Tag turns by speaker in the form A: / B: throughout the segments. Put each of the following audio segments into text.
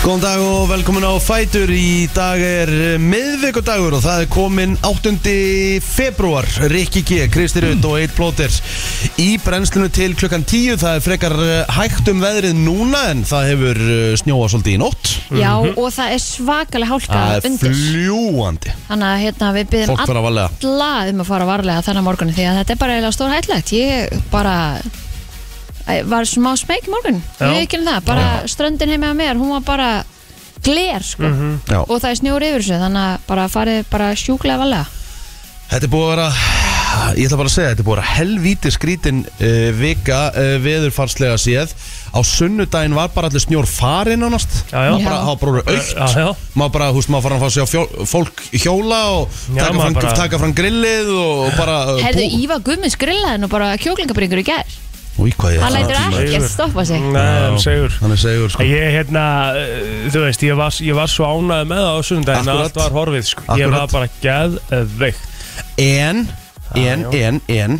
A: Góðan dag og velkomin á Fætur Í dag er eh, miðvikudagur og það er komin 8. februar Rikki G, Kristi Rutt og Eitt Plóter Í brennslunu til klukkan 10 Það er frekar eh, hægt um veðrið núna En það hefur eh, snjóað svolítið í nótt
B: Já, og það er svakalega hálka
A: Mhm. Það er
B: undir
A: fljúandi
B: Þannig að hérna, við byggjum
A: Fólk fara varlega
B: alla um að fara varlega þennan morgunin því að þetta er bara eiginlega stór hætlegt Ég bara Æ, var smá smeg í morgun
C: Já.
B: Ég ekki um það, bara ströndin heima hjá mér hún var bara gler sko.
A: Já.
B: og það er snjór yfir þessu þannig að bara farið bara sjúklega varlega
A: Þetta er búið að vera Ég ætla bara að segja, þetta er búið að vera helvíti skrítin uh, vika uh, veðurfarslega séð Á sunnudaginn var bara allir snjór farinn ánast
C: Já, já.
A: Það var bara,
B: Já.
A: það var bara orðið aukt
C: Já, já.
A: Maður bara, húst, maður fara að fá að sjá fjó, fólk hjóla og
C: Já,
A: taka,
C: maður
A: fram,
C: bara-
A: taka fram grillið og, og bara uh,
B: Herðu, Íva Guðmunds grillaði nú bara kjóklingabringur í gær
A: Új, hvað ég
B: Hann lætur ekki
C: Segur.
B: að stoppa sig
C: Nei, segur
A: Hann er segur, sko
C: Ég, hérna, uh, þú veist, ég var, ég var svo ánæði með það á sundaginn að
A: Akkurat.
C: allt var horfið, sko. Ég
A: Akkurat.
C: var bara geðveikt.
A: En, en, en, en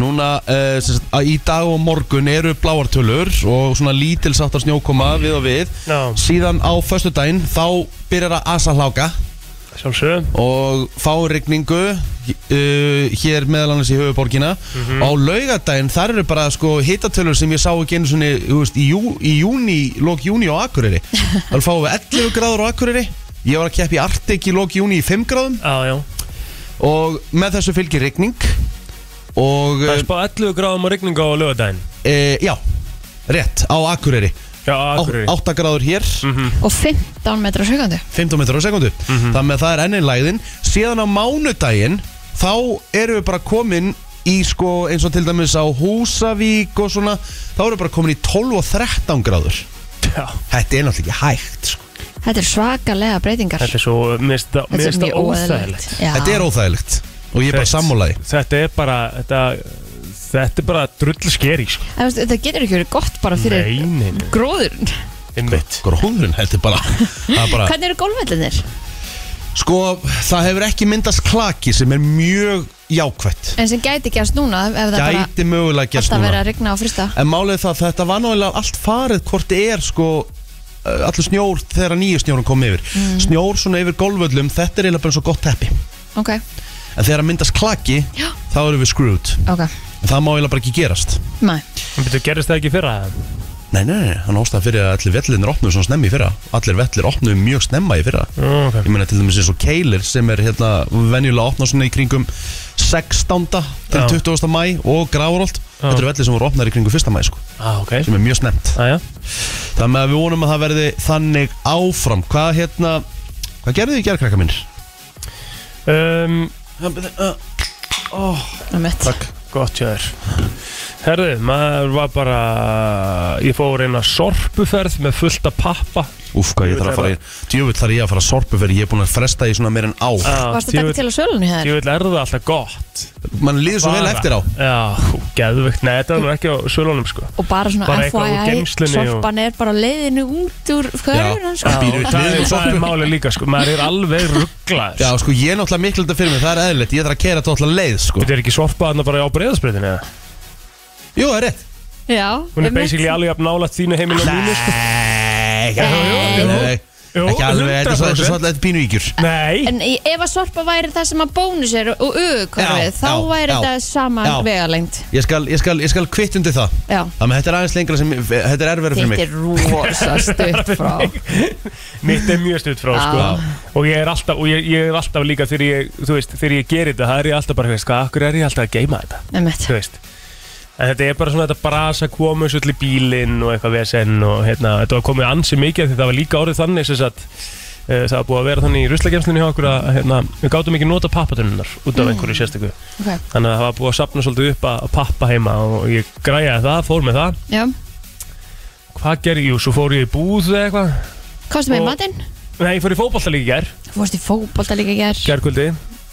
A: Núna, uh, sérst, í dag og morgun eru bláartölur og svona lítilsáttar snjókoma við og við
C: Já.
A: Síðan á föstudaginn þá byrjar að asa hláka
C: Sjálfsögum.
A: og fá rigningu uh, hér meðal annars í höfuborgina
C: Mhm.
A: á laugardaginn þar eru bara sko hitatölur sem ég sá ekki einu svona veist, í, jú, í júni, lók júni á Akureyri þannig fáum við 11 gráður á Akureyri ég var að keppa í Artek í lók júni í 5 gráðum
C: Já, já.
A: og með þessu fylgir rigning og
C: Það er spáð 11 gráðum og rigningu á lögadaginn.
A: e, já, rétt, á Akureyri,
C: Já, á Akureyri. Mhm.
A: 8 gráður hér
B: og 15 metrar sögandi
A: 15 metrar á sekundu þannig að það er ennin lægðin síðan á mánudaginn þá erum við bara komin í sko eins og til dæmis á Húsavík og svona, þá erum við bara komin í 12 og 13 gráður
C: Já.
A: þetta er náttúrulega ekki hægt sko.
B: Þetta er svakalega breytingar
C: Þetta er svo, mér finnst það- mér finnst það óþægilegt.
A: þetta er óþægilegt og ég er bara
C: Þetta-
A: sammálaði
C: Þetta er bara, þetta, þetta er bara drull skeri, sko.
B: óæðilegt Þetta getur ekki verið gott bara fyrir
C: Nei, nei, nei.
B: gróður
C: Einmitt.
A: gróðun, þetta er bara, það er bara
B: Hvernig eru gólfvellinir?
A: sko, það hefur ekki myndast klaki sem er mjög jákvætt
B: En sem gæti gerst núna ef það bara
A: gæti mögulega gerst
B: alltaf verið
A: núna
B: að rigna og frista
A: en málið er það, þetta var náttúrulega allt farið hvort þið er sko uh, allur snjór þegar nýju snjórum kom yfir snjór svona yfir golföllum, þetta er eiginlega bara svo gott teppi en
B: Ok,
A: þegar að myndast klaki,
B: Já.
A: þá erum við screwed
B: ok,
A: en það má eiginlega bara ekki gerast
B: næ
C: En betur, gerist það ekki fyrra?
A: nei, nei, nei, hann ástæða fyrir að allir vellinir opnuðu svona snemmi í fyrra allir vellir opnuðu mjög snemma í fyrra
C: Ok.
A: ég meina til dæmis eins og keilir sem er hérna venjulega opnað svona í kringum 16. til
C: Já.
A: 20. mæ og gráðurolt,
C: Já.
A: þetta eru vellir sem voru opnaðir í kringum 1. mæ sko,
C: Ah, ok.
A: sem er mjög snemt
C: Ah, já.
A: Þannig að við vonum að það verði þannig áfram Hvað hérna, hvað gerðu þið í gerð, krakka minn?
C: Um,
B: Ná mitt
A: uh, oh. Takk
C: Gott hjá þér Herðu, maður var bara Ég fór eina sorpuferð með fullt að pappa
A: Úf, hvað ég þarf að fara í Djöfull þarf ég að fara að sorpu fyrir Ég er búin að fresta í svona meir en á
B: Varst þetta ekki til á sölunni hér?
C: Ég vil erða alltaf gott
A: Man líður svo vel
C: Bara.
A: eftir á
C: Já, geðvögt, nei þetta var nú ekki á sölunum sko
B: Og bara svona
C: Bara eitthvað úr
B: FYI,
C: geymslunni og-
B: sorpan er bara á leiðinu út úr hverjum
A: Já.
B: sko.
A: Býr við hliðina á
C: það, er- það
A: sorpu.
C: er máli líka sko, maður er alveg rugglaður
A: Já, sko, ég er náttúrulega miklu þetta fyrir mig Það er eðlilegt, ég þarf að kera þetta alltaf leið, sko
C: Þetta er ekki sorpa þarna bara á breyðarsbreytinu eða?
A: Jú, það er rétt
B: Já,
C: Hún er
B: einmitt.
C: basically alveg jafn nálægt þínu heimil og mínu sko
A: Nei, ekki
C: Jú,
A: alveg Nei,
C: jú,
A: Ekki alveg, þetta er svo- þetta er
C: 100%.
A: svo alltaf pínu ígjur
C: Nei,
B: En í- ef að sorpa væri það sem að bónus er og
A: Já,
B: auðkvarfið, þá
A: já,
B: væri
A: já.
B: þetta sama
A: Já.
B: vegalengt
A: Ég skal, ég skal, ég skal kvitt undir það
B: Já,
A: Þannig að þetta er aðeins lengra sem, þetta er erfæri
B: þetta
A: fyrir mig
B: er rosa stutt frá
C: mitt er mjög stutt frá sko
B: Já.
C: Og ég er alltaf, og ég, ég er alltaf líka þegar ég, þú veist, þegar ég gerir þetta Það er ég alltaf bara, veist, hvað, akkur er ég alltaf að geima þetta
B: Einmitt.
C: þú veist En þetta er bara svona þetta brasa komu svo til í bílinn og eitthvað vesen og hérna, þetta var komið ansi mikið af því það var líka orðið þannig sem sagt e, það var búið að vera þannig í ruslakemslunni hjá okkur að hérna, við gátum ekki nota pappatunnar út af einhverju sérstöku
B: Mm. Ok,
C: þannig að það var búið að sapna svolítið upp að að pappa heima og ég græjaði það, fór með það
B: já
C: Hvað gerði ég? Svo fór ég í búð eða eitthvað
B: Kostu mig
C: Og-
B: matinn?
C: Nei, ég fór í fótbolta líka í gær,
B: Þú fórst í fókbólta líka í gær
C: gærkvöldi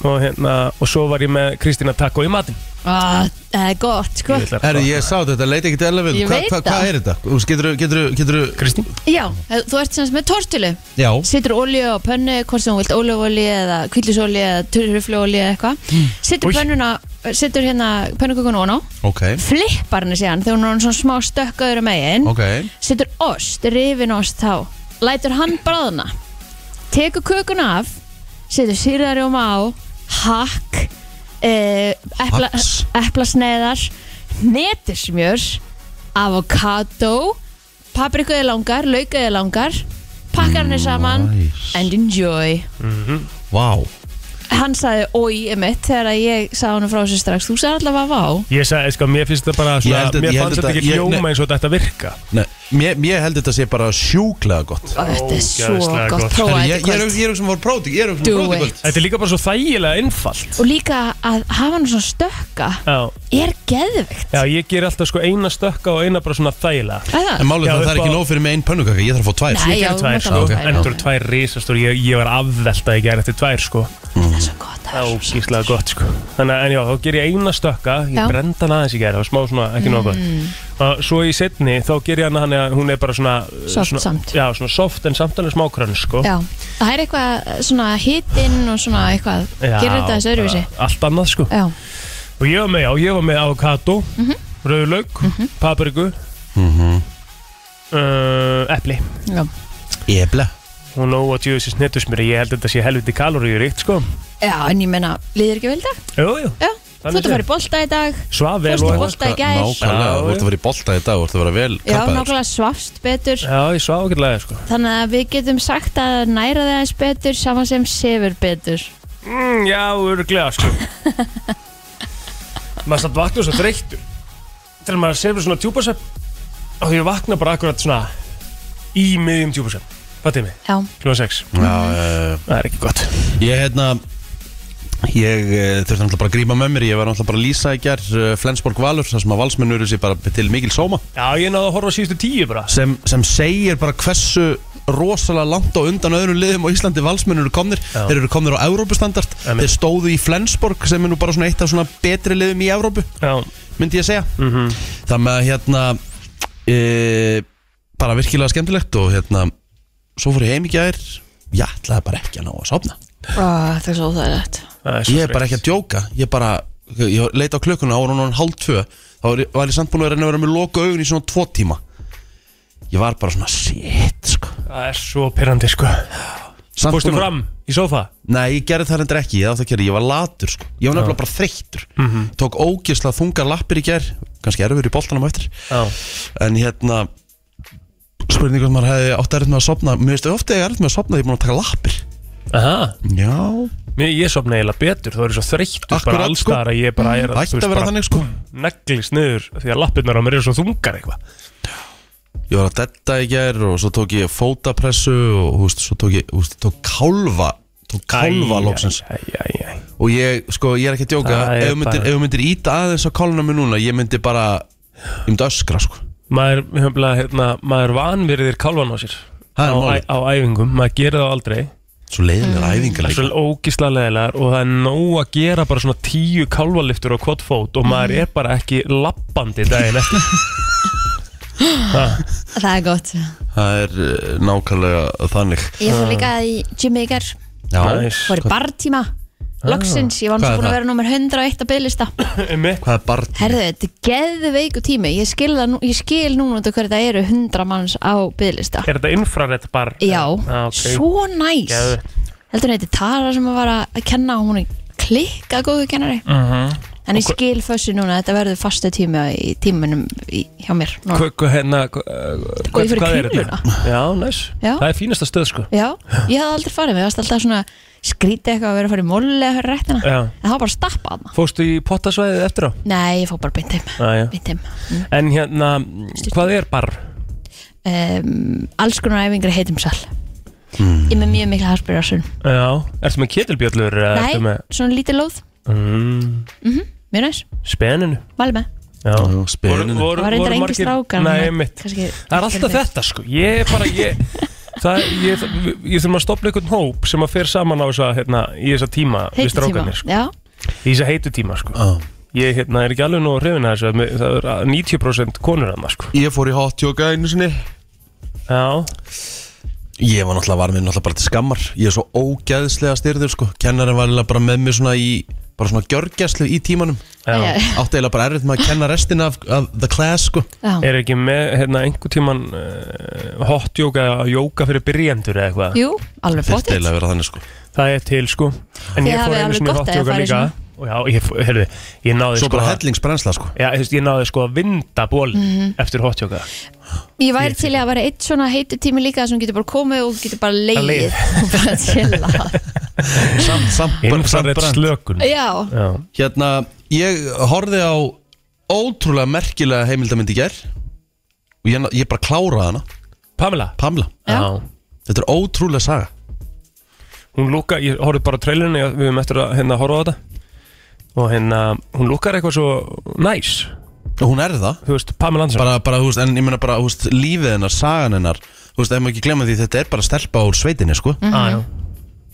C: og hérna, og svo var ég með Kristína Takko í matinn
B: Ah, Það er gott, sko
C: Ég ætla að-
A: Herri, ég sá þetta, leiti ekki til elefið
B: Ég veit
A: Hvað hva, hva
B: það.
A: er þetta? Þú veist, Geturðu, geturðu, geturðu
C: Kristín?
B: Já, þú ert sem sagt með tortilu
A: Já,
B: Setur olíu á pönnu, hvort sem þú vilt olíuolíu eða kvillisolíu eða turrufluolíu eða eitthvað Setur
C: Új.
B: pönnuna, setur hérna pönnukökun og ná
A: ok,
B: Flippar henni síðan þegar hún er orðin svona smá stökkaður um eigin
A: ok
B: Setur ost, rifin ost þá lætur hann bráðna tekur kökuna af setur sýrðarjóma á hakk eh, epla,
A: Hacks.
B: eplasneiðar netismjör avokado paprikuði langar, laukaði langar pakkar hann saman
A: Nice.
B: and enjoy
A: Vá
B: hann sagði oi emitt þegar að ég sagði hann frá sér strax þú sagði allavega vá
C: Ég sagði, sko, mér finnst þetta bara
A: Ég held
C: svona,
A: að-
C: Mér
A: ég held
C: fannst þetta
A: að-
C: ekki
A: ég-
C: hljóma
A: nei.
C: eins og þetta ætti að virka
A: Nei, mér, mér held þetta sé bara sjúklega gott
B: þetta er svo
C: Ógeðslega
B: gott
C: gott.
B: prófa
A: Herri,
B: þetta
A: Ég ég er
B: kvöld
A: ég er auðvitað voru próti Ég er auðvitað
B: Do
A: voru próti
B: it.
A: kvöld
C: Þetta er líka bara svo þægilega einfalt
B: og líka að hafa hann svona stökka
C: Já,
B: er geðvikt
C: já ég ger alltaf sko eina stökka og eina bara svona þægilega
A: En
B: Það
A: málið er
C: Já,
A: það að það er
C: upp
A: ekki
C: á-
A: nóg fyrir mig einn pönnukaka Ég þarf að fá tvær
B: Nei, já,
C: Ég gerði
B: þú
C: tvær, sko.
B: mátt alveg
A: ok,
B: fá þær.
C: Endur tvær risastór, ég, ég var afveltað í gerð eftir tvær sko
B: Það er svo gott
C: Það er ógíslega gott sko Þannig að en já, þá ger ég eina stökka Ég
B: Já. Mm.
C: brenda hann aðeins í gerð, það var smá svona ekki nóg gott Og svo í setni, þá ger ég hann þannig að hún er bara svona eh,
B: Soft
C: svona,
B: samt.
C: Já, svona soft en samt alveg smá krönn sko
B: Já, það er eitthvað svona hitinn og svona eitthvað
C: Já,
B: Gerir þetta þessu öðruvísi
C: bara Allt annað sko
B: Já, Mhm.
C: Og ég var með, já, ég var með avokado, rauðlaug, papriku, uh, epli.
B: já
A: Ebla
C: Og nóg að djöðu sér snettusmjöri, ég held að þetta sé helviti kaloríuríkt, sko.
B: Já, en ég menna, líður ekki vel í dag?
C: Jú, jú,
B: Já, þú
C: Þannig
B: ert að fara
C: sé.
B: í bolta í dag
C: svaf vel
B: Fórstu
C: og
B: í bolta í gær
A: Nákvæmlega,
C: Já,
A: þú ert að vera í bolta í dag Þú ert að vera vel
B: Já,
A: kappaður
B: nákvæmlega svafst betur
C: Já, ég svaf ekki lega, sko.
B: Þannig að við getum sagt að næra þig aðeins betur Saman sem sefur betur
C: Mm, já, örglega, sko. maður satt vakna svo dreyktur. Þegar maður sefur svona tjúpasöp, og ég vakna bara akkurat svona í miðjum tjúpasöp. Fattu mig,
B: Já,
C: klúan 6.
A: Já, eh,
C: Það er ekki gott.
A: Ég hérna Ég uh, þurfti náttúrulega bara að grípa með mér Ég var náttúrulega bara að lýsa í gerð uh, Flensborg Valur þar sem að valsmennur sér bara til mikil sóma
C: Já, ég náði að horfa á síðustu tíu bara.
A: sem, sem segir bara hversu rosalega langt á undan öðrum liðum á Íslandi valsmennur eru komnir
C: Já.
A: Þeir eru komnir á Evrópustandard
C: Amen.
A: Þeir stóðu í Flensborg sem er nú bara svona eitt af svona betri liðum í Evrópu
C: Já,
A: myndi ég segja
C: mhm.
A: Þannig að hérna e, bara virkilega skemmtilegt og hérna svo fór ég heim í gær Ég ætlaði bara ekki að ná að sofna
B: Ó, það er svo óþægilegt
A: Ég er bara ekki að djóka Ég bara, ég leita á klukkuna á hún hálf tvö Þá var ég- var ég samt búin að reyna að vera með loka augun í svona tvo tíma Ég var bara svona shit sko
C: Það er svo pyrrandi sko
A: Samt
C: Fórstu
A: búin að-
C: fram í sofa
A: Nei, ég gerði það hendur ekki, ég átti að gera, ég var latur sko Ég var nefnilega bara þreyttur Tók ógisla þungar lappir í ger Kannski erfur í boltanum á eftir
C: Já
A: En hérna Spurning hvort maður hefði átt erfitt með að sopna Mér veistu ofta ég erfitt með að sopna því ég er búin að taka lappir
C: Aha
A: Já
C: Mér, Ég sopna eiginlega betur Þú eru svo þreytt
A: Akkurat,
C: Bara alls
A: sko.
C: þar að ég bara er
A: Ætti að vera þannig sko
C: Neglis niður Því að lappirnar á mér eru svo þungar eitthvað
A: Ég var að detta í ger og svo tók ég fótapressu og þú veist, svo tók ég, þú veist, ég tók kálfa tók kálfa loksins
C: Æ, æ, æ, æ.
A: og ég, sko, ég er ekki að djóka
C: Það er
A: ef þú myndir,
C: bara-
A: ef þú myndir íta aðeins á káluna mér núna ég myndi bara, ég myndi öskra sko
C: Maður, hefla, hérna, maður vanverðir kálvan á sér
A: Það er
C: á,
A: málið.
C: á æfingum Maður gerir það aldrei
A: svo leiðilega mm. æfingar
C: Það
A: líka
C: er svo ógislega leðilegar Og það er nóg að gera bara svona tíu kálvaliftur á kvotfót Og
B: Mm.
C: maður er bara ekki lappandi daginn eftir
B: Það er gott
A: það er eh, nákvæmlega þannig
B: Ég fór líka í Jimmy í gær
A: já,
C: Nice.
B: fór í bartíma Loksins, ég var
A: Hvað
B: náttúrulega
A: er
B: búin að
A: það?
B: vera nummer 101 að bygglista
C: Einmitt.
A: hvað er barn
B: Herðu, þetta er geðveiku tími Ég skil, það nú, ég skil núna út af hverju það eru 100 manns á bygglista
C: Er þetta infrarétt bar?
B: Já,
C: ah,
B: svo næs
C: Geðveikt.
B: Heldur hún heiti Tara sem að var að kenna og hún er klikka góðu kennari
C: Mm.
B: En ég skil fössu núna, þetta verður fastu tími í tíminum í, hjá mér núna.
C: Hva, hva, hérna, hva,
B: Og Sko, ég fer í
C: Já, næs
B: Já.
C: Það er fínasta stöð sko
B: Já, ég hafði aldrei farið, mér varst alltaf svona skrítið eitthvað að vera að fara í móli eða höra réttina
C: Já.
B: En það var bara að stappa að maður
C: Fóstu í pottasvæðið eftir á?
B: Nei, ég fór bara beint heim
C: Já, já
B: Beint heim
C: En hérna, hvað er bar?
B: um, Alls konar æfingar í heitum sal Ég er með mjög mikla harspyrjarsun
C: Já Ertu með ketilbjöllur? eða
B: Nei,
C: ertu með
B: svona lítið lóð Mhm,
C: mm,
B: Mjög næs,
C: Speninu
B: mæli með
C: Já
A: Já, speninu.
B: Það var reyndar engi strákar
C: Nei,
B: þannig að
C: mitt
B: kannski-
C: Það er alltaf þetta sko Ég er bara, ég Það, ég, ég, ég þurfum að stopla einhvern hóp sem að fer saman á þess að, hérna, í þess að tíma við
B: Heitu tíma,
C: strákarnir, sko.
B: já
C: í þess að heitu tíma, sko.
A: Ah.
C: Ég, hérna, er ekki alveg nú hrifin að þessu, að mér- það er að 90% konur að maður, sko.
A: ég fór í hot yoga einu sinni
C: Já,
A: Ég var náttúrulega var mér náttúrulega bara til skammar Ég er svo ógæðslega styrður sko Kennarinn var eiginlega bara með mér svona í bara svona gjörgjæslu í tímanum
C: Já.
B: Já.
A: átti eiginlega bara erfitt með að kenna restina af, af the class sko
B: Já.
C: Er ekki með hérna, einhver tíman uh, hot yoga eða yoga fyrir byrjendur eða eitthvað?
B: Jú, alveg
A: Þyrfti
B: bóttið
A: eiginlega að vera þannig sko
C: Það er til sko En
B: Þið
C: ég fór
B: hafið
C: einu
B: alveg
C: sinni í
B: gott
C: hot
B: að
C: yoga
B: fara í
C: líka
B: svona.
C: Og já, ég, heyrðu, ég náði
A: Svo
C: sko
A: bara
C: að-
A: hellingsbrensla sko
C: Já, þú veist, ég náði sko að vinda ból
B: Mhm.
C: eftir hot yoga
B: Ég væri til í að vera eitt svona heitu tími líka sem getur bara komið og getur bara
C: Að leið.
B: leið og bara chilla
A: Samt, samt, samt
C: Infrared
A: brent
C: slökun
B: Já,
C: Já,
A: Hérna, ég horfði á ótrúlega merkilega heimildamindi í gær og ég, ég bara kláraði hana
C: Pamela
A: Pamla,
B: Já.
A: þetta er ótrúlega saga
C: Hún lúka, ég horfði bara á trailinu Við höfum eftir að hérna horfa á þetta Og hérna, hún lúkar eitthvað svo næs
A: og hún er það
C: Þú veist, Pamela Anderson
A: bara, bara, þú veist, en ég meina bara, þú veist, lífið hennar, sagan hennar þú veist, ef maður ekki glemma því, þetta er bara stelpa úr sveitinni, sko
C: mm -hmm.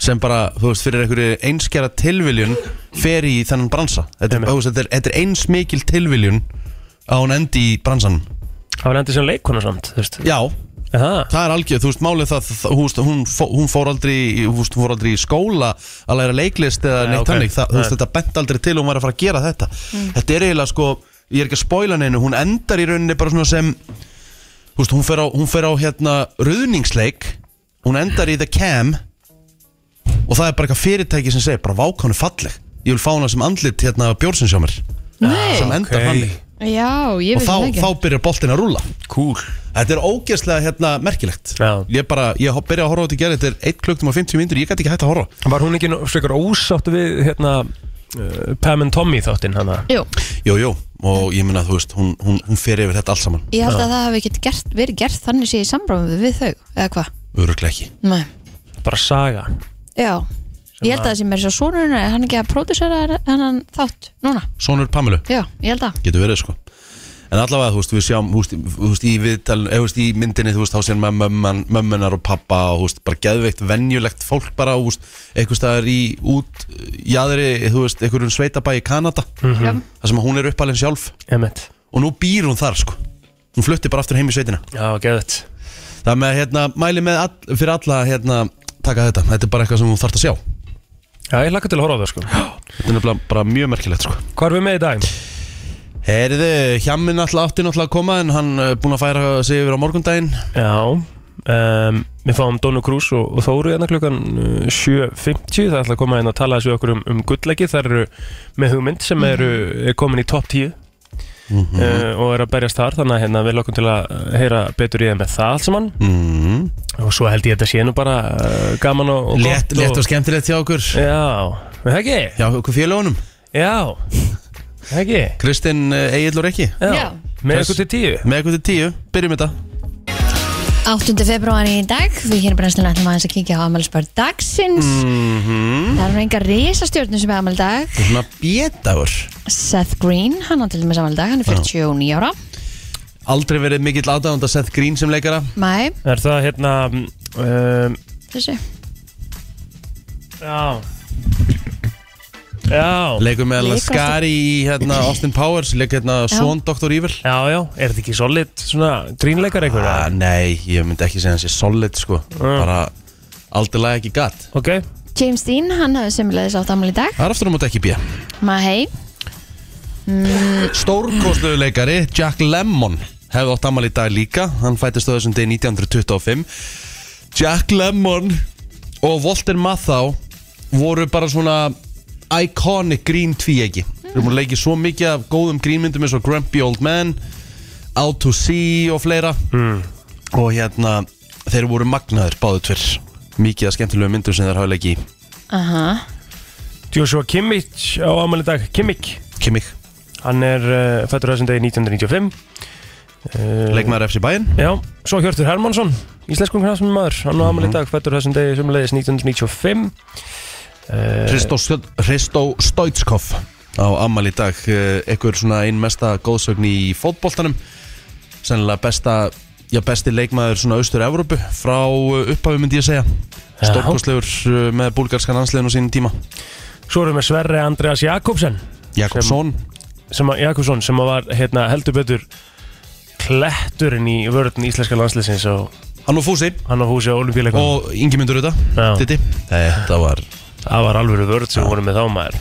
A: sem bara, þú veist, fyrir einhverju einskjara tilviljun fer í þennan bransa þetta er,
C: Einmitt.
A: þú veist, þetta er, þetta er eins mikil tilviljun að hún endi í bransanum
C: Það var endið sem leikona samt, þú veist
A: já,
C: Aha.
A: það er algjör, þú veist, málið það það- þú veist, hún, fó- hún, fór aldrei, í- þú veist, hún fór aldrei í skóla að læra leiklist eða
C: Nei,
A: neitt
C: ok.
A: þannig, það, þú veist,
C: Nei.
A: þetta bent aldrei til að hún var að fara að gera þetta
B: Mm.
A: þetta er eiginlega, sko, ég er ekki að spoila neinu hún endar í rauninni bara svona sem þú veist, hún fer á, hún fer á hérna, ruðningsleik, hún endar í the cam og það er bara eitthvað fyrirtæki sem segir, bara vák hann er falleg ég vil fá hana sem andlit hérna bjórsin sjá mér sem
B: nei,
A: endar
C: ok.
A: þannig
B: já, ég
A: og
B: veit
A: þá,
B: það ekki
A: þá byrjar boltin að rúla
C: Cool
A: Þetta er ógeðslega hérna, merkilegt
C: Já.
A: Ég bara, ég hopp- byrja að horfa á þetta í gerð Þetta er 1 klukktum og 50 myndur, ég gæti ekki hægt að horfa
C: Var hún ekki nú- frekar ósátt við hérna uh, Pam and Tommy þáttinn hana
B: Jú,
A: Jú, jú, og ég minna, þú veist, hún, hún, hún fer yfir þetta allt saman
B: ég held að það hafi ekki gert, verið gert þannig sé í samráðum við þau, eða hvað
A: Öruglega ekki
B: Nei,
C: Bara saga
B: já Ég held að það sem er svo sonurinn er hann ekki að pródusera hennan þátt núna
A: Sónur Pamilu,
B: Já, ég held að
A: getur verið, sko En allavega, þú veist, við sjáum, þú veist, í- þú veist, í viðtal, eh, þú veist, í myndinni, þú veist, þá séum maður mömman- mömmunar og pappa og, þú veist, bara geðveikt, venjulegt fólk bara, þú veist, eitthvað staðar í út, jáðri, þú veist, einhverjum sveitabæ í Kanada,
C: Mhm.
B: Já.
A: þar sem hún er uppalinn sjálf
C: Emmett
A: og nú býr hún þar, sko. Hún flutti bara aftur heim í sveitina.
C: Já, geðvægt
A: Það með hérna, mæli með all, fyrir alla hérna, taka þetta, þetta er bara eitthvað sem þú þarft að sjá Þetta
C: Já, ég lakka til að horfa á það sko Hvað
A: er nefnilega bara mjög merkilegt sko
C: er við með í dag?
A: Heyriðu, hjamminn alltaf átti náttúrulega að koma en hann er búin að færa sig yfir á morgundaginn
C: Já um, Við fáum Dónu Krús og, og Þóru hérna klukkan uh, 7.50 Það ætla að koma inn og tala þessu okkur um, um gullleggi Það eru með hugmynd
A: Mhm.
C: sem eru er komin í topp 10 uh, og eru að berjast þar þannig að hérna, við lokum til að heyra betur í þeim með það allt saman
A: mm.
C: og svo held ég að þetta sé nú bara uh, gaman og, og
A: létt,
C: gott
A: létt og skemmtilegt hjá okkur
C: Já, er það ekki?
A: Já, okkur félagunum
C: Já, er það ekki?
A: Kristinn Egil og Rikki
B: Já.
C: Með
A: Þess-
C: ykkur til 10
A: Með eitthvað til tíu, byrjum þetta
B: 8. februar í dag, við hér brennslinu ætlum aðeins að kíkja á afmælisbörn dagsins
A: Mm.
B: Það eru enga risastjórnum sem er afmæli í dag
A: Þetta er Mhm. svona bjedagur
B: Seth Green, hann á til dæmis afmæli í dag, hann er 49 ára
A: Aldrei verið mikill aðdáðand að Seth Green sem leikara
B: Mæ,
C: Er það hérna um,
B: þessi
C: Já Já
A: Leikur með alveg
B: Leikur
A: Skari í hérna, Austin Powers Leikur hérna
B: Já.
A: Svon Dr. Evil
C: Já, já, er þetta ekki solid svona grínleikar einhver?
A: Ah, nei, ég myndi ekki segja hans ég solid sko Bara aldrei lagi ekki gatt
C: Ok,
B: James Dean, hann hafði semilegðis átt afmæli í dag
A: Það er aftur á móti ekki bíja
B: Mæ, hei, Mm.
A: Stórkostluðu leikari Jack Lemmon hefði átt amal í dag líka Hann fættist á þessum degi 1925 Jack Lemmon og Walter Matthau voru bara svona iconic grín tvíegi Þeir eru múin að leiki svo mikið af góðum grínmyndum eins og Grumpy Old Man Out to Sea og fleira og hérna þeir voru magnaður báðu tver mikið af skemmtilegu myndum sem þeir hafa leikið í
B: aha
C: Joshua Kimmich á ámæli dag Kimmich,
A: Kimmich,
C: hann er uh, fættur þessum degi 1995 uh,
A: leikmaður FC Bayern
C: Já, svo Hjörtur Hermansson Íslenskum knafsum maður, hann á ámæli
A: Mhm.
C: dag fættur þessum degi sem leiðis 1995 Eh,
A: Hristó Stjörn- Hristó Stoitskov á ammal í dag eitthvað svona einn mesta góðsögn í fótboltanum sennilega besta Já, besti leikmaður svona austur-Evrópu frá eh, upphafi myndi ég segja Stórkostlegur eh, með búlgarskan ansliðin á sínum tíma
C: Svo erum við Sverre Andreas Jakobsen
A: Jakobsson
C: sem að, Jakobsson sem að var hérna, heldur betur kletturinn í vörðin íslenska landsliðsins og
A: Hann og Fúsi
C: hann á húsi á Olimpíuleikunum
A: og Ingi myndur
C: Já.
A: Titti Þetta var
C: Það var alveg vörð sem voru með þá maður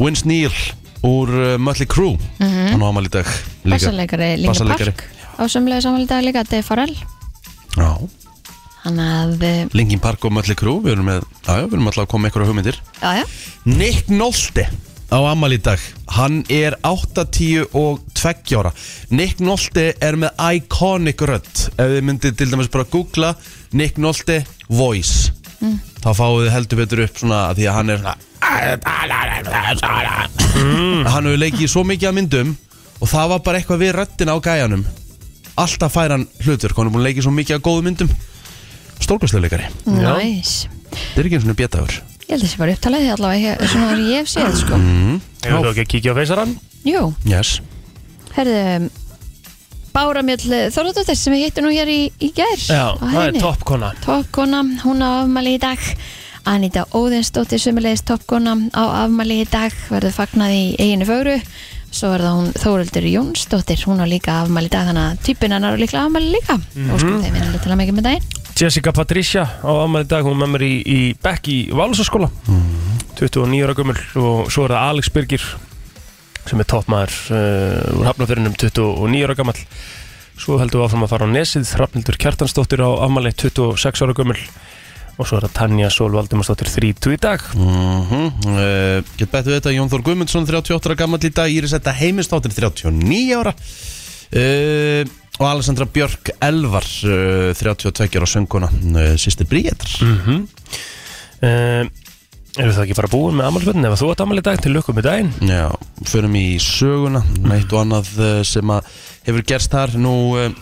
A: Vince Neil úr uh, Mötli Crew
B: Mhm.
A: hann á amal í dag líka
B: Bassarleikari Linkin
A: Bassaleikari.
B: Park á sömulega samanlega dag líka Dave Farrell
A: Já,
B: hann að, eh,
A: Linkin Park og Mötli Crew við erum, með, já, já, við erum alltaf að koma með einhverja hugmyndir
B: já já
A: Nick Nolte á amal í dag hann er 82 ára Nick Nolte er með iconic rödd ef þið myndið til dæmis bara googla Nick Nolte voice
D: Mm.
A: þá fáið þið heldur betur upp svona af því að hann er svona hann hefur leikið í svo mikið af myndum og það var bara eitthvað við röddina á gæjanum alltaf fær hann hlutur hann er búin að leikið í svo mikið af góðum myndum stórkvæslega leikari
B: næs
A: þetta er ekki eins og bjötaður
B: ég held að þessi var upptalið allavega hér, svona var ég hef séð sko
A: mm.
C: Hefur þú ekki að kíkja á feysarann?
B: jú
A: yes.
B: herðu Bára Mjöll Þorðardóttir sem við hittum nú hér í, í gær
C: Já,
B: á
C: það er
B: hæðinni.
C: toppkona
B: Topkona, hún á afmæli í dag Anita Óðinsdóttir sömulegis Topkona á afmæli í dag verður fagnað í eiginu fögru svo er það hún Þóruldur Jónsdóttir hún á líka afmæli í dag þannig að typinn hennar á líklega afmæli líka mm
C: Mhm.
B: óskum þeim vinnilega til að mikið með daginn
C: Jessica Patricia á ammæli dag, hún er með mér í, í Beck í Válusaskóla 29 ára gömul og svo er það Alex Birgir sem er toppmaður uh, úr hafnafyrinum 29 ára gammal svo heldur við áfram að fara á Nesið Hrafnildur Kjartansdóttir á ammæli 26 ára gömul og svo er það Tanja Solvaldimarsdóttir 30 í dag
A: mm uh, Get betur við þetta Jón Þór Guðmundsson 38 ára gammal í dag Íris Þetta heimistáttir 39 ára uh, Og Alessandra Björk Elvar uh, 32 ára sönguna uh, Sýstir Bríetar
C: mm -hmm. uh, Erum við það ekki bara búin með ammálsvöldin? Ef þú ert ammál í dag, til lukkum með daginn
A: Já, förum í söguna Eitt og annað uh, sem að hefur gerst þar Nú uh,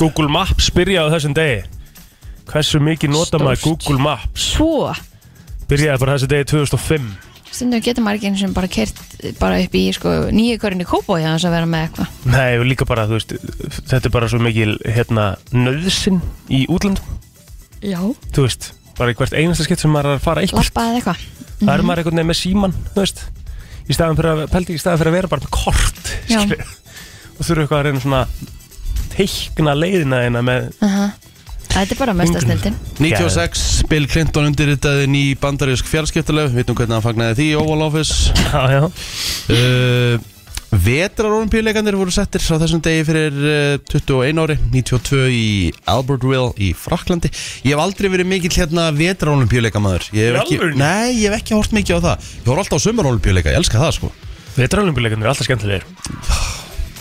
C: Google Maps byrjaði á þessum degi Hversu mikið nota maður
B: Stórt.
C: Google Maps?
B: svo,
C: Byrjaði bara þessu degi 2005
B: stundum getur maður ekki eins og bara kert bara upp í sko nýju körinu kópa og þess að vera með eitthvað
C: Nei, og líka bara, þú veist, þetta er bara svo mikil hérna, nöðsin í útlandum
B: já,
C: Þú veist, bara í hvert einasta skipt sem maður er að fara eitthvað
B: lappa eða eitthvað
C: Það er maður einhvern veginn með síman, þú veist Í staðan fyrir að, pældi, í staðan fyrir að vera bara með kort
B: Já.
C: skilur. Og þurfa eitthvað að reyna svona teikna leiðina þeina með
B: Aha. þetta er bara mesta snildin
A: 96, Bill Clinton undirritaði ný bandarísk fjarskiptalöf, við veitum hvernig hann fagnaði því í Oval Office
C: Já, já
A: uh, Vetrarolimpíuleikandir voru settir á þessum degi fyrir uh, 21 ári 92 í Albertville í Fraklandi Ég hef aldrei verið mikill hérna vetrarolimpíuleikamæður Ég hef
C: Í
A: ekki,
C: alvörunni?
A: nei, ég hef ekki hort mikið á það Ég voru alltaf á sumarolimpíuleika, ég elska það sko
C: Vetralumbileikinn er alltaf skemmtilegir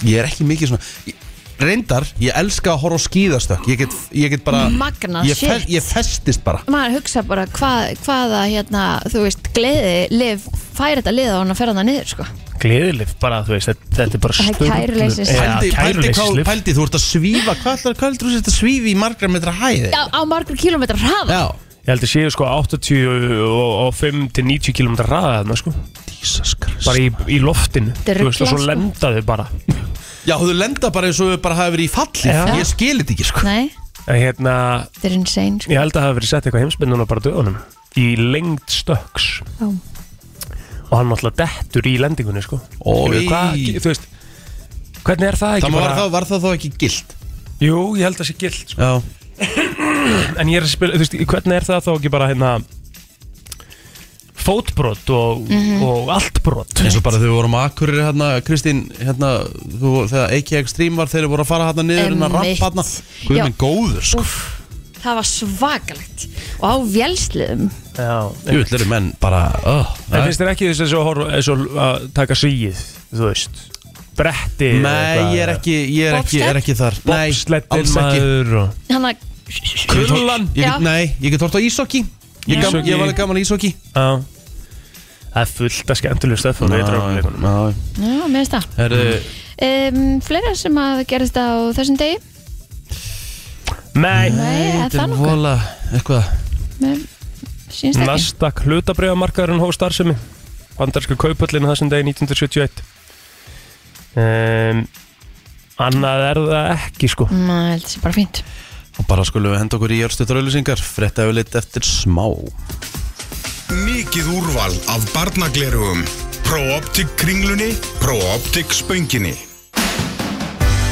A: Ég er ekki mikið svona ég, Reyndar, ég elska að horfa á skíðastökk Ég get, ég get bara
B: Magnað,
A: ég,
B: shit.
A: ég festist bara
B: maður hugsa bara hvað, hvaða hérna, þú veist, gleði lif, fær þetta lið á hann að ferða það niður sko.
C: Gleðilif bara, þú veist, þetta, þetta er bara
B: Það er
C: sturlun-
B: kæruleysis.
C: Já,
A: Pældi, pældi, hvað-
C: kæruleysislif.
A: pældi, þú ert að svífa Hvað ætlar hvað heldur þú sér að svífa í margra metra hæði?
B: á, á margur kílometrar hraða
A: Já.
C: Ég held að séu sko 85 til 90 km ræða þarna sko
A: Jesus Christ
C: Bara í, í loftinu
B: Þetta er
C: Þú veist og svo
B: ruglað, sko.
C: lenda þau bara
A: Já, þú lenda bara eins og þau bara hafi verið í falli
C: Já.
A: Ég skil þetta ekki, sko
B: nei,
C: En hérna
B: þetta er insane sko.
C: Ég held að það hafi verið sett eitthvað heimsbyrð núna bara á dögunum Í lengd stöks
B: Já.
C: Og hann náttúrulega dettur í lendingunni sko
A: Ó,
C: Ég veit
A: í.
C: hvað, Þú veist Hvernig er það ekki
A: Það var,
C: bara
A: það, var það þá ekki gilt
C: Jú, ég held að það sé gilt sko.
A: Já
C: En ég er að spila, þú veist, hvernig er það þá ekki bara hérna Fótbrot og,
B: Mhm.
C: og allt brot
A: eins og bara þau vorum að akkurir hérna Kristín, hérna, þú, þegar AKI Extreme var þeir voru að fara hérna niður hérna
B: Einmitt.
A: rapp hérna Guð
B: Já.
A: minn góður, sko
B: Úff, það var svakalegt og á vélsliðum
C: Já, en-
A: Jú, þeir menn bara oh,
C: En finnst þér ekki þess að, svo horf, að, svo að uh, taka svíið, þú veist Bretti
A: Nei, ég er ekki, ég er ekki, er ekki þar Nei,
C: Bobslettin
A: alls ekki
C: maður og...
B: hann að
A: Ég get hort-
C: Kullan.
A: ég get-
B: Já.
A: Nei, ég get hort á ísokki Ég, gam,
C: Íshockey.
A: ég var alveg gaman í ísokki
C: Já Það er fullt að skemmtilegu stöð frá veitráleikunum
A: Það
B: já, mér finnst það
A: er
B: um, fleira sem að gerist á þessum degi
C: Nei,
B: nei, er það nokkuð?
A: vola, eitthvað
B: mér sínst ekki
C: Nasdaq hlutabriðamarkaðurinn hóð starfsemi Bandarska kaupöllin þessum degi 1971 um, Annað er það ekki sko
B: Næ, þetta sé bara fínt
A: Og bara skulum við henda okkur í jörgstutraulisingar Frétta yfirleitt eftir smá
E: Mikið úrval af barnaglerugum Pro-Optik kringlunni Pro-Optik spönginni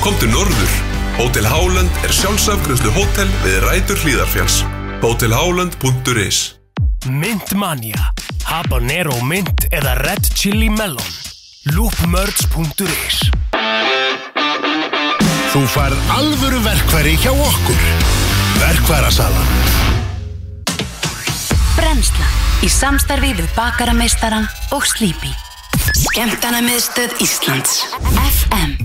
F: Komdu norður. Hótel Háland er sjálfsafgröðslu hótel við rætur hlýðarfjáls. Hótelháland.is
C: Myndmania
D: habanero mint eða red chili melon. loopmerge.is
G: Þú færð alvöru verkfæri hjá okkur. Verkfærasalan.
H: Brennslan í samstarfi við bakarameistaran og Sleepy. Skemmtanamiðstöð Íslands. FM.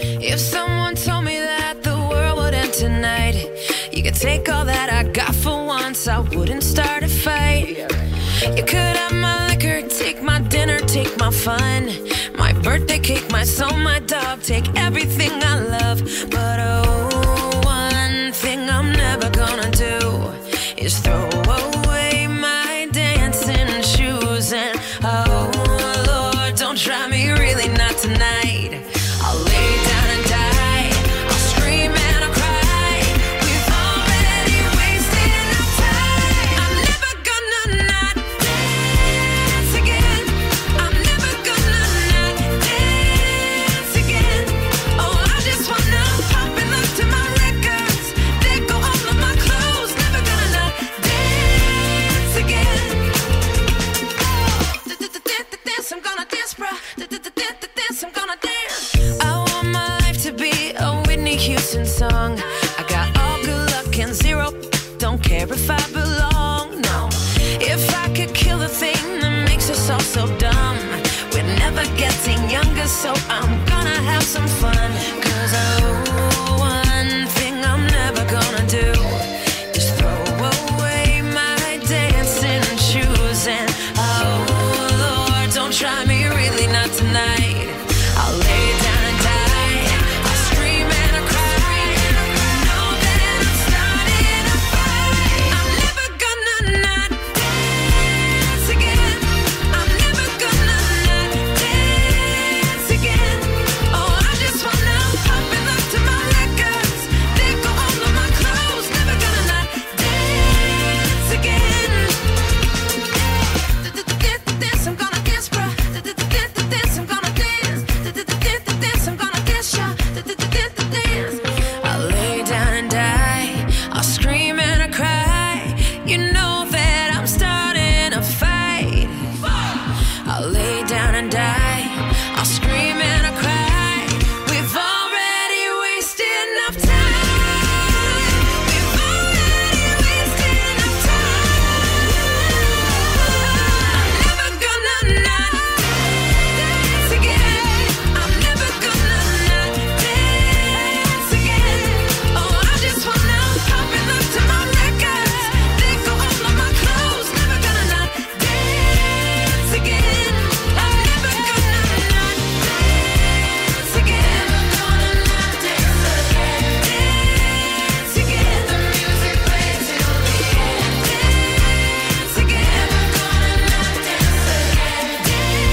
I: If someone told me that the world would end tonight, you could take all that I got for once, I wouldn't start a fight. You could have my liquor, take my dinner, take my fun, my birthday cake, my soul, my dog, take everything I love. But oh, one thing I'm never gonna do is throw away my dancing shoes. And oh, Lord, don't try me, really not tonight. I'll lay down and die. I'll scream and I'll cry. We've already wasted our time. I'm never gonna not dance again. I'm never gonna not dance again. Oh, I just wanna pop and look to my records. They go all of my clothes. Never gonna not dance again. Oh, Dance, I'm gonna dance, bruh. Dance, I'm gonna dance. I want my life to be a Whitney Houston song. I got all good luck and zero. Don't care if I belong, no. If I could kill the thing that makes us all so dumb. We're never getting younger, so I'm gonna have some fun. Cause oh, one thing I'm never gonna do is throw away my dancing shoes. And oh, Lord, don't try me, really not tonight. I'll lay down and die. I'll scream and I'll cry. Know that I'm starting a fight. I'm never gonna not dance again. I'm never gonna not dance again. Oh, I just wanna pop and look to my records. They go all of my clothes. Never gonna not dance again. Dance, I'm gonna dance, bruh. Dance, I'm gonna dance. Dance, I'm gonna dance, yeah. Dance. I'll lay down and die. I'll scream and I cry. You know that I'm starting a fight. I'll lay down and die. I'll scream and I cry. We've already wasted enough time. We've already wasted enough time. I'm never gonna not dance again. I'm never gonna not dance again. Oh, I just wanna pop and look to my records. They go all of my clothes. Never gonna not dance again. I'm never gonna not dance again. Never gonna not dance again. Dance again. The music plays till the end. Dance again. Never gonna not dance again. Dance again. The music plays till the end. Dance again. Never gonna not dance again. Dance again. The music plays till the end. Dance again. Never gonna not dance again. Dance again. The music plays till the end.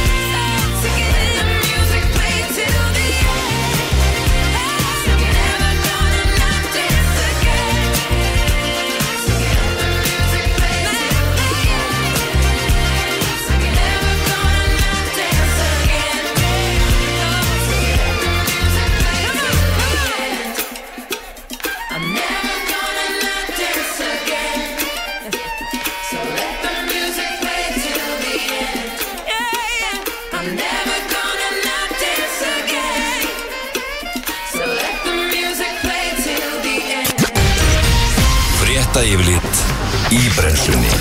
I: I'm never gonna not dance again. So let the music play till the end. I'm never gonna not dance again. So let the music play till the end.
F: Frétta yfirlit í brennslunni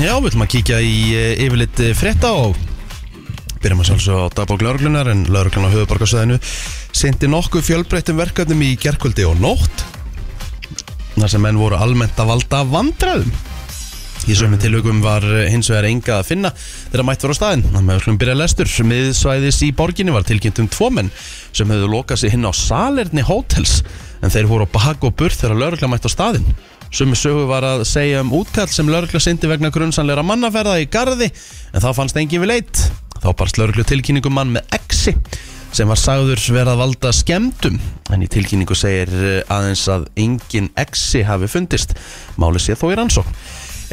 A: Já, við ætlum að kíkja í eh, yfirlit eh, frétta og byrjum að sjálfsög á dagbók lauruglunar en lauruglunar á höfuborgarsæðinu sendi nokkuð fjölbreyttum verkefnum í gerkvöldi og nótt þar sem menn voru almennt að valda vandræðum Í sömu tilhugum var eh, hins vegar enga að finna þegar mætt voru á staðinn. Þannig að við slum byrja lestur. Miðsvæðis í borginni var tilkynnt um tvo menn sem höfðu lokað sig hinn á salerni hótels en þeir voru á bak og burt þegar laurugla mætt á staðinn. Sömu sögu var að segja um útkall sem laurugla sindi vegna grunnsanleira mannaferða í garði en þá fannst engin við leitt. Þá barst lauruglu tilkynningum mann með exi sem var sagður verið að valda skemmtum en í tilkynningu segir eh, aðeins að engin exi hafi fundist máli sé þó í rannsókn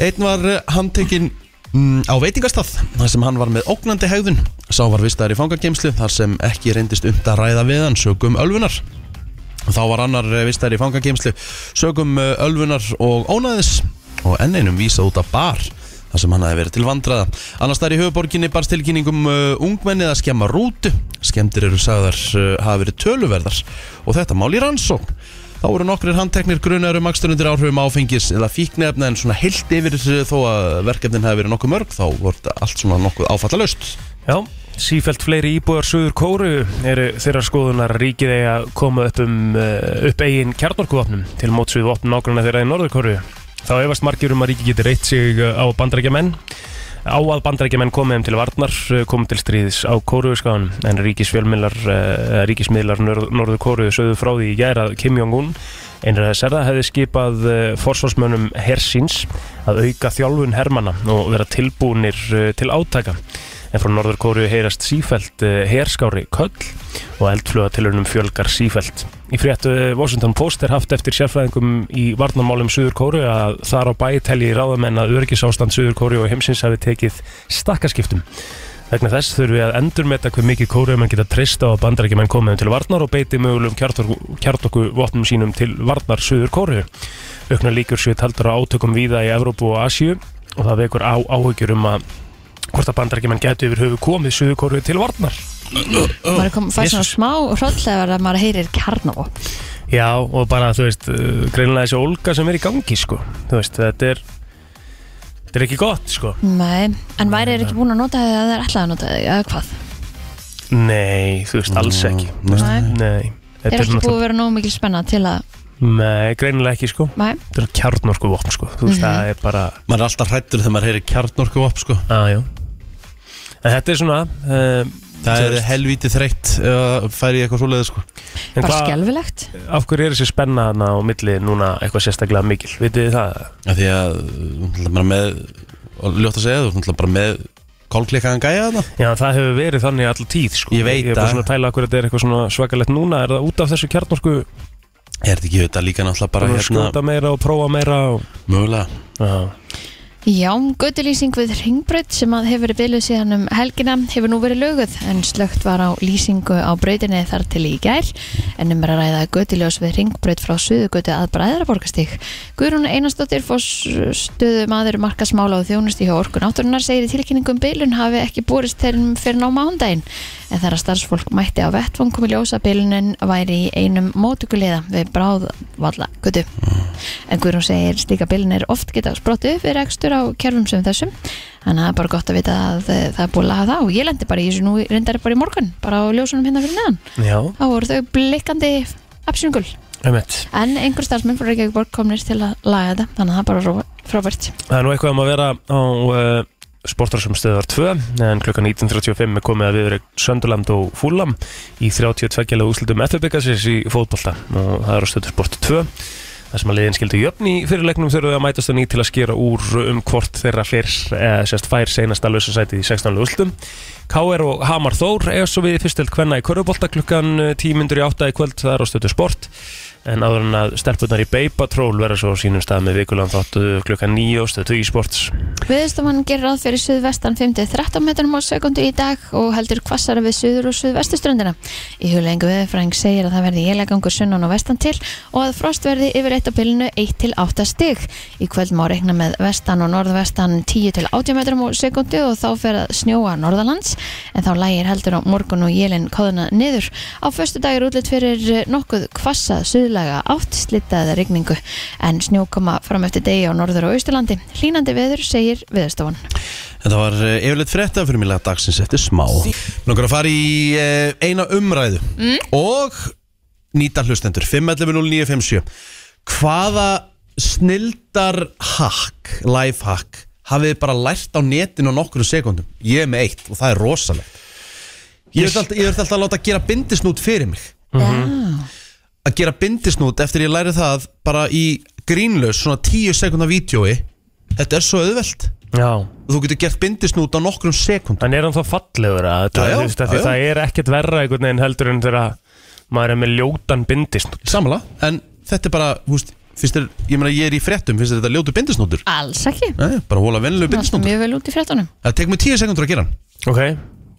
A: einn var eh, handtekinn mm, á veitingastað þar sem hann var með ógnandi hegðun sá var vistaður í fangagemslu þar sem ekki reyndist umt að ræða við hann sögum ölfunar Þá var annar vistar í fangageimslu sögum eh, ölfunar og ónaðis og enn einum vísa út af bar þar sem hann hafi verið til vandraða. Annars þar í höfuborginni barst tilkynningum uh, ungmennið að skemma rútu. Skemdir eru sagðar uh, hafi verið töluverðar og þetta mál í rannsókn. Þá voru nokkrir handteknir grunar um aksturundir áhrifum áfengis eða fíknefna en svona heilt yfir eh, þó að verkefnin hafi verið nokkuð mörg þá voru allt svona nokkuð áfallalaust.
C: Já, sífælt fleiri íbúar Suður Kóru eru þeirra skoðunar að ríkið eigi að koma upp, um, eh, upp eigin kjarnorkuvopnum til mótsvið vopn nágrunna þeirra í Norður Kóru. Þá efast margir um að ríkið geti reitt sig eh, á bandarækjamenn á að bandarækjamenn komið þeim til varnar eh, komið til stríðis á Kóruðskáðan en ríkisfjölmiðlar, eh, ríkismiðlar Norð- Norður Kóru sögðu frá því í gæra að Kim Jong-un einra þess er það hefði skipað eh, forsvarsmönnum hersins að auka þjálfun hermana og vera tilbúnir eh, til átaka en frá Norður Kóru heyrast sífælt herskári köll og eldflugatilunum fjölgar sífælt. Í fréttu eh, Washington Post er haft eftir sérfræðingum í varnarmálum Suður Kóru að þar á bæ telji ráðamenn að öryggisástand Suður Kóru og heimsins hafi tekið stakkaskiptum. Vegna þess þurfum við að endurmeta hver mikið kóruðum mann geta treysta á að bandarækjumenn komið til varnar og beiti mögulegum kjartorku vopnum sínum til varnar suður kóruðu. Auknar líkur séu taldar á átökum víða í Evrópu og Asíu og það vekur á áhyggjur um að hvort að bandarækjumenn getu yfir höfu komið suður kóruðu til varnar.
B: maður kom, fær svona
C: Jesus.
B: smá hrolllegar að maður heyrir kjarnavopn
C: Já og bara þú veist, uh, greinilega þessi ólga sem er í gangi sko. Þú veist, þetta er, þetta er ekki gott sko.
B: Nei, en væri þeir ekki búin að nota það eða það er alltaf að nota það, eða hvað?
C: Nei, þú veist, alls ekki.
B: Nei,
C: Nei.
B: þeir
C: Þetta
B: eru ekki búið
C: náttúrulega-
B: að vera nóg mikil spenna til að,
C: Nei, greinilega ekki sko.
B: nei,
C: þetta er kjarnorku vopn sko þú veist
B: Mhm.
C: það er bara
A: Maður er alltaf hrættur þegar maður heyri kjarnorku upp sko.
C: aðjó en þetta er svona um,
A: Það er helvítið þreytt uh, færi ég eitthvað svoleiði sko.
C: en
B: bara
C: hvað,
B: skelfilegt.
C: af hverju er þessi spenna hana á milli núna eitthvað sérstaklega mikil vitið þið það
A: Af Því að uh, bara með og ljótt að segja þú náttúrulega bara með kálklikaðan gæja þarna
C: já það hefur verið þannig alltaf tíð sko
A: Ég veit
C: ég er bara
A: það.
C: svona að tæla okkur þetta er eitthvað svona svakalegt núna er það út af þessu kjarnorku
A: Er þetta ekki þetta líka náttúrulega bara
C: bara
A: hérna
C: skjóta meira og prófa meira og,
A: mögulega
C: já
B: Já, göttulýsing við ringbröð sem að hefur verið bylið síðan um helgina hefur nú verið löguð en slögt var á lýsingu á brautinni þar til í gær en um er að ræða göttuljós við ringbröð frá suðugötu að bræðaraborgastík. Guðrún Einarsdóttir fór stöðu maður markasmála og þjónusti hjá orkun átturinnar segir í tilkynningum bylun hafi ekki borist þeirnum fyrir ná mándaginn en þar að starfsfólk mætti á vettvangum í ljósa bylunin væri í einum mótuguliða við bráðvalla götu. En Guðrún segir slíka bilinir oft geta sprottu upp við rekstur á kerfum sem þessum Þannig að það er bara gott að vita að eh, það er búið að laga það og ég lendi bara í þessu nú reyndar bara í morgun bara á ljósunum hérna fyrir neðan
C: já
B: Þá voru þau blikkandi absjöngul
C: einmitt
B: En einhver starfsmenn frá Reykjavík borg komnir til að laga þetta Þannig að það er bara ró- frábært
C: það er nú eitthvað um að vera á uh, sportarsum stöðar 2 en klukkan 19.35 er komið að við erum Söndurland og Fúlam í 32 gæla úslutum FFB-kassins í fótbolta og það er á stöður sport 2 þar sem að liðin skildu jöfn í fyrirleiknum þurfum við að mætast á ný til að skera úr um hvort þeirra fyrr eða sérst fær seinast að lausa sætið í 16. úslutum K.R. og Hamar Þór eða svo við fyrstöld kvenna í Körubólta klukkan 10.08 í kvöld það er á stöðu sport en áður en að stelpunar í Beipatról vera svo á sínum stað með vikulan þáttu klukkan 9 og stöðu í sports
B: Viðstofan gerir ráð fyrir suðvestan 5-13 metrum á sekundu í dag og heldur hvassara við suður og suðvestuströndina. Í huglengu viðfræng segir að það verði élagangur sunnan og vestan til og að frost verði yfir eitt á bylunu 1-8 stig. Í kvöld má reikna með vestan og norðvestan 10-80 metrum á sekundu og þá fer að snjóa norðalands en þá lægir heldur á morgun og jélinn kóðuna niður. Á föstu dag er útlitt fyrir nokkuð hvassa suðlaga átt slitaða rigningu en snjókoma fram eftir degi á norður og austurlandi. Hlínandi veður segir viðarstofan.
A: Þetta var eh, yfirleitt frétta fyrir mjög dagsins eftir smá Nókur að fara í eh, eina umræðu og nýta hlustendur 5.11.09.57 Hvaða snildar hack, life hack hafið þið bara lært á netinu á nokkru sekundum Ég er með eitt og það er rosalegt Ég þurfti alltaf, ég þurfti alltaf að láta gera bindisnút fyrir mig
F: Mhm.
A: að gera bindisnút eftir ég læri það bara í grínlaus svona 10 sekundar vídjói Þetta er svo auðvelt
C: Já,
A: og þú getur gert bindisnút á nokkrum sekundum
C: en er hann þá fallegur að þetta,
A: Já, já,
C: þú veist, að því
A: já, já.
C: það er ekkert verra einhvern veginn heldur en þegar maður er með ljótan bindist
A: samla, en þetta er bara þú veist, finnst þér, ég meina ég er í fréttum finnst þér þetta ljótu bindisnútur
B: Alls ekki.
A: Nei, bara hóla venlilegu
B: Allt
A: bindisnútur
B: mjög vel út í fréttunum.
A: það tek mig 10 sekundur að gera hann
C: Ok,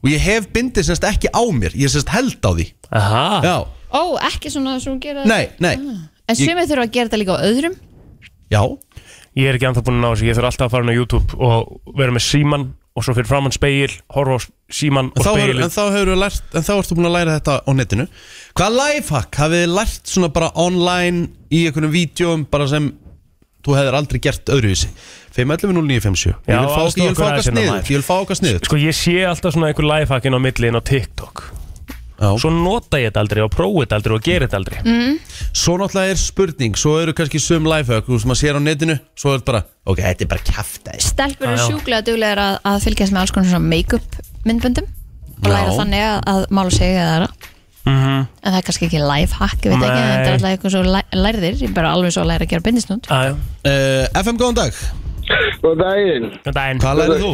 A: og ég hef bindið semst ekki á mér, ég semst held á því
C: aha,
A: já,
B: Ó, ekki svona sem hún gera Ah.
A: Nei, nei,
B: En sumið þurfa að gera þetta líka á öðrum
A: já
C: Ég er ekki anþá búin að ná þessu, ég þurf alltaf að fara inn á YouTube og vera með síman og svo fyrir framann speil, horfa á síman og
A: En þá, hefur,
C: speil
A: en, þá hefurðu lært, en þá ertu búin að læra þetta á netinu Hvað lifehack hafið þið lært svona bara online í einhvernum vídjóum bara sem þú hefðir aldrei gert öðruvísi 5.11.09.57 Ég
C: Já,
A: vil fá
C: aðstoð
A: okkar- ég vil fá
C: okkur
A: okkar
C: aðeins hérna,
A: sniður Ég
C: maður.
A: vil fá okkar sniður
C: Sko ég sé alltaf svona einhver lifehackin á milliðin á TikTok
A: Já. Mm.
C: Svo nota ég þetta aldrei og prófa þetta aldrei og gera þetta aldrei
B: Mm-hmm.
A: Svo náttúrulega er spurning, svo eru kannski sum lifehack þú veist, sem maður sér á netinu, svo er þetta bara ok, þetta er bara kjaftaðist
B: Stelpur eru
C: Já, já.
B: sjúklega duglegar að, að fylgjast með alls konar svona make-up myndböndum og
A: Já.
B: læra þannig að, að mála sig eða aðra
C: Mhm.
B: en það er kannski ekki lifehack, ég veit ekki en
C: Nei.
B: þetta er alltaf eitthvað svo læ- lærðir, ég er bara alveg svo að læra að gera bindisnúnd
C: Aðjá,
A: uh, FM, góðan dag,
J: Góð daginn.
C: þetta er einn
A: hvað lærið þú?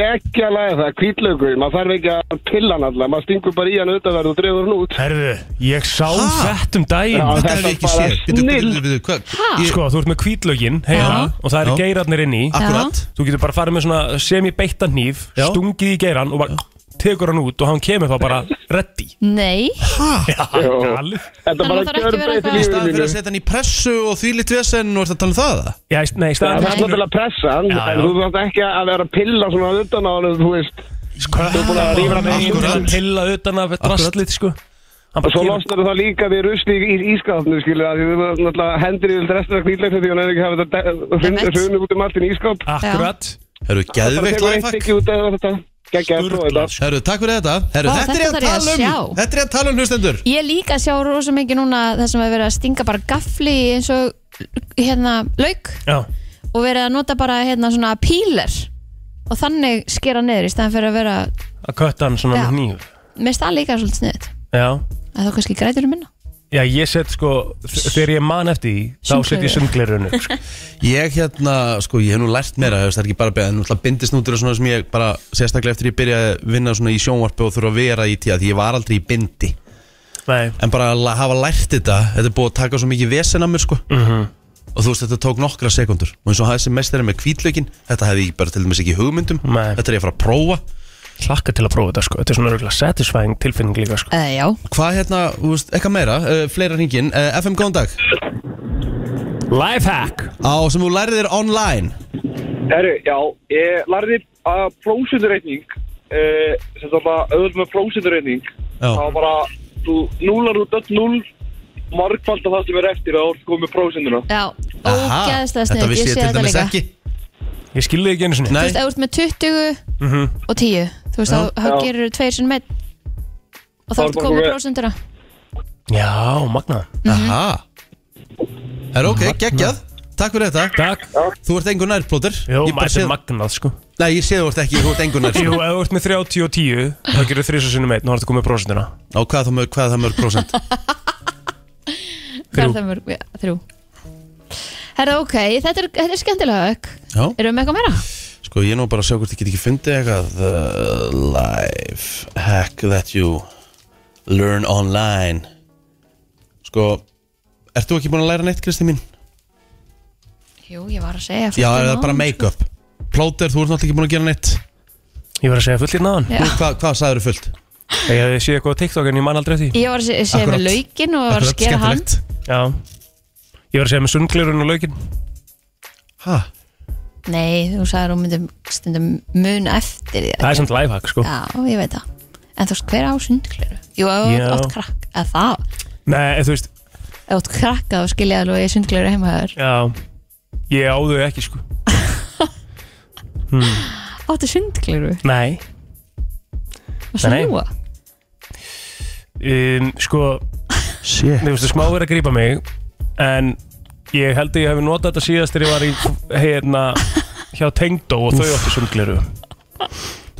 J: Ekki að læra það, kvítlaugur, maður þarf ekki að pilla hann alltaf, maður stingur bara í hann auðvitaðverð og dreifur hann út.
C: Herðu, ég sá
A: Ha?
C: þetta um daginn
J: Já.
A: Þetta
J: þetta
A: hef ég ekki
J: bara
A: séð Bíddu, bíddu,
J: snill.
A: bíddu, bíddu, hvað-
B: Ha?
A: ég-
C: Sko, þú ert með kvítlögin, heyra,
A: Já.
C: og það eru
A: Já.
C: geirarnir inn í
A: Akkurat,
C: Þú getur bara farið með svona semi-beittan hníf,
A: Já.
C: stungið í geiran og bara tekur hann út og hann kemur þá bara ready
B: Nei,
C: Já, galið
B: Þannig
J: Þetta bara
B: maður þarf ekki að vera
J: gjörbreytir
B: eitthvað-
A: í
J: lífið
A: staðan fyrir
J: mínu.
A: að setja hann í pressu og því lit vesen og ert að tala um það eða?
C: Já, í- nei, í
J: Það
C: staðan
J: er alltaf til að pressa hann,
C: Já,
J: en
C: já.
J: þú þarf ekki að vera að pilla svona utan á hann, þú veist.
C: Þú er búin að rífa með einhvern til að pilla utan af drastlið, sko Hann
J: Og
C: bara
J: svo
C: kemur-
J: losnar það líka við rusli í ískapnu, skilja, því þú náttúrulega hendir í þild restur af kvítlaugur því hann er ekki að hafa þetta
B: Einmitt.
J: hrunu út um allt í ískap.
C: Akkurat
A: Herru, geðveikt lifehack
J: Geðveikt
A: Herru, takk fyrir þetta Herru,
B: Vá,
A: þetta er
B: þetta þarf ég
A: ég að
B: að
A: tala um
B: sjá.
A: Þetta er ég að tala um hlustendur
B: ég er líka að sjá rosa mikið núna það sem hefur verið að stinga bara gafli í eins og hérna lauk
C: Já,
B: og verið að nota bara hérna svona píler og þannig skera niður í stæðan fyrir að vera
C: að kötta hann svona
B: Já.
C: með nýjum
B: með stað líka svolítið sniðið
C: Já,
B: að þá kannski grætur um minna
C: já ég set sko þ- Þegar ég man eftir því, þá set ég sundglerun upp sko.
A: Ég hérna, sko, ég hef nú lært meira þú veist, Það er ekki bara að beða, en náttúrulega bindisnútur er svona sem ég bara, sérstaklega eftir ég byrjaði að vinna svona í sjónvarpi og þurfa að vera í tíða því ég var aldrei í bindi
C: Nei,
A: en bara að la- hafa lært þetta þetta er búið að taka svo mikið vesen að mér sko
C: Mhm.
A: og þú veist þetta tók nokkra sekundur og eins og þessi mestari með kvítlökin þetta hefði ég bara til dæmis ekki í hugmyndum
C: Nei.
A: þetta er ég að fara að prófa
C: hlakka til að prófa þetta sko Þetta er svona örgulega satisfying tilfinning líka sko
B: eða já,
A: hvað hérna, þú veist, eitthvað meira, uh, fleira hringin uh, FM góðan dag,
C: Lifehack
A: á sem þú lærið þér online
J: Herru, já, ég lærði að prósendurreikning uh, sem það bara auðvitað með prósendurreikning
A: Já.
J: það var bara, þú núlar út öll núl margfald af það sem er eftir að orða komið prósenduna
B: já,
A: Aha,
B: ógeðslega
A: þetta
B: sniðið
A: vissi
B: ég sé
A: ég til
B: þetta
A: dæmis
B: líka
A: ekki
C: Ég skilði ekki einu sinni
B: þú
C: Mhm.
A: Nei,
B: veist, ef þú ert með 20 og 10 þú veist,
A: Já.
B: þá- þá
J: Já.
B: gerir þú tveir sinni með og þá
J: Það er
B: ertu
J: bara
B: komið
J: komið-
B: prósendura
C: Já, magnað
A: aha er ok, geggjað, takk fyrir þetta
C: Takk
A: þú ert engur nærplótur
C: Jó,
A: ég bara
C: þetta
A: sé,
C: er magnað sko
A: nei, ég sé þú ert ekki, þú ert engur nær
C: Jú, ef þú ert með 30 og 10 þá gerir þrísa sinni meitt, nú har þetta komið prósendina
A: á hvað það mörg, hvað er það mörg prosent
C: Þrjú.
B: þrjú, ja, þrjú. herra, ok, þetta er, þetta er skemmtilega auk
A: já
B: erum við með eitthvað meira?
A: Sko ég er nú bara að sjá hvort ég get ekki fundið eitthvað uh, Life hack that you learn online Sko Ert þú ekki búin að læra neitt Kristi mín?
B: jú, ég var að segja
A: Já, er það
B: fullt
A: bara
B: um
A: make-up Plóter, þú ert náttúrulega ekki búin að gera neitt
C: Ég var að segja fullt í náðan
B: Já.
A: Þú, Hvað, hvað sagður þú fullt?
C: Ég hefði séð eitthvað á TikTok en ég man aldrei eftir því.
B: Ég var að se- segja með
A: Akkurat.
B: laukin og var að
A: Akkurat,
B: skera hann
A: skemmtilegt.
C: Já Ég var að segja með sundglerun og laukin
A: Ha,
B: Nei, þú sagði hún myndi stundum mun eftir því
C: Það er samt lifehack sko
B: Já, ég veit það En þú veist, hver á sundgleru? Jú, ef þú
C: Já.
B: átt krakk Eða það,
C: Nei, þú veist,
B: ef þú átt krakk þá skilja alveg í sundgleru heima þér
C: já Ég á þau ekki sko
B: Áttu sundgleru?
C: Nei
B: Og svo
C: Nei, nei.
B: núa?
C: um, Sko,
A: shit
C: þú veist, smá verið að grípa mig En ég held að ég hef notað þetta síðast þegar ég var í hérna hjá Tengdó og þau áttu sundgleru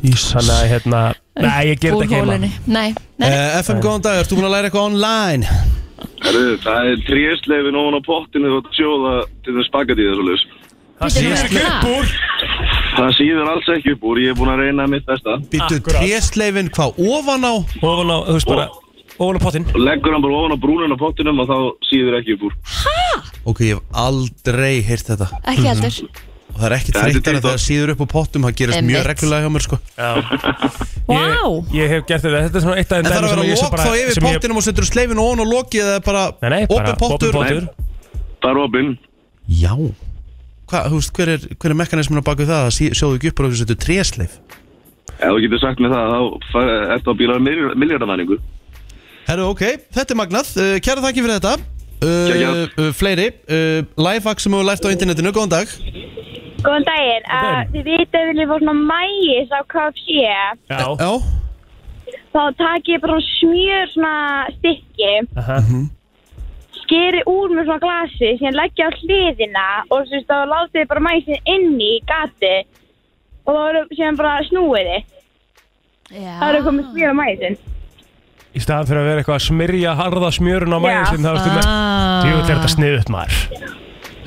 C: Þannig að hérna Nei, ég ger þetta ekki heima
B: Nei, nei,
A: Uh, FM, góðan dag, ert þú búin að læra eitthvað online?
J: Það er trésleifin ofan á pottinu og sjóða til þess spagatið þessu laus
C: Það
B: Bíddu,
C: sýður
B: hvað
C: ekki
B: er
C: upp
B: það?
C: úr
J: Það síður alls ekki upp úr, ég er búin að reyna mitt besta
A: Býttu
C: Akkurat.
A: trésleifin, hvað, ofan á?
C: Ofan á, þú veist bara, ofan á pottin
J: og leggur hann bara ofan á brúnun á pottinum og þá síður ekki upp úr
A: Ok, ég hef aldrei heyrt þetta
C: Mhm.
B: ekki heldur
A: og það er ekkit
C: Þetta er
A: þreyttar en það síður upp á pottum það gerist mjög
C: Einmitt.
A: reglulega hjá mér sko
C: Wow. Ég, ég hef gert þetta, þetta er svona eitt af
A: en
C: þeim
A: það er að vera
C: dæmum sem ég sé
A: lók
C: bara-
A: þá yfir
C: sem ég-
A: pottinum og setur sleifin og on og lokið eða bara
C: Nei, nei, bara
A: opið pottur
C: opinn
K: Það er opinn
A: já Hva, þú veist, hver er, hver er mekanismin á baku það að sí- sjóðu ekki upp og þú setur trésleif
K: Ef þú getur sagt mér það, þá far- ertu að bíla miljardamæningu
A: Herru, ok, þetta er magnað uh, Kæra þakki fyrir þetta
K: Kjæra.
A: uh, uh, Fleiri, uh, lifehack sem hefur lært á internetinu Góðan dag
L: Góðan daginn. Uh, þið vitið að vilja fá svona mægis á KFC.
A: Já, Eh, Já.
L: Þá takið ég bara svona smjör svona stykki, skeri úr með svona glasi, síðan leggja á hliðina og svo þá látið þið bara mæsin inni í gati og þá eru síðan bara snúið þið. Það eru komið smjör á mæsin.
C: Í staðan fyrir að vera eitthvað að smyrja harða smjörun á mæðin sinn Það varstu með
L: Ah.
C: Jú, þetta er þetta sniðut maður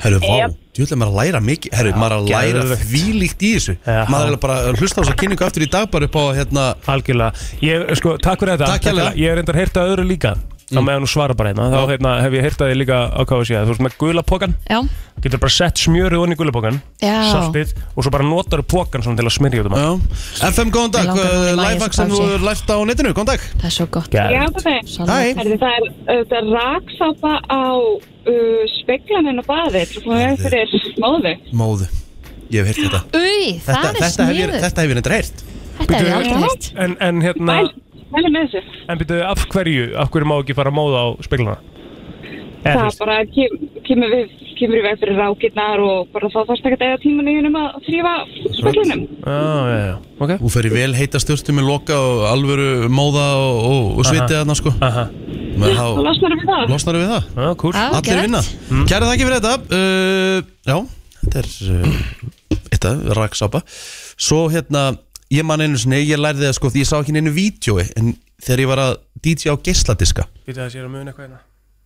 A: Herru, vá, djúvill er maður að læra mikið Herru, maður er að læra
C: geðveikt.
A: þvílíkt í þessu Maður er bara að hlusta á þessa kynningu aftur í dag bara upp á hérna
C: Algjörlega, ég, sko, takk fyrir þetta
A: Takk hérlega. Mm.
C: Ég er reyndar að heyrta öðru líka Þá meðan þú svara bara hérna Þá hérna, hef ég heyrta þig líka á KFC Þú veist með gula pokan
B: Já.
C: Getur bara sett smjöri onni í gula pokan
B: Já.
C: Saltið Og svo bara notar pokan svona til að smyrja út um
A: allt. FM, góðan dag,
B: Mig
A: Eh,
B: langar núna í maís
A: lifehack sem
B: KFC.
A: þú hefur lært á netinu Góðan dag
B: Það er svo gott
C: Já.
M: Já, það er.
B: Sannlega. Hæ.
M: Herði, það er, þetta er raksápa á uh, speglaninn og baðið og það er fyrir móðu.
A: Móðu, ég hef heyrt þetta
B: Új, það
A: Þetta,
B: er
A: þetta hef ég,
B: sniðugt.
A: þetta hef ég neitt heyrt
B: Þetta er aldrei heyrt.
C: En, en hérna
M: Mæli með þessu.
C: En byrjuðu, af hverju, af hverju má ekki fara að móða á speglana? Eða, þú
M: Það
C: veist,
M: bara kem, kemur, við, kemur í veg fyrir rákirnar og bara þá þarfst ekki að eða tíman í hennum um að þrýfa speglinum.
C: Já, já, já, ok
A: Þú fer í vel heita stjórnstum með loka og alvöru móða og, og, og sviti þarna sko
C: Aha.
A: Men, þá,
M: Losnar við það.
A: Losnar við það?
C: Já, kúl
M: Já,
A: Allir
M: geðvegt.
A: vinna mm. Kæra þakki fyrir þetta uh, Já, þetta er uh, Þetta, raksápa Svo hérna, ég man einu sinni Ég lærði það sko, því ég sá ekki neinu vídjói En þegar ég var að DJ á geisladiska
C: byrjuðu að ég er að muna eitthvað hérna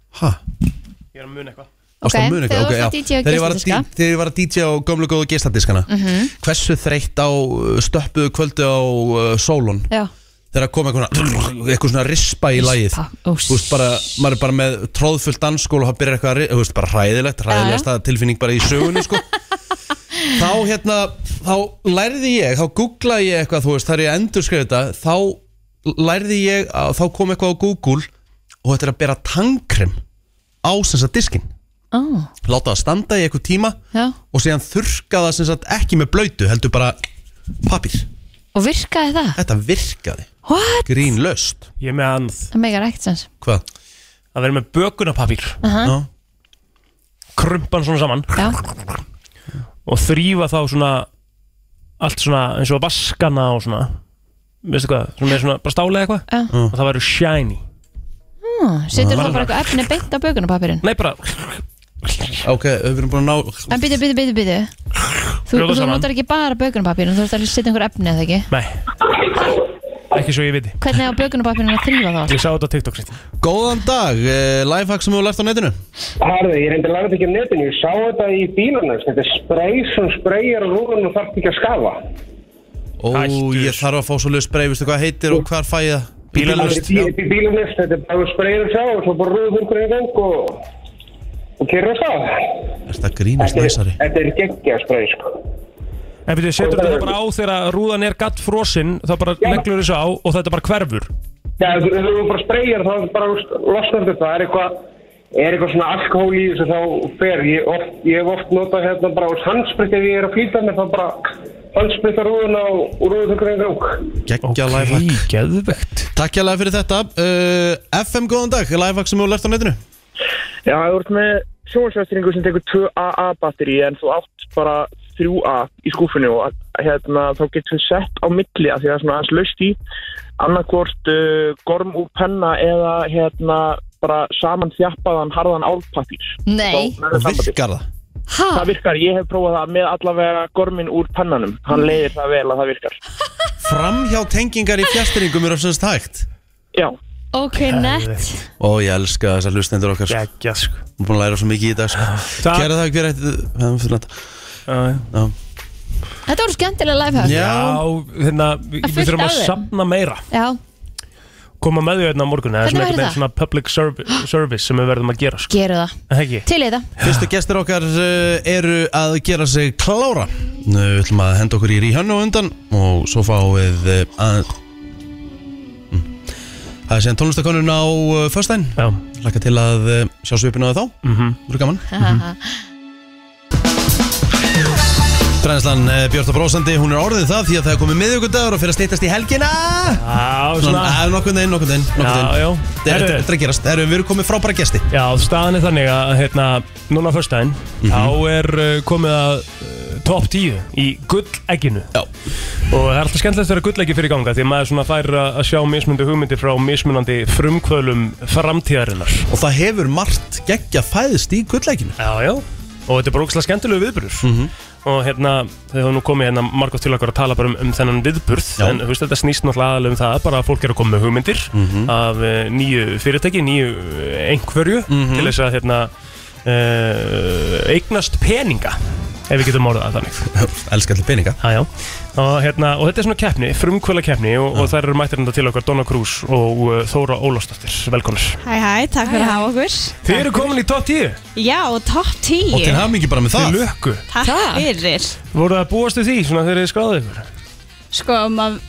A: Hæ?
C: Ég er að muna eitthvað
A: Varstu að muna
B: þegar
A: eitthvað?
B: þú
A: Ok,
B: varst að
A: já.
B: DJ á
A: Þegar ég var að
B: geisladiska.
A: dí- Þegar ég var að DJ á gömlu góðu geisladiskana
B: Mhm.
A: Hversu þreytt á uh, stöppuðu kvöldu á uh, sólun
B: Já.
A: Þegar kom eitthvað svona- eitthvað svona rispa í lagið Þú veist bara, maður er bara með tróðfullt danskól og það byrjar eitthvað að ri- þú veist bara hræðilegt, hræðilegasta tilfinning bara í sögunni sko þá hérna, þá lærði ég þá googlaði ég eitthvað, þú veist, þar ég endurskriði þetta þá lærði ég að þá kom eitthvað á Google og þetta er að bera tangkrem á sem sagt diskin
B: Ó,
A: láta það standa í eitthvað tíma
B: já.
A: og síðan þurrka það sem sagt ekki með blöytu heldur bara pappir
B: Og virkaði það?
A: þetta virkaði
B: What?
A: grínlöst
C: Ég er með annað
B: Það megar ekkert sens.
A: Hvað?
C: Að vera með bökunapapír
B: Aha. Já.
C: Krumpan svona saman
B: Já.
C: Og þrýfa þá svona Allt svona eins og vaskana og svona Veistu hvað, svona með svona bara stálega eitthvað
B: Já.
C: Og það væri shiny
B: Hmm, Setur
C: Já.
B: þá bara eitthvað efni beint á bögunarpapirinn?
C: Nei, bara
A: Ok, við erum búin að ná
B: En byrju, byrju, byrju, byrju. Þú,
C: Brjóta
B: þú
C: saman.
B: notar ekki bara bögunarpapirinn, þú þarf að setja einhver efni eða ekki?
C: Nei Ekki svo ég viti
B: Hvernig á bögunarpapirinn að þrýfa þá?
C: Ég sá þetta á TikTok sitt
A: Góðan dag, uh, lifehack sem þú lært á netinu
J: Harði, ég reyndi að læra þetta ekki um netinu, ég sá þetta í bílarnars, þetta er spray sem sprayar á rúðunum og þarf ekki að skafa.
A: Ó, ég þarf að fá svo löst breyfistu hvað heitir og hvar fæ ég það? Bílalaust, já.
J: Þetta er bílarnars, þetta er bara sprayar og sjá og svo bara rúður hundur í gang og, og kyrra stað.
A: Þetta grínast næsari
J: Þetta er geggja spray, sko.
C: En við setur þetta þá bara á þegar rúðan er gatt frosinn Þá bara neglur þessu á og þetta bara hverfur
J: Já, ef þú- ef þú bara sprayar þá er bara þú veist, losnar þetta, það er eitthvað, er eitthvað svona alkohól í þessu þá fer. Ég, oft, ég hef oft notað hérna bara á handsprit ef ég er að flýta mér þá bara handsprita rúðuna og rúður hundur í gang.
A: Gekkja okay, lifehack
C: Geðvegt
A: Takk hérlega fyrir þetta uh, FM, góðan dag, lifehack sem þú lært á netinu
F: Já, þú ert með sjónvarsvæstringu sem tekur 2 AA-batteri en þú átt bara 3A í skúfinu og að- hérna, þá getur þú sett á milli af því að það er svona aðeins laust í annarkvort uh, gorm úr penna eða hérna bara saman þjappaðan harðan álpapír
B: Nei.
A: Og virkar það?
B: Ha?
F: Það virkar, ég hef prófað það með allavega gormin úr pennanum
N: Mm.
F: hann leiðir það vel að það virkar
A: Framhjá tengingar í fjastringum eru sem sagt hægt
F: Já
B: Ok, nett.
A: Ó, ég elska þessar lustendur okkar Gekkja, sko Við erum búin að læra svo mikið í dag, sko Kæra þakk fyrir þetta fyrir þetta. Já.
B: Þetta voru skemmtilega lifehack.
C: Já, hérna, við
B: Það er fullt
C: þurfum að
B: af þeim.
C: sapna meira
B: Já.
C: koma með því hérna á morgun
B: Hvernig
C: Það er
B: verður
C: eitthvað
B: það?
C: svona public service, service sem við verðum að gera sko.
B: Geru það
C: Er það ekki?
B: Til í þetta
A: Fyrstu gestir okkar uh, eru að gera sig klára Nú ætlum að henda okkur í ríhönnu á undan og svo fáum við uh, að Mm. Það er síðan tónlistakonun á uh, föstæn Laka til að uh, sjá svipinu að þá mm -hmm. Þú gaman Brænslan uh, Björn og Brósandi, hún er orðið það því að það er komið miðvíkudagur og fyrir að stýttast í helgina
C: Já,
A: svona eh,
C: svona-
A: Það er nokkuð neginn, nokkuð neginn
C: Já, já.
A: Þetta er- þetta er að gerast, erum við erum komið frábæra gesti
C: Já, staðan er þannig að hérna, núna fyrstæðin
A: Mhm.
C: mm þá er uh, komið að uh, top 10 í gullegginu
A: Já.
C: og það er alltaf skemmtilegt að vera gulleggi fyrir ganga því að maður svona fær að að sjá mismunandi hugmyndir frá mismunandi frumkvölum framtíðarinnar
A: Og það hefur margt geggja fæðist í gullegginu
C: Já, já, og þetta er bara ógslag skemmtilegu viðburður
A: Mhm.
C: og hérna, þegar nú komið hérna margótt til okkur að tala bara um, um þennan viðburð
A: Já.
C: en þú veist, þetta snýst náttúrulega aðalega um það bara að fólk er að koma með hugmyndir
A: Mhm.
C: af uh, nýju fyrirtæki, nýju uh, einhverju
A: Mhm.
C: til þess að hérna uh, eignast peninga ef við getum orðað það þannig
A: Elskar allir peninga
C: já, já. Og, hérna, og þetta er svona keppni, frumkvöla keppni og, og þær eru mættirnda til okkar Donna Cruz og uh, Þóra Ólafsdóttir, velkonar
N: Hæ, hæ, takk fyrir að hafa okkur
C: Þið eru komin í top 10
N: Já, topp 10
A: hamingi bara með
C: það Til lukku
N: Takk fyrir
C: Voru það að búast við því svona þegar þið skráðu ykkur?
N: Sko, mað,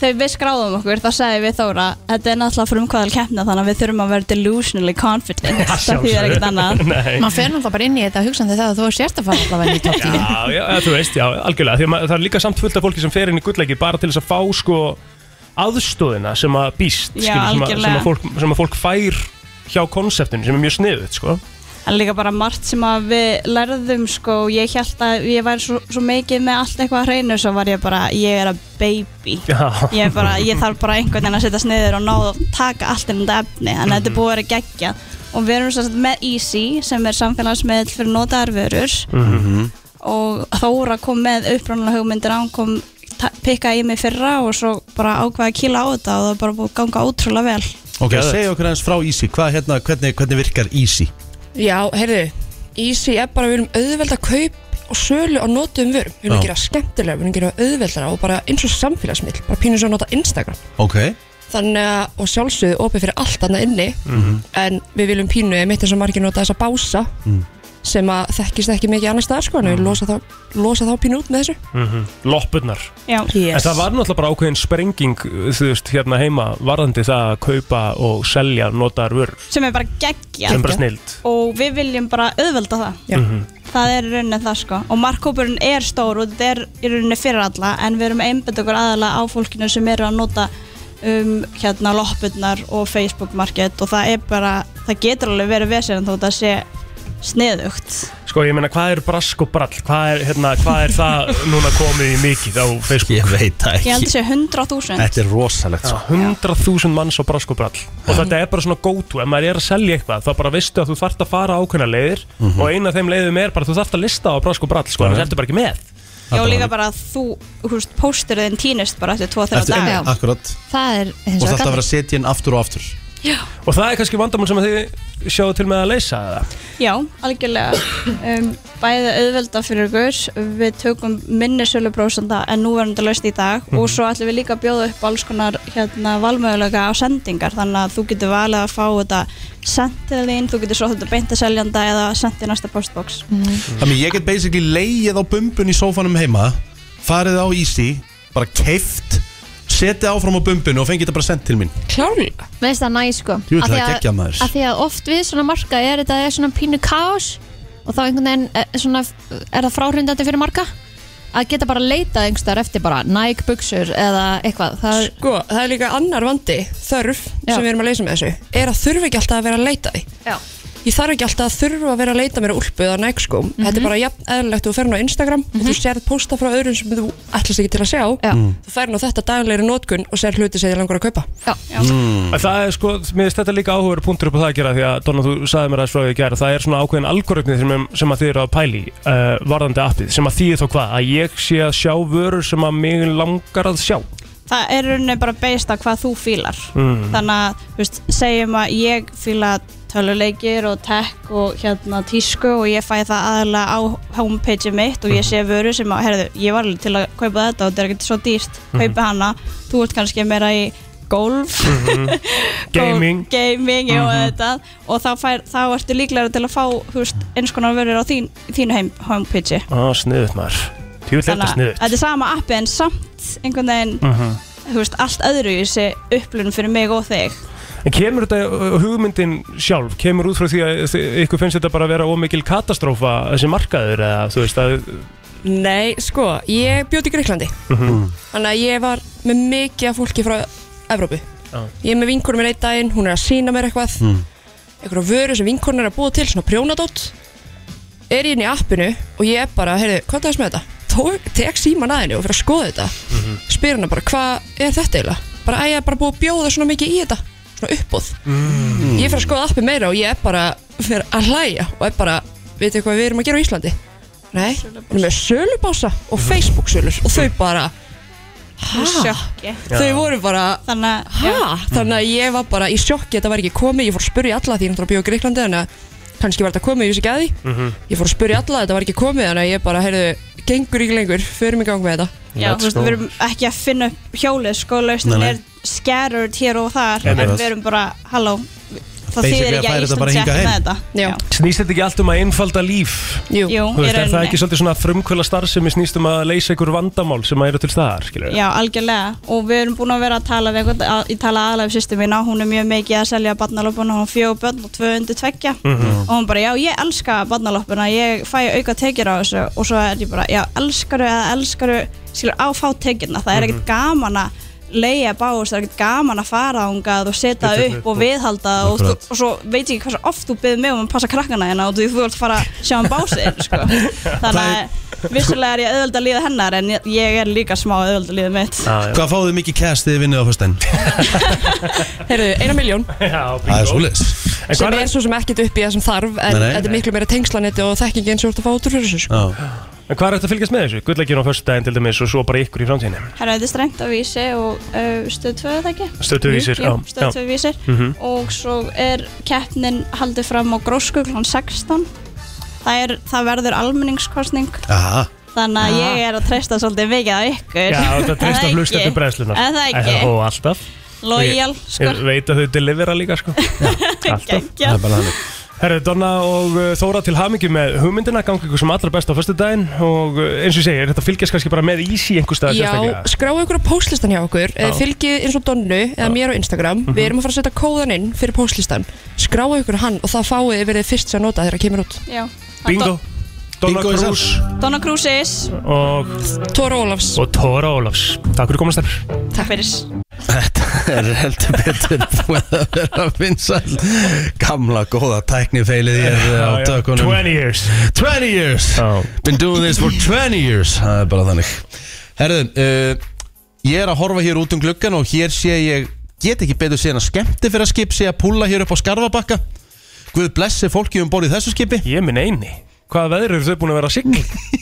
N: þegar við skráðum okkur þá sagði við Þóra Þetta er náttúrulega frumkvæðal keppna þannig að við þurfum að vera delusionally confident Það þýðir ekkert annað
B: Maður fer náttúrulega bara inn í þetta hugsandi það að þú er sért að fara allavega inn í topp 10
C: Já, já, þú veist, já, algjörlega Því að maður- það er líka samt fullt af fólki sem fer inn í gullleiki bara til þess að fá sko aðstóðina sem að býst
N: Já,
C: skilur, sem, að, sem,
N: algjörlega.
C: að fólk, sem að fólk fær hjá konseptinu sem er mjög sniðut sko.
N: En líka bara margt sem að við lærðum sko, ég held að ég væri svo, svo mikið með allt eitthvað að hreinu svo var ég bara, ég er að baby
C: Já.
N: ég, er bara, ég þarf bara einhvern veginn að setja sniður og ná að taka allt um þetta efni þannig að þetta er búið að vera geggja og við erum svo sagt með Easy sem er samfélagsmiðl fyrir notaðarvörur
C: Mhm.
N: og Þóra kom með upprunalega hugmyndir án kom ta- pikka í mig fyrra og svo bara ákvaða að kýla á þetta og það er bara búið að ganga ótrúlega vel
A: Ok, segja okkur aðeins frá Easy Hvað, hérna, hvernig, hvernig virkar Easy?
O: Já, heyrðu, Easy er bara, við erum auðveld að kaup og sölu á notuðum vörum. Við erum að
A: Já.
O: gera skemmtilega, við erum að gera auðveldara og bara eins og samfélagsmiðl, bara pínum svo að nota Instagram.
A: Ok
O: Þannig að, og sjálfsögðu, opið fyrir allt annað inni,
C: Mm.
A: Mhm.
O: en við viljum pínu, ég mitt eins og margir nota þessa bása,
A: Mm.
O: sem að þekkist ekki mikið annars staðar, sko, en við losa þá, losa þá pínu út með þessu.
C: mm Loppurnar
N: Já.
C: En það var náttúrulega bara ákveðin sprenging þú veist, hérna heima, varðandi það að kaupa og selja notaðar vörur
N: sem er bara geggja
C: Sem er bara snilld.
N: og við viljum bara auðvelda það
C: Mhm.
N: það er í rauninni það sko og markkópurinn er stór og þetta er í rauninni fyrir alla en við erum einbætt okkur aðalega á fólkinu sem eru að nota um hérna loppurnar og Facebook market og það er bara, það getur alveg verið vesir en þó það sé sniðugt
C: Sko, ég meina, hvað er brask og brall? Hvað er, hérna, hvað er það núna komið í mikið á Facebook? Ég
A: veit það
N: ég held að sé 100.000
A: er rosalegt
C: sko. 100.000 manns á brask og brall og þetta er bara svona go-to, ef maður er að selja eitthvað þá bara veistu að þú þarft að fara ákveðna leiðir
A: Mhm.
C: og eina af þeim leiðum er bara að þú þarft að lista á brask og brall, sko, en það ertu bara ekki með
N: já líka bara að þú, þú veist, pósturðin tínist bara eftir 2-3
A: Eftir-
N: daga
A: Akkurat
B: það er
A: Og
B: hins
A: þetta
B: vegar
A: að vera
B: gallið.
A: að setja inn aftur og aftur
C: og það er kannski vandamál sem að þið sjáðu til með að leysa það
N: Já, algjörlega um, Bæði auðvelda fyrir ykkur Við tökum minni sölubrósanda en núverandi laust í dag og svo ætlum við líka að bjóða upp alls konar hérna, valmögulega á sendingar þannig að þú getur valið að fá þetta sent til þín, þú getur svo þetta beint að seljanda eða sent í næsta postbox
A: Þannig ég get basically leið á bumbun í sófanum heima Farið á Easy Bara keift Setið áfram á bumbun og fengið þetta bara sendt til mín
O: Klárlega
B: Mér finnst það næ sko
A: Jú,
B: Af
A: það
B: því
A: er
B: að-
A: geggjað, maður.
B: Af því að oft við svona marka er þetta er svona pínu kaos og þá einhvern veginn eh, svona, er það fráhrindandi fyrir marka að geta bara leita einhverstaðar eftir bara Nike buksur eða eitthvað það er
O: Sko, það er líka annar vandi, þörf, sem við erum að leysa með þessu, er að þurfa ekki alltaf að vera að leita því.
B: Já.
O: Ég þarf ekki alltaf að þurfa að vera að leita mér að úlpu eða nægskóm. Þetta er bara jafn eðlilegt þú fer hún á Instagram og þú sér posta frá öðrum sem þú ætlast ekki til að sjá. Mhm. Já. Þú fer hún á þetta daglegri nótkun og sér hluti sem þið langar að kaupa.
B: Já.
A: Mm.
C: En það er sko, mér finnst þetta líka áhugaður punktur upp á það að gera því að Donna, þú sagði mér aðeins frá því að gera það er svona ákveðin algoritmi sem, sem að þið eru að pæli uh, varðandi appið, sem að þýði þá hvað að ég sé að sjá vörur sem að mig langar að sjá
N: Það er í rauninni bara beist á hvað þú fílar
C: Mm.
N: þannig að, þú veist, segjum að ég fíla töluleikir og tech og hérna tísku og ég fæ það aðalega á homepage mitt og ég
C: Mhm.
N: sé vöru sem að, herðu, ég var alveg til að kaupa þetta og þetta er ekkert svo dýrt, kaupa hana þú ert kannski meira í golf
C: Mhm. Gaming.
N: gaming já,
C: Mhm.
N: þetta, og þá, fær, þá ertu líklega til að fá þú veist, eins konar vörur á þín, þínu heim, homepage
C: Á, sniðut Ah, maður Tjúvill er þetta
N: að
C: sniðut
N: þetta er sama appi en samt einhvern veginn
C: Mhm.
N: þú veist, allt öðru í þessi upplunum fyrir mig og þig
C: En kemur þetta uh, hugmyndin sjálf, kemur út frá því að þi- ykkur finnst þetta bara að vera ómikil katastrófa þessi markaður eða þú veist að
O: Nei, sko, ég bjóti í Greiklandi
C: Mhm.
O: Þannig að ég var með mikið af fólki frá Evrópu
C: Já.
O: Ég er með vinkonum minn einn daginn, hún er að sína mér eitthvað
I: Mm.
O: Einhverja vöru sem vinkonum er að búa til, svona prjónadótt Er ég inn í appinu og ég er bara, heyrðu, hvað er það sem er þetta? Tók, tek síman að henni og fyrir að skoða þetta
I: Mhm.
O: Spyr hana bara, hvað er þetta eiginlega? Bara, æ, ég er bara búið að bjóða svona mikið í þetta Svona uppbúð
I: Mm.
O: Ég fyrir að skoða appi meira og ég er bara fyrir að hlæja og er bara, veitu hvað við erum að gera á Íslandi? Nei, við erum með sölubása og Facebook sölur og þau bara
N: Í
O: ha?
N: sjokki.
O: Þau voru bara
N: þannig,
O: ha? Þannig að ég var bara í sjokki þetta var ekki komið, ég fór að spyrja alla því ég náttúrulega bjóð í Greiklandi þannig að kannski var þetta komið, ég vissi ekki að því Ég fór að spyrja alla þetta var ekki komið þannig að ég bara, heyrðu, gengur ekki lengur förum í gang með þetta
N: já, þú veist, við erum ekki að finna upp hjólið sko, lausnin
O: Nei, nei.
N: er scattered hér og þar
C: Einmitt.
N: en við erum bara, halló það
C: Basically
N: þýðir ekki að
C: að færa þetta bara
N: Ísland sé
C: hingað
N: ekki með
C: heim.
N: þetta já,
C: snýst þetta ekki allt um að einfalda líf
N: Jú. Jú,
C: Þú veist,
N: í
C: er það
N: rauninni.
C: ekki svolítið svona frumkvöla starfsemi snýst um að leysa ykkur vandamál sem að eru til staðar, skilur
N: já, algjörlega og við erum búin að vera að tala við einhvern, að, ég tala aðlega um sýstu mína, hún er mjög mikið að selja barnalopuna, hún fjögur börn og tvö undir tveggja
I: Mhm.
N: og hún bara, já, ég elska barnalopuna, ég fæ auka tekjur á þessu og svo er ég bara, já, elskaru eða elskaru, skilur, á fá tekjurna það er ekkert
I: Mhm.
N: gaman að leiða bás, það er ekkert gaman að fara ángað og setja
I: Setja
N: upp og viðhalda og, og,
I: Akkurat.
N: og svo veit ég ekki hversu oft þú byrðir mig um að passa krakkana hérna og þú þú ert að fara að sjá um básið sko. þannig að vissulega er ég auðvöld að líða hennar en ég- ég er líka smá auðvöld að líða mitt
A: Hvað fáðu mikið kæst þið vinnið á fyrstæn?
O: Heyrðu, eina miljón
A: Það er svoleiðis
O: sem er svo sem ekkert upp í það sem þarf en
A: Nei, nei.
O: þetta er miklu meira tengslanetti og þekkingi eins og þú ert að fá út úr fyrir þessu sko.
C: En hvað er þetta að fylgjast með þessu? Gullakjörn á förstu daginn til dæmis og svo bara ykkur í framtíðinni
N: Herra, þetta er strengt á vísi og uh, stöð 2 er það ekki?
C: Stöð 2 Vísir,
N: Jú,
C: já,
N: Stöð
C: já.
N: 2 vísir
C: Mhm.
N: og svo er keppnin haldið fram á grósku kl. 16 það, er, það verður almenningskostning
A: Aha
N: þannig að
C: Ah.
N: ég er að treysta svolítið mikið á ykkur
C: Já, þetta
N: Er
C: treyst að
N: ekki?
C: hlusta til bræðslunar
N: Er það ekki?
C: Ó, alltaf
N: Loyal,
C: Ég-
N: sko.
C: Ég veit að þau delivera líka, sko Alltaf
N: Það er
A: bara þannig
C: Herru, Donna og uh, Þóra til hamingi með hugmyndina gangi ykkur sem allra best á föstu daginn og uh, eins og ég segi, er þetta fylgjast kannski bara með ísi einhver stað
O: Já, sko. skráu ykkur á postlistan hjá okkur eða
C: Já.
O: fylgið eins og Donnu eða mér á Instagram við erum að fara að setja kóðan inn fyrir postlistan skráu ykkur hann og það fáið þið verið fyrst sem að nota þegar það kemur út
N: Já.
C: Bingo Donna
O: Bingo is
C: Cruz
N: Donna Cruises
C: og
O: Tóra Ólafs
C: og Tóra Ólafs Takk fyrir komast þér
N: Takk fyrir
A: Þetta er heldur betur búið að vera vinsall Gamla góða tæknifeilið ég er uh, á
C: Já, já.
A: tökunum
C: 20 years
A: 20 years Been doing this for 20 years Það er bara þannig Herðu, uh, ég er að horfa hér út um gluggan og hér sé ég get ekki betur síðan að skemmti fyrir að skip sé að púla hér upp á skarfabakka Guð blessi fólki um borð í þessu skipi
C: Ég minn eini Hvaða veður eru þau búin að vera að sigla?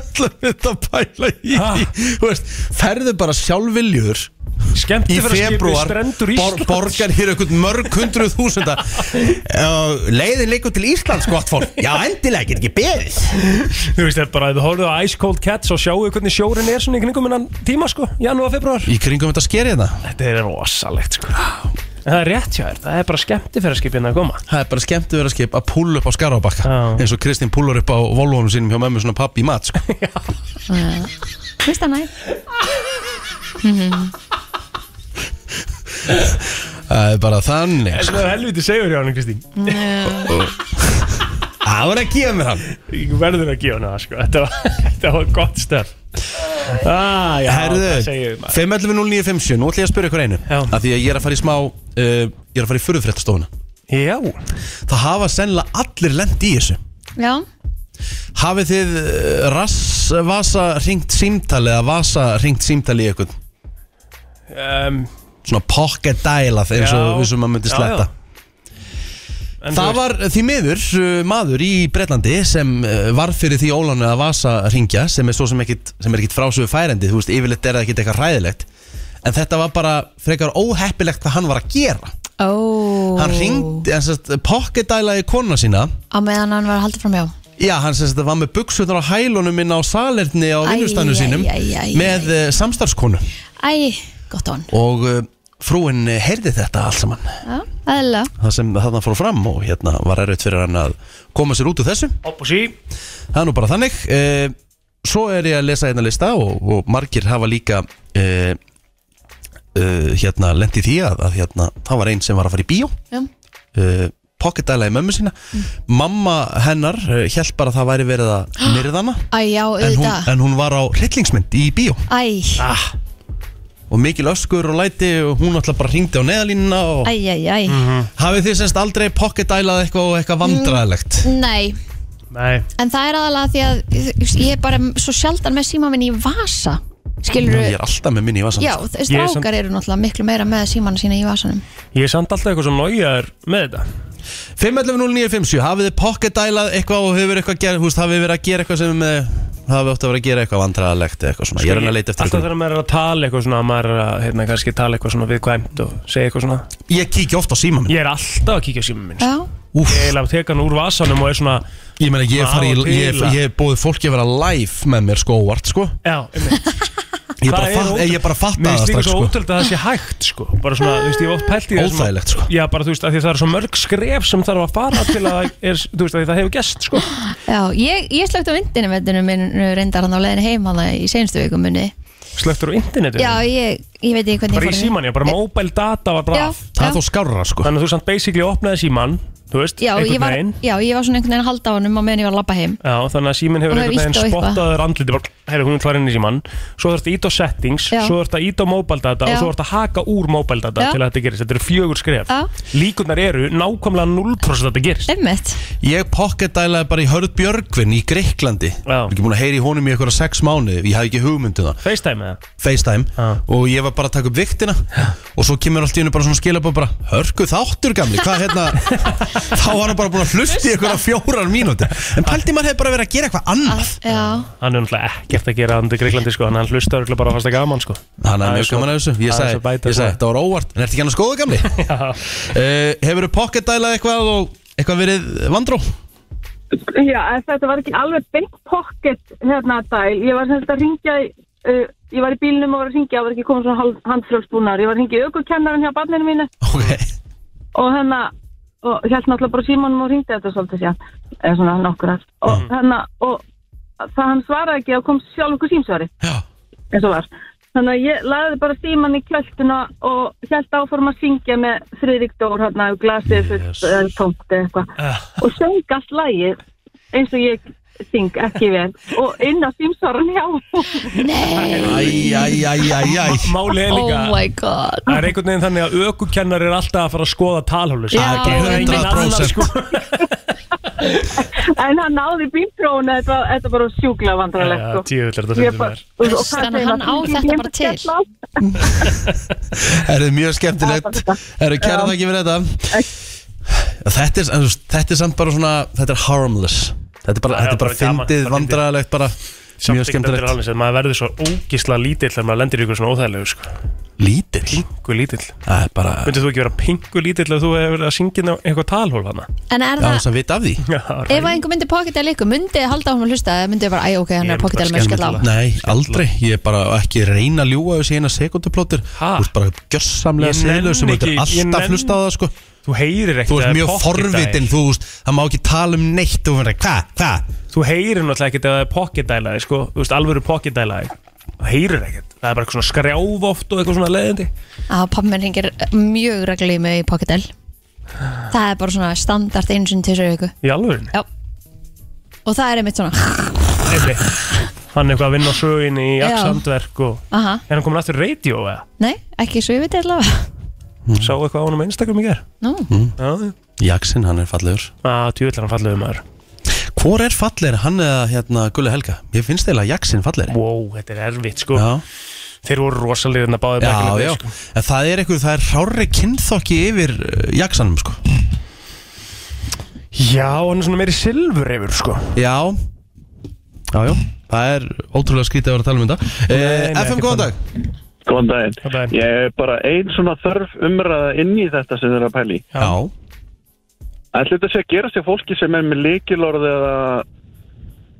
A: Ætla við þetta að pæla í Þú veist, Ferðu bara sjálfviljur
C: Skemmti
A: í
C: fyrir að skipi
A: februar
C: strendur Íslands.
A: borgar hér eitthvað mörg hundruð þúsunda uh, leiðin leikur til Íslands gott fólk, já endilega get ekki beðið
C: Þú veist, það er bara að þið horfðu á Ice Cold Cats og sjáu hvernig sjórin er svona í kringum innan tíma sko, janúar, februar
A: í kringum þetta sker hérna. ég það
C: Þetta er rosalegt sko En það er rétt hjá þér, það er bara skemmti fyrir að skipina að koma
A: Það er bara skemmt að vera skip að púla upp á skarabakka eins og Kristín púlar upp á volvónum sínum hjá mömmu svona pappi í mat sko.
B: Vist það Mhm. næ?
A: það er bara þannig sko.
C: Þetta er helviti segur hjá hann, Kristín
A: Það voru að gefa mér hann
C: Ég verður að gefa hann það sko, þetta var, þetta var gott stöf ah, já, það
A: Herðu,
C: segir maður.
A: 5.11.09.50 Nú ætlum ég að spyrja ykkur einu að Því að ég er að fara í smá uh, Ég er að fara í furðufréttastofuna
C: Já
A: Það hafa sennilega allir lent í þessu
B: Já,
A: Hafið þið eh, rass, vasa ringt símtali eða vasa ringt símtali í eitthvað?
C: Um,
A: Svona pocket dial að eins
C: Já.
A: og við sem maður myndi
C: Já,
A: sletta.
C: já. En þú
A: Það
C: veist-
A: var því miður eh, maður í Breitlandi sem eh, varð fyrir því ólánu að vasa ringja sem er svo sem ekkit, sem er ekkit frásöfu færandi, þú veist, yfirleitt er það ekkit eitthvað hræðilegt. En þetta var bara frekar óheppilegt hvað hann var að gera.
B: ó
A: Hann ringdi, en sérst, pocket dialaði kona sína.
B: Á meðan hann var að halda fram hjá
A: Já, hann sem þetta var með buksunar á hælunum inn á salerni á
B: Æ,
A: vinnustannu
B: æ,
A: sínum
B: æ, æ, æ,
A: með æ. samstarfskonu
B: Æ, gott á hann
A: og uh, frúin eh, heyrði þetta allt saman
B: Já, aðeinlega
A: það sem þarna fór fram og hérna var erfitt fyrir hann að koma sér út úr þessu
C: Opposí
A: Það er nú bara þannig e, Svo er ég að lesa hérna lista og, og margir hafa líka e, e, hérna lendi því að, að hérna, það var einn sem var að fara í bíó
B: Já.
A: e, pocketæla í mömmu sína
B: Mm.
A: Mamma hennar e, held bara að það væri verið að myrða hana
B: Æ, já,
A: en hún,
B: auðvitað
A: en hún var á hryllingsmynd í bíó
B: Æ,
A: ah. og mikil öskur og læti og hún alltaf bara hringdi á neðalínuna og...
B: æ, æ, æ
A: Mhm. Hafið þið semst aldrei pocketælað eitthvað og eitthvað vandræðilegt?
B: Nei,
C: Nei
B: en það er aðalega því að þú veist, ég er bara svo sjaldan með síma minn í vasa Skilur
A: Ég er alltaf með minni í sko. vasan
B: Já, þeir strákar eru náttúrulega miklu meira með símanu sína í vasanum
C: Ég er samt alltaf eitthvað sem nájaður með þetta
A: 5.11.09.57 Hafið þið pocketælað eitthvað og hefur eitthvað gerð Húst, hafið verið að gera eitthvað sem eh, hafið ótt að vera að gera eitthvað vandræðilegt eða eitthvað svona Ég er hann að leita eftir
C: Alltaf
A: eitthvað
C: þegar maður er að tala eitthvað svona maður er að, hérna, kannski tala eitthvað svona viðkvæmt og segja eitthvað svona
A: Ég kíkja oft á síma minn
C: Ég er alltaf að kíkja á síma minn
B: Já
C: Úf. Ég er að teka hann úr vasanum og er svona
A: Ég meina, ég, fari,
C: Af og
A: í-
C: til
A: ég,
C: að-
A: ég hef búið fólki að vera live með mér sko óvart sko
C: Já,
A: Ég
C: Það
A: bara,
C: er
A: fatt,
C: ótrúlegt.
A: ég bara fatta
C: Mér
A: það
C: finnst líka
A: strax
C: svo
A: sko
C: ótrúlega að það sé hægt sko Bara svona, þú veist, ég hef oft pælt í þessum-
A: Óþægilegt, sko.
C: Já, bara þú veist, að því það er svo mörg skref sem þarf að fara til að, er, þú veist, að því það hefur gest sko
B: Já, ég, ég slögt á vindinu vettinu minn reyndar hann á leiðin heim hann í seinstu vikum minni
C: Slögtur á internetu
B: Já, ég, ég veit ekki hvernig
C: Bara í
B: ég
C: síman, já, bara mobile data var bara
B: Já,
C: af
B: Það er já. þó
A: skárra sko
C: Þannig að þú samt basically opnaði síman, þú veist,
B: Já, ég
C: einhvern
B: var,
C: veginn
B: já, ég var svona einhvern veginn að halda á honum á meðan ég var að labba heim
C: Já, þannig að síminn hefur
B: Og hefur
C: einhvern veginn
B: ýtt á eitthvað.
C: spottaður andliti bara, heyrðu, hún er klar inn í símann svo þarf þetta ít á settings,
B: Já.
C: svo þarf þetta ít á mobile data
B: Já.
C: og svo þarf þetta haka úr mobile data
B: Já.
C: til að þetta gerist, þetta eru fjögur skref
B: Já.
C: Líkurnar eru nákvæmlega 0% að þetta gerist
B: Einmitt
A: Ég pocketælaði bara í Hörð Björgvin í Greiklandi Ég er ekki búin að heyri í honum í eitthvað sex mánuði Ég hafði ekki hugmyndið það
C: FaceTime eða?
A: FaceTime Og ég var bara að taka upp viktina Og svo kemur allt í hennu bara svona skilabóð bara Hörgu þáttur gamli, hvað hérna Þá var hann bara búin að hlusta í eitthvað fjórar mínúti En pældi maður hefði bara verið að gera eitthvað
B: Ah,
A: annað
B: Já,
C: Hann er náttúrulega ekkert að gera hann til Greiklandi sko, þannig að hann hlustar örugglega bara fast að gaman sko
A: Hann er mjög gaman að þessu Ég
C: aðeins að
A: sagði,
C: bæta sko.
A: ég sagði, þetta var óvart En ertu ekki hann að skoða gamli? uh, Hefur þú pocketdælað eitthvað og eitthvað verið vandró?
P: Já, en þetta var ekki alveg beint pocket hérna dæl. Ég var sem sagt að ringja, í, uh, ég var í bílnum og var að ringja, það var ekki komið svona handfrjóðsbúnar. Ég var að ringja aukukennarin hjá barninu mínu.
A: Ok.
P: Og hérna, og held náttúrulega bara símanum og ringdi þetta svolítið sér, eða svona nokkur að. Og
C: Mm.
P: hérna, og það hann svaraði ekki og kom sjálf okkur símsvari. Já. Eins og var. Þannig að ég laði bara síman í kjölduna og held áform að syngja með Friðrik Dór, hérna, ef glasið fullt, eða tómt eða eitthvað
C: Ah.
P: og söng allt lagið eins og ég syng ekki vel og inn á símsvaran hjá
A: Æj, æj, æj, æj, æj
C: Máli er líka
P: Oh my god.
C: Það er einhvern veginn þannig að ökukennar er alltaf að fara að skoða talhólu
P: Já.
C: það er engin annar
A: 100%.
C: sko
P: en hann náði bílprófuna þetta, var- þetta var bara sko. sjúkla vandralegt
C: Já, djöfull er þetta fyndið maður.
B: Þannig að hann á þetta bara til
A: Það er mjög skemmtilegt Það eru kæra þakki fyrir þetta þetta er, en þú veist, þetta er samt bara svona Þetta er harmless Þetta er bara,
C: Já,
A: þetta er bara
C: bara gaman,
A: fyndið,
C: bara fyndið.
A: vandræðilegt bara
C: Samt
A: Mjög
C: ekki þetta er
A: skemmtilegt
C: alveg sem maður verður svo ógisla lítill þegar maður lendir í ykkur svona óþægilegu sko.
A: Lítill?
C: Pingu lítill
A: Það er bara
C: Myndið þú ekki vera pingu lítill ef þú hefur verið að syngja inn á eitthvað talhól hana?
B: En er Já, það- þess
A: að vita af því
C: Já,
B: Ef að einhver myndi pocketæla ykkur, myndið þið halda á honum að hlusta eða myndið þið bara, æ, ok, hann er að pocketæla með skall á
A: Nei, aldrei, ég er bara ekki að reyna að ljúa þessi eina sekunduplótur Þú ert bara gjörsamlega
C: Ég nenni
A: seglöð sem þetta er
C: ekki- ég
A: alltaf
C: nenni-
A: hlusta á það sko
C: Þú heyrir ekkert
A: Þú
C: að
A: ert mjög
C: pocket
A: forvitin,
C: dial.
A: þú veist, það má ekki tala um neitt Þú verður, hvað, hvað?
C: Þú heyrir náttúrulega ekkert ef það er pocketdælaði sko Þú veist, alvöru pocketdælaði Þú heyrir ekkert Það er bara eitthvað svona skrjáf oft og eitthvað svona leiðindi
B: Að pappi minn hringir mjög reglíð með í pocketæl Það er bara svona standart einu sinni til þessu viku
C: Í alvörun
B: Já Og það er einmitt svona
C: Hann er eitthvað að vinna á söginni í
B: Já.
C: aksandverk og
B: Aha,
C: Er hann komin aftur í radio eða?
B: nei, ekki svo ég veit allavega
A: Mm.
C: Sá eitthvað á hann á Instagram í ger
B: Nú,
C: Já,
A: Jaxinn, hann er fallegur
C: að tjóðlega hann Ah, fallegur maður
A: Hvor er fallegri, hann eða hérna Gulli Helga? Ég finnst eiginlega Jaxinn fallegri
C: Wow, þetta er erfitt sko
A: Já.
C: Þeir voru rosalegir en að báði
A: Já, já,
C: sko.
A: en það er eitthvað, það er hrári kynþokki yfir uh, jaksanum sko
C: Já, hann er svona meiri silfur yfir sko
A: Já, já, já, það er ótrúlega skrítið að vera að tala um þetta
K: Nei, nei,
A: eh, FM,
K: ekki
A: góðan
K: þannig.
A: dag
K: Góðan daginn. Ég er bara ein svona þörf umræða inn í þetta sem þeir eru að pæla í.
A: Já.
K: Ætli þetta sé að gera sér fólki sem er með líkilorð eða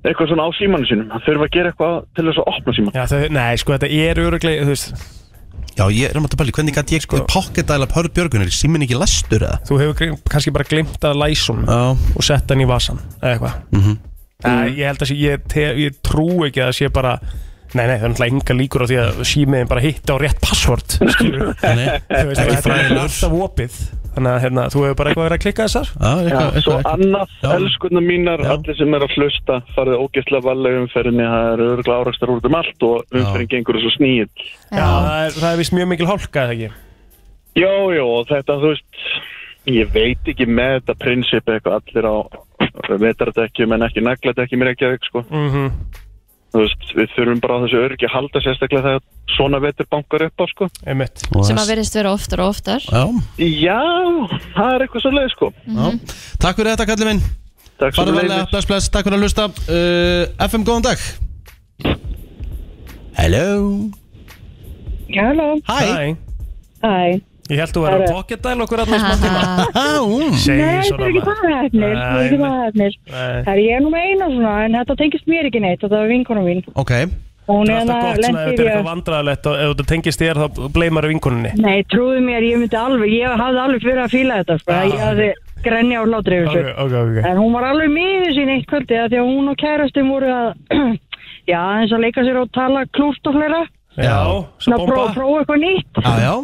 K: eitthvað svona á símanu sínum. Það þurfa að gera eitthvað til þess að opna síman.
C: Já, þau, nei, sko, þetta er öruglega, þú veist
A: Já, ég er um að tala, hvernig gæti ég sko pocketæla Hörð Björgunar, síminn ekki læstur eða?
C: Þú hefur grim- kannski bara glimt að læsun
A: Já.
C: og sett hann í vasan eða eitthvað
A: mm -hmm.
C: ég held að sé, ég, te, ég trú ekki að það sé bara Nei, nei, það er náttúrulega enga líkur á því að símiðin bara hitta á rétt passvort skilur
A: Nei,
C: ekki fræðilegur Alltaf opið, þannig að hérna, þú hefur bara eitthvað verið að klikka þessar
K: Já, svo annað, elskunna mínar, allir sem er að hlusta farið ógeðslega valega umferðinni það eru örgla árakstar úr um allt og umferðin gengur þessu sníð
C: Já, það er, það er vist mjög mikil hálka, eða ekki?
K: Jó, jó, og þetta, þú veist ég veit ekki með þetta prinsip eitthvað, allir á vetardekkjum en ekki nagladekkjum er ekki að sko
C: Mhm.
K: þú veist, við þurfum bara á þessu örgi að halda sérstaklega þegar svona vetur bankar upp á sko
C: Einmitt.
B: sem að verðist vera oftar og oftar
A: Já,
K: Já, það er eitthvað svo leið sko
A: Takk fyrir þetta, kallið minn
K: Takk
A: Farðu
K: sömuleiðis.
A: varlega, Bless, bless, takk fyrir að hlusta uh, FM, góðan dag Hello
M: Halló
C: Hæ
M: Hæ
C: Ég held þú verður að
M: Herru.
C: pocket dial okkur allir smá tíma
M: Nei, það er ekki það hefnir Það er ekki það hefnir Það er ég er nú með eina svona En þetta tengist mér ekki neitt Þetta er vinkona mín
A: Ok
M: Hún
C: Það er
M: er
C: alltaf
M: það
C: gott svona, ef
M: lendir
C: þetta er
M: í
C: eitthvað
M: að
C: vandræðalegt og ef þetta tengist þér þá bleimar vinkuninni
M: Nei, trúðu mér, ég myndi alveg Ég hafði alveg fyrir að fíla þetta sko. Ég hafði grenja á hlátri yfir þessu
C: ok, ok
M: En hún var alveg miður sín eitt kvöldi af Því að hún og kærastin voru að Já, eins að leika sér og tala klúrt og fleira
C: Já,
M: Svona að prófa, prófa eitthvað nýtt
A: Já, já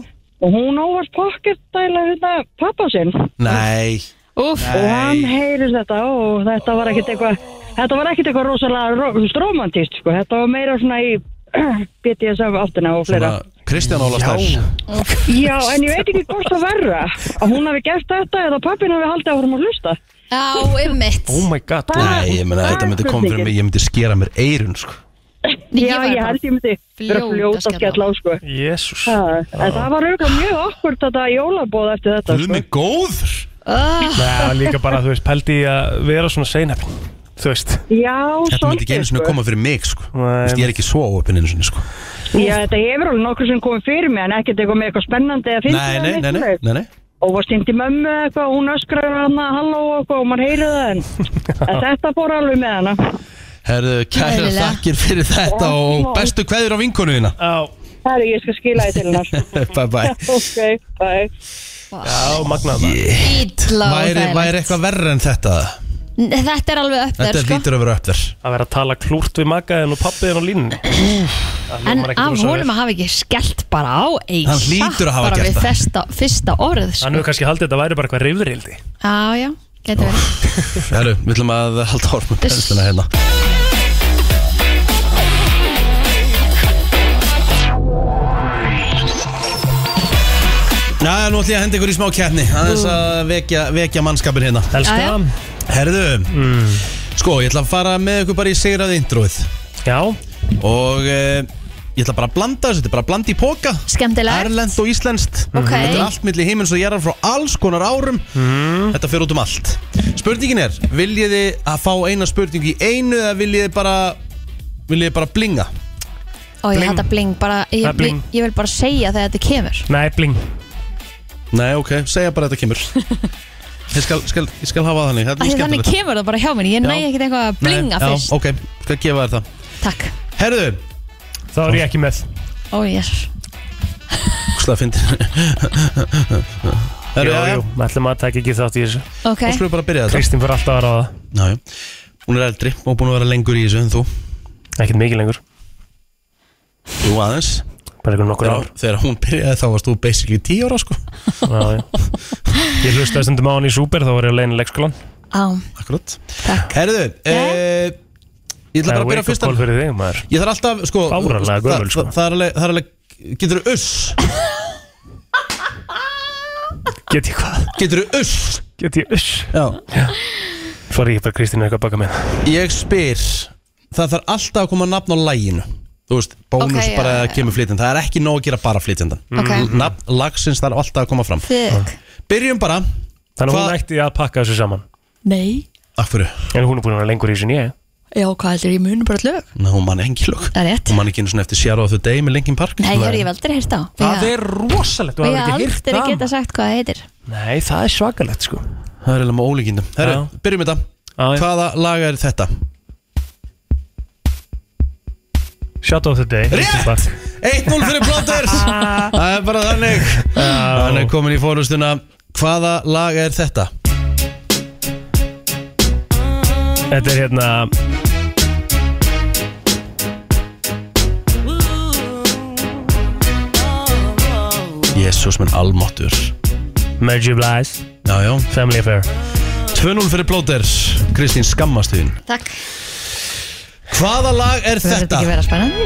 M: Og hún ávart pocketdæla þetta pappa sinn
A: Nei
M: Úf, og hann heyrir þetta og þetta var ekkert eitthvað þetta var ekkert eitthvað rosalega ro- þú veist, romantist sko, þetta var meira svona í BDSM áttina og fleira
A: Kristján Óla
M: Já.
A: Stær
M: Já, en ég veit ekki hvort það verra að hún hafi gert þetta eða pappin hafi haldið að vorum að hlusta
B: Já, ymmit
A: Oh my god Nei, ég meina, þetta myndi koma fyrir mig, ég myndi skera mér eirun, sko
M: Já, ég held ég myndi vera fljóta að skella á sko
C: Jésús
M: Ha, En það var auðvitað mjög okkur þetta jólabóð eftir þetta sko.
A: Guð mig góður
M: Ah.
C: Nei, líka bara, þú veist, pældi ég að vera svona seinafn Þú veist
M: Já,
A: Þetta myndi ekki einu sinni koma fyrir mig, sko Þú veist, Ég er ekki svo opinn einu sinni, sko
M: Já, þetta hefur alveg nokkur sem komið fyrir mig en ekkert eitthvað með eitthvað spennandi eða fyndið
A: Nei,
M: eða
A: nei,
M: neitt
A: nei, nei,
M: svoleiðis.
A: nei, nei.
M: og var sýndi mömmu eða eitthvað og hún öskraði hann að halló og eitthvað og maður heyrði það en, en þetta fór alveg með hana
A: Herðu, kæra
M: Eðlilega.
A: þakkir fyrir þetta og bestu kveður á vinkonu þína
M: Það er ég skal skila því til hennar
A: Bye bye
M: Ok, bye
C: Já, magnað
B: Ítla og
A: Væri, væri
B: þægilegt.
A: eitthvað verra en þetta
B: N- Þetta er alveg öftar
A: Þetta
B: sko
A: lítur að vera öppver
C: Að vera að tala klúrt við magaðin og pappiðin og línni
B: En
C: Það hljómar ekkert
B: af
C: rosa
B: honum
C: vel.
B: að hafa ekki skellt bara á eigi
C: Hann hlýtur að hafa
B: bara
C: gert
B: við
C: það.
B: fyrsta, fyrsta orð sko.
C: Hann hefur kannski haldið að þetta væri bara eitthvað reyfrildi
B: Já, já, getur verið
A: Herru, við ætlum að halda orðum pensluna hérna Já, nú ætlum ég að henda ykkur í smá keppni aðeins að vekja, vekja mannskapin hérna
C: Elska. Já, Mm. já.
A: Herðu, sko, ég ætla að fara með ykkur bara í sigraði introið
C: Já
A: Og eh, ég ætla bara að blanda þessu, þetta er bara að blanda í póka
B: Skemmtilegt
A: Erlend og Íslenskt
B: Ok.
A: Þetta er allt milli heimins og jarðar frá alls konar árum
B: Mhm.
A: Þetta fyrir út um allt Spurningin er, viljið þið að fá eina spurningu í einu eða viljið þið bara viljið þið bara blinga?
B: Ó, ég
A: Bling.
B: hætta bling bara ég,
A: Það er bling.
B: ég, ég vil bara segja þegar þetta kemur
C: Nei, bling
A: Nei, ok, segja bara þetta kemur Ég skal, skal, ég skal hafa það þannig Þetta
B: Af því
A: er
B: Þannig
A: skemmtilegt.
B: kemur það bara hjá mér Ég næ
A: Já.
B: ekkert eitthvað að
A: Nei,
B: blinga
A: já,
B: fyrst
A: Ok, skal gefa þér það
B: Takk
A: Herðu
C: Þá er ég ekki með
B: Ó, jés
A: Úslega fyndi
C: Jú, jú, við ætlum að taka ekki þátt í þessu
B: Ok. Þá skulum
A: við bara byrja þetta.
C: Kristín fyrir alltaf að ráða
A: Já, já. Hún er eldri og búin að vera lengur í þessu en þú
C: Ekkert mikið lengur
A: Jú aðeins
C: Bara eitthvað nokkur ár
A: Þegar hún byrjaði þá varst þú basically 10 ára sko
C: Já, já Ég hlustaði stundum á hann í Súper, þá var ég að leina leikskólan
B: Á,
A: Akkurat Herðu, eh, ég ætla bara að byrja fyrst
C: að fyrir þig, maður
A: Ég þarf alltaf, sko
C: Fáránlega
A: það-
C: gömul, sko.
A: það- Það er alveg, það er alveg, getur þú uss?
C: Get ég hvað?
A: Getur þú uss?
C: Get ég uss?
A: Já
C: Svo er ég bara Kristín er eitthvað baka með
A: Ég spyr, það þarf alltaf að koma nafn á læginu Þú veist, bónus
B: Ok, já,
A: bara að
B: já.
A: kemur flytjandi Það er ekki nóg að gera bara flytjandan
B: Ok.
A: Nafn lagsins þarf alltaf að koma fram
B: þig
A: Byrjum bara
C: Þannig að hún ætti að pakka þessu saman
B: Nei
A: Af hverju?
C: En hún er búin að vera lengur í þessu nýja
B: Já, hvað heldur ég muni bara lög?
A: Ná, hún mann engi lók
B: Það er rétt
A: Hún mann ekki einu svona eftir Sjára á þau degi með Linkin Park
B: Nei, ég hef aldrei heyrt á
C: Það er rosalegt,
B: Og ég hef aldrei geta sagt hvað það heitir
C: Nei, það er svakalegt sko
A: Það er alveg með ólíkindum Herru, byrjum þetta Hvaða lag er þetta?
C: Shut of the day Rétt!
A: 1-0 fyrir Blótters Það er bara þannig Hann er komin í fórhustuna Hvaða lag er þetta?
C: Þetta er hérna
A: Jésús minn almáttur
C: Merge Blas
A: Já, já
C: Family Affair
A: 2-0 fyrir Blótters Kristín skammastuðin
B: Takk
A: Hvaða lag er
B: Verður
A: þetta?
B: ekki vera spennandi?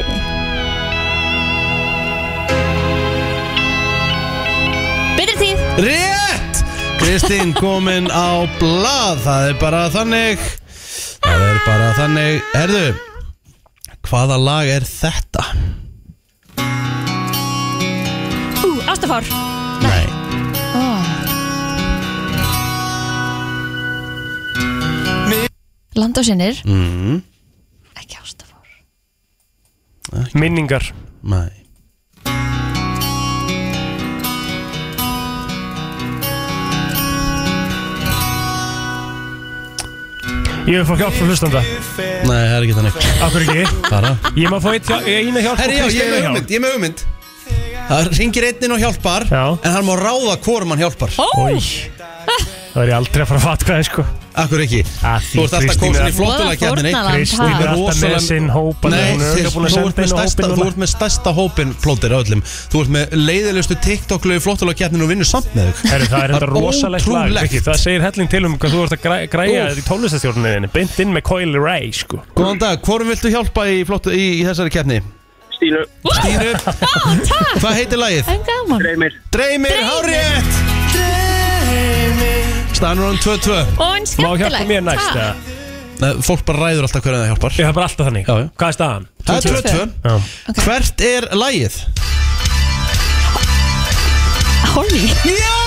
B: Betri tíð
A: Rétt! Kristín komin á blað Það er bara þannig Það er bara þannig Herðu, hvaða lag er þetta?
N: Ú, ástafár
A: Nei
B: Land og sinnir
A: mm.
B: Ekki ástafár
C: Minningar
A: Nei
C: Ég vil fá hjálp frá hlustanda
A: Nei, það er ekki þannig
C: Akkur ekki
A: Bara
C: Ég má fá eitt hjá- eina hjálp frá
A: Herri, já, ég er
C: Kristínu
A: með
C: hjá.
A: hugmynd, ég er með hugmynd Það ringir einn inn og hjálpar já. En hann má ráða hvorum hann hjálpar
C: Ó. Það er ég aldrei að fara að fatta hvað sko
A: Akkur ekki Þú ert alltaf komin í flottulegkjarninni
C: Kristín er alltaf með sinn hópa
A: Nei, þér-
C: Hún er örugglega búin að
A: þú ert
C: senda
A: með
C: inn á
A: stærsta-
C: hópin
A: þú
C: núna.
A: ert með stærsta hópin plótir af öllum Þú ert með leiðilegustu TikTok-lögu flottulegkjarninu og vinnur samt með þau
C: Herri, það er þetta rosalegt lag
A: ótrúlegt.
C: Rikki. Það segir helling til um hvað þú ert að græ- græja í tónlistastjórninni Bind inn með Coil Ray sko.
A: Góðan dag, hvorum viltu hjálpa í, flottu, í, í þessari kjarni?
K: Stínu
A: Stínu Hvað heitir lagið?
B: En gaman
K: Dreymir
A: Dreymir, hárétt Stanur hann 2-2
B: Og en skemmtilegt Takk.
A: Nei, Fólk bara ræður alltaf hverju það hjálpar
C: Ég, Það er bara alltaf þannig
A: já, já.
C: Hvað er staðan?
A: Það er 2-2
C: Já.
A: Hvert er lagið?
B: Holly
A: Já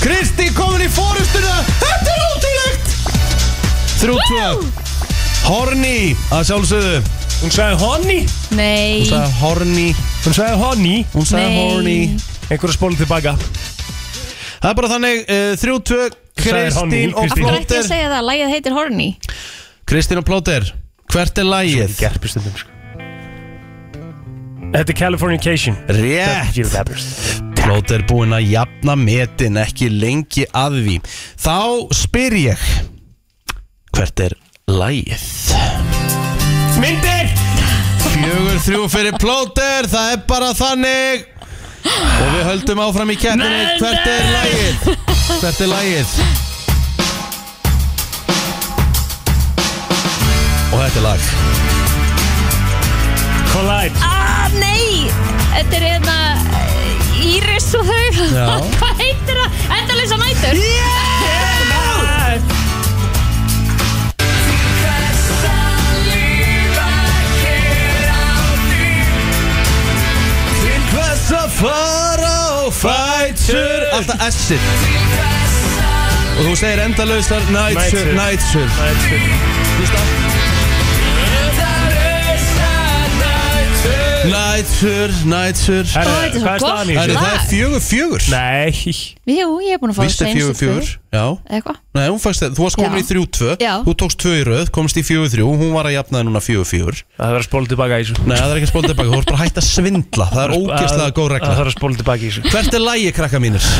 A: Kristi komin í fórustuna Þetta er ótrúlegt 3-2 Horny að sjálfsögðu
C: Hún sagði Horny
B: Nei
A: Hún sagði Horny
C: Hún sagði Horny
A: Hún sagði
B: Nei.
A: Horny
C: Einhverju spólum tilbaka
A: Það er bara þannig uh, 3-2
C: sagðir horny,
A: Kristín og
C: Kristín.
B: Akkur ekki
A: Plóter
B: að segja það, lagið heitir Horny
A: Kristín og Plóter Hvert er lagið?
C: Gerpistundum sko Þetta er Californication
A: Rétt. Plót er búinn að jafna metin ekki lengi að því Þá spyr ég Hvert er lægið?
C: Myndir
A: Fjögur þrjú fyrir plóter Það er bara þannig Og við höldum áfram í kettinni Hvert er lægið? Hvert er lægið? Og þetta er lag
C: Collide
B: Ah, nei Þetta er hérna eh, Íris og þau
A: Já.
B: Hvað heitir það? Endalisa nætur
A: Til hvers að fara og fætur Alltaf S-ið Og þú segir endalausar Nætsur, nætsur Nætsur, nætsur
C: Herru, Ó, þetta er svo hvað er staðan í gott
A: Herru,
C: þessu?
A: Það er fjögur fjögur
C: Nei
B: Jú, ég er búin að fá
A: Vist er
B: seinustu
A: fjögur fjögur Já
B: tvö. Eða hvað?
A: Nei, hún fækst það, þú varst komin
B: Já.
A: í 3-2
B: Já.
A: Þú tókst 2 í röð, komst í 4-3 Hún var að jafna þig núna 4-4
C: Það verður spólum tilbaka í þessu
A: Nei, það er ekki að spóla tilbaka, þú ert bara að hætta að svindla Það er ógeðslega góð regla
C: Það þarf að spóla tilbaka í þessu
A: Hvert er lægi, krakka mínir?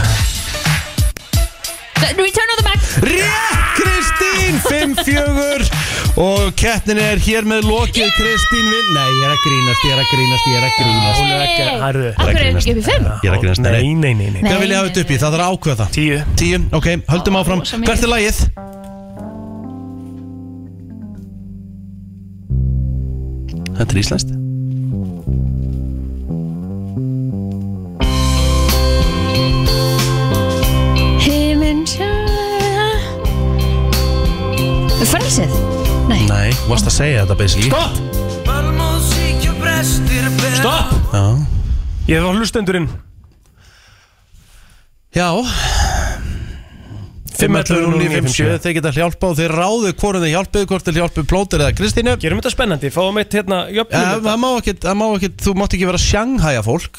B: Return of the Mac
A: Rétt, Kristín, 5-4 Og keppnin er hér með lokið Kristín vinn Nei, ég er að grínast, ég er að grínast, ég er að grínast
C: Hún er ekki að herðu
B: Akkur er ekki upp í fimm
A: Ég er að grínast,
C: Nei, nei, nei, nei.
A: Hvað vil ég hafa þetta upp í? Það þarf að ákveða það
C: Tíu
A: Tíu, ok, höldum áfram
B: rosa mikið.
A: Hvert er lagið? Þetta er íslenskt
B: Himin sjá Frelsið Nei
A: Nei, þú varst að segja þetta basically
C: Stopp Stopp
A: Já
C: Ég var hlustendurinn
A: Já 5.11.09.57
C: 5.11.09.57.
A: Þeir geta hjálpa og þeir ráðu hvorum þeir hjálpið Hvort þeir hjálpið plótir eða Kristínu
C: Gerum þetta spennandi, fáum eitt hérna
A: Ja, Eh,
C: jöfnum
A: Það má ekkert, það má ekkert, þú mátt ekki vera að sjanghæja fólk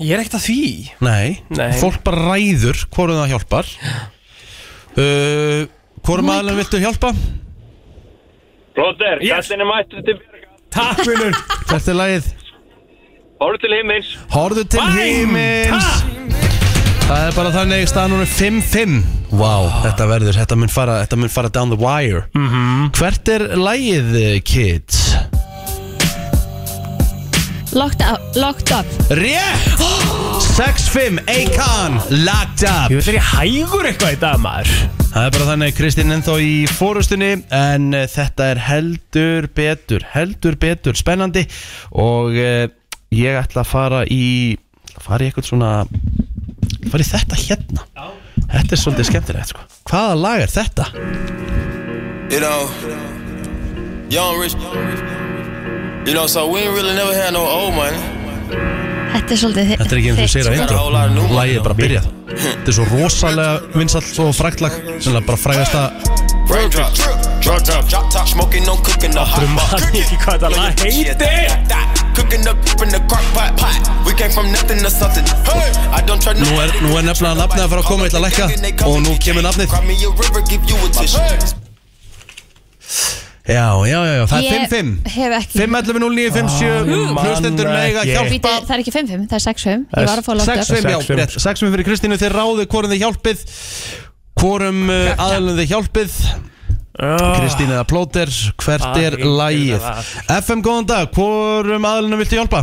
C: Ég er ekkert að því
A: Nei,
C: Nei.
A: fólk bara ræður hvorum það hjálpar uh, Hvorum oh aðlum viltu hjálpa?
K: Blóter, yes. gæstin er mættur til
C: Takk vinnur
A: Hvert er lagið?
Q: Horfðu til himins
A: Horðu til himins Það er bara þannig staðan hún er 5-5 Vá, þetta verður, þetta mun fara, þetta mun fara down the wire -hmm. Hvert er lægið, eh, kids?
B: Locked up, locked up.
A: Rétt! 6-5, Akon, locked up Ég vil er ég hægur eitthvað í dag, maður Það er bara þannig, Kristín ennþá í fórustunni En uh, þetta er heldur betur, heldur betur, spennandi Og uh, ég ætla að fara í, fara í eitthvað svona Fara í þetta hérna Þetta er svolítið skemmtilegt, sko Hvaða lag er þetta?
R: You know, young rich. You know, so we ain't really never had no old money.
B: Þetta er svolítið þi-
A: Þetta er ekki eins og
B: þitt,
A: sér að
B: sko.
A: intro Lægið er bara að byrja Þetta er svo rosalega vinsall og frægt lag Sennilega bara frægasta
R: Raindrops, drop top, drop top, smoking, no cooking, no hot pot. Cooking, yeah, that, that. Cooking up in the crock pot, pot. We came from nothing to something. Hey, I don't try
A: Nú er, nú er nefnilega nafnið að fara að koma, ég ætla að lækka Og nú kemur nafnið
R: Grab me a river, give you a tissue.
A: Já, já, já, já, það er
B: Ég
A: 5-5
B: hef ekki
A: 5-11-0957 Mm, Hlustendur mega hjálpa
B: Bíddu, Það er ekki 5-5, það er 6-5 Ég var að fá locked up
A: 6-5, já, rétt 6-5 fyrir Kristínu, þeir ráðu hvorum þið hjálpið Hvorum uh, aðlunum þið hjálpið
B: Ah.
A: Kristín eða Plóter, hvert
R: Hvað
A: er
R: heitir
A: lægið? FM, góðan dag, hvorum aðlunum viltu hjálpa?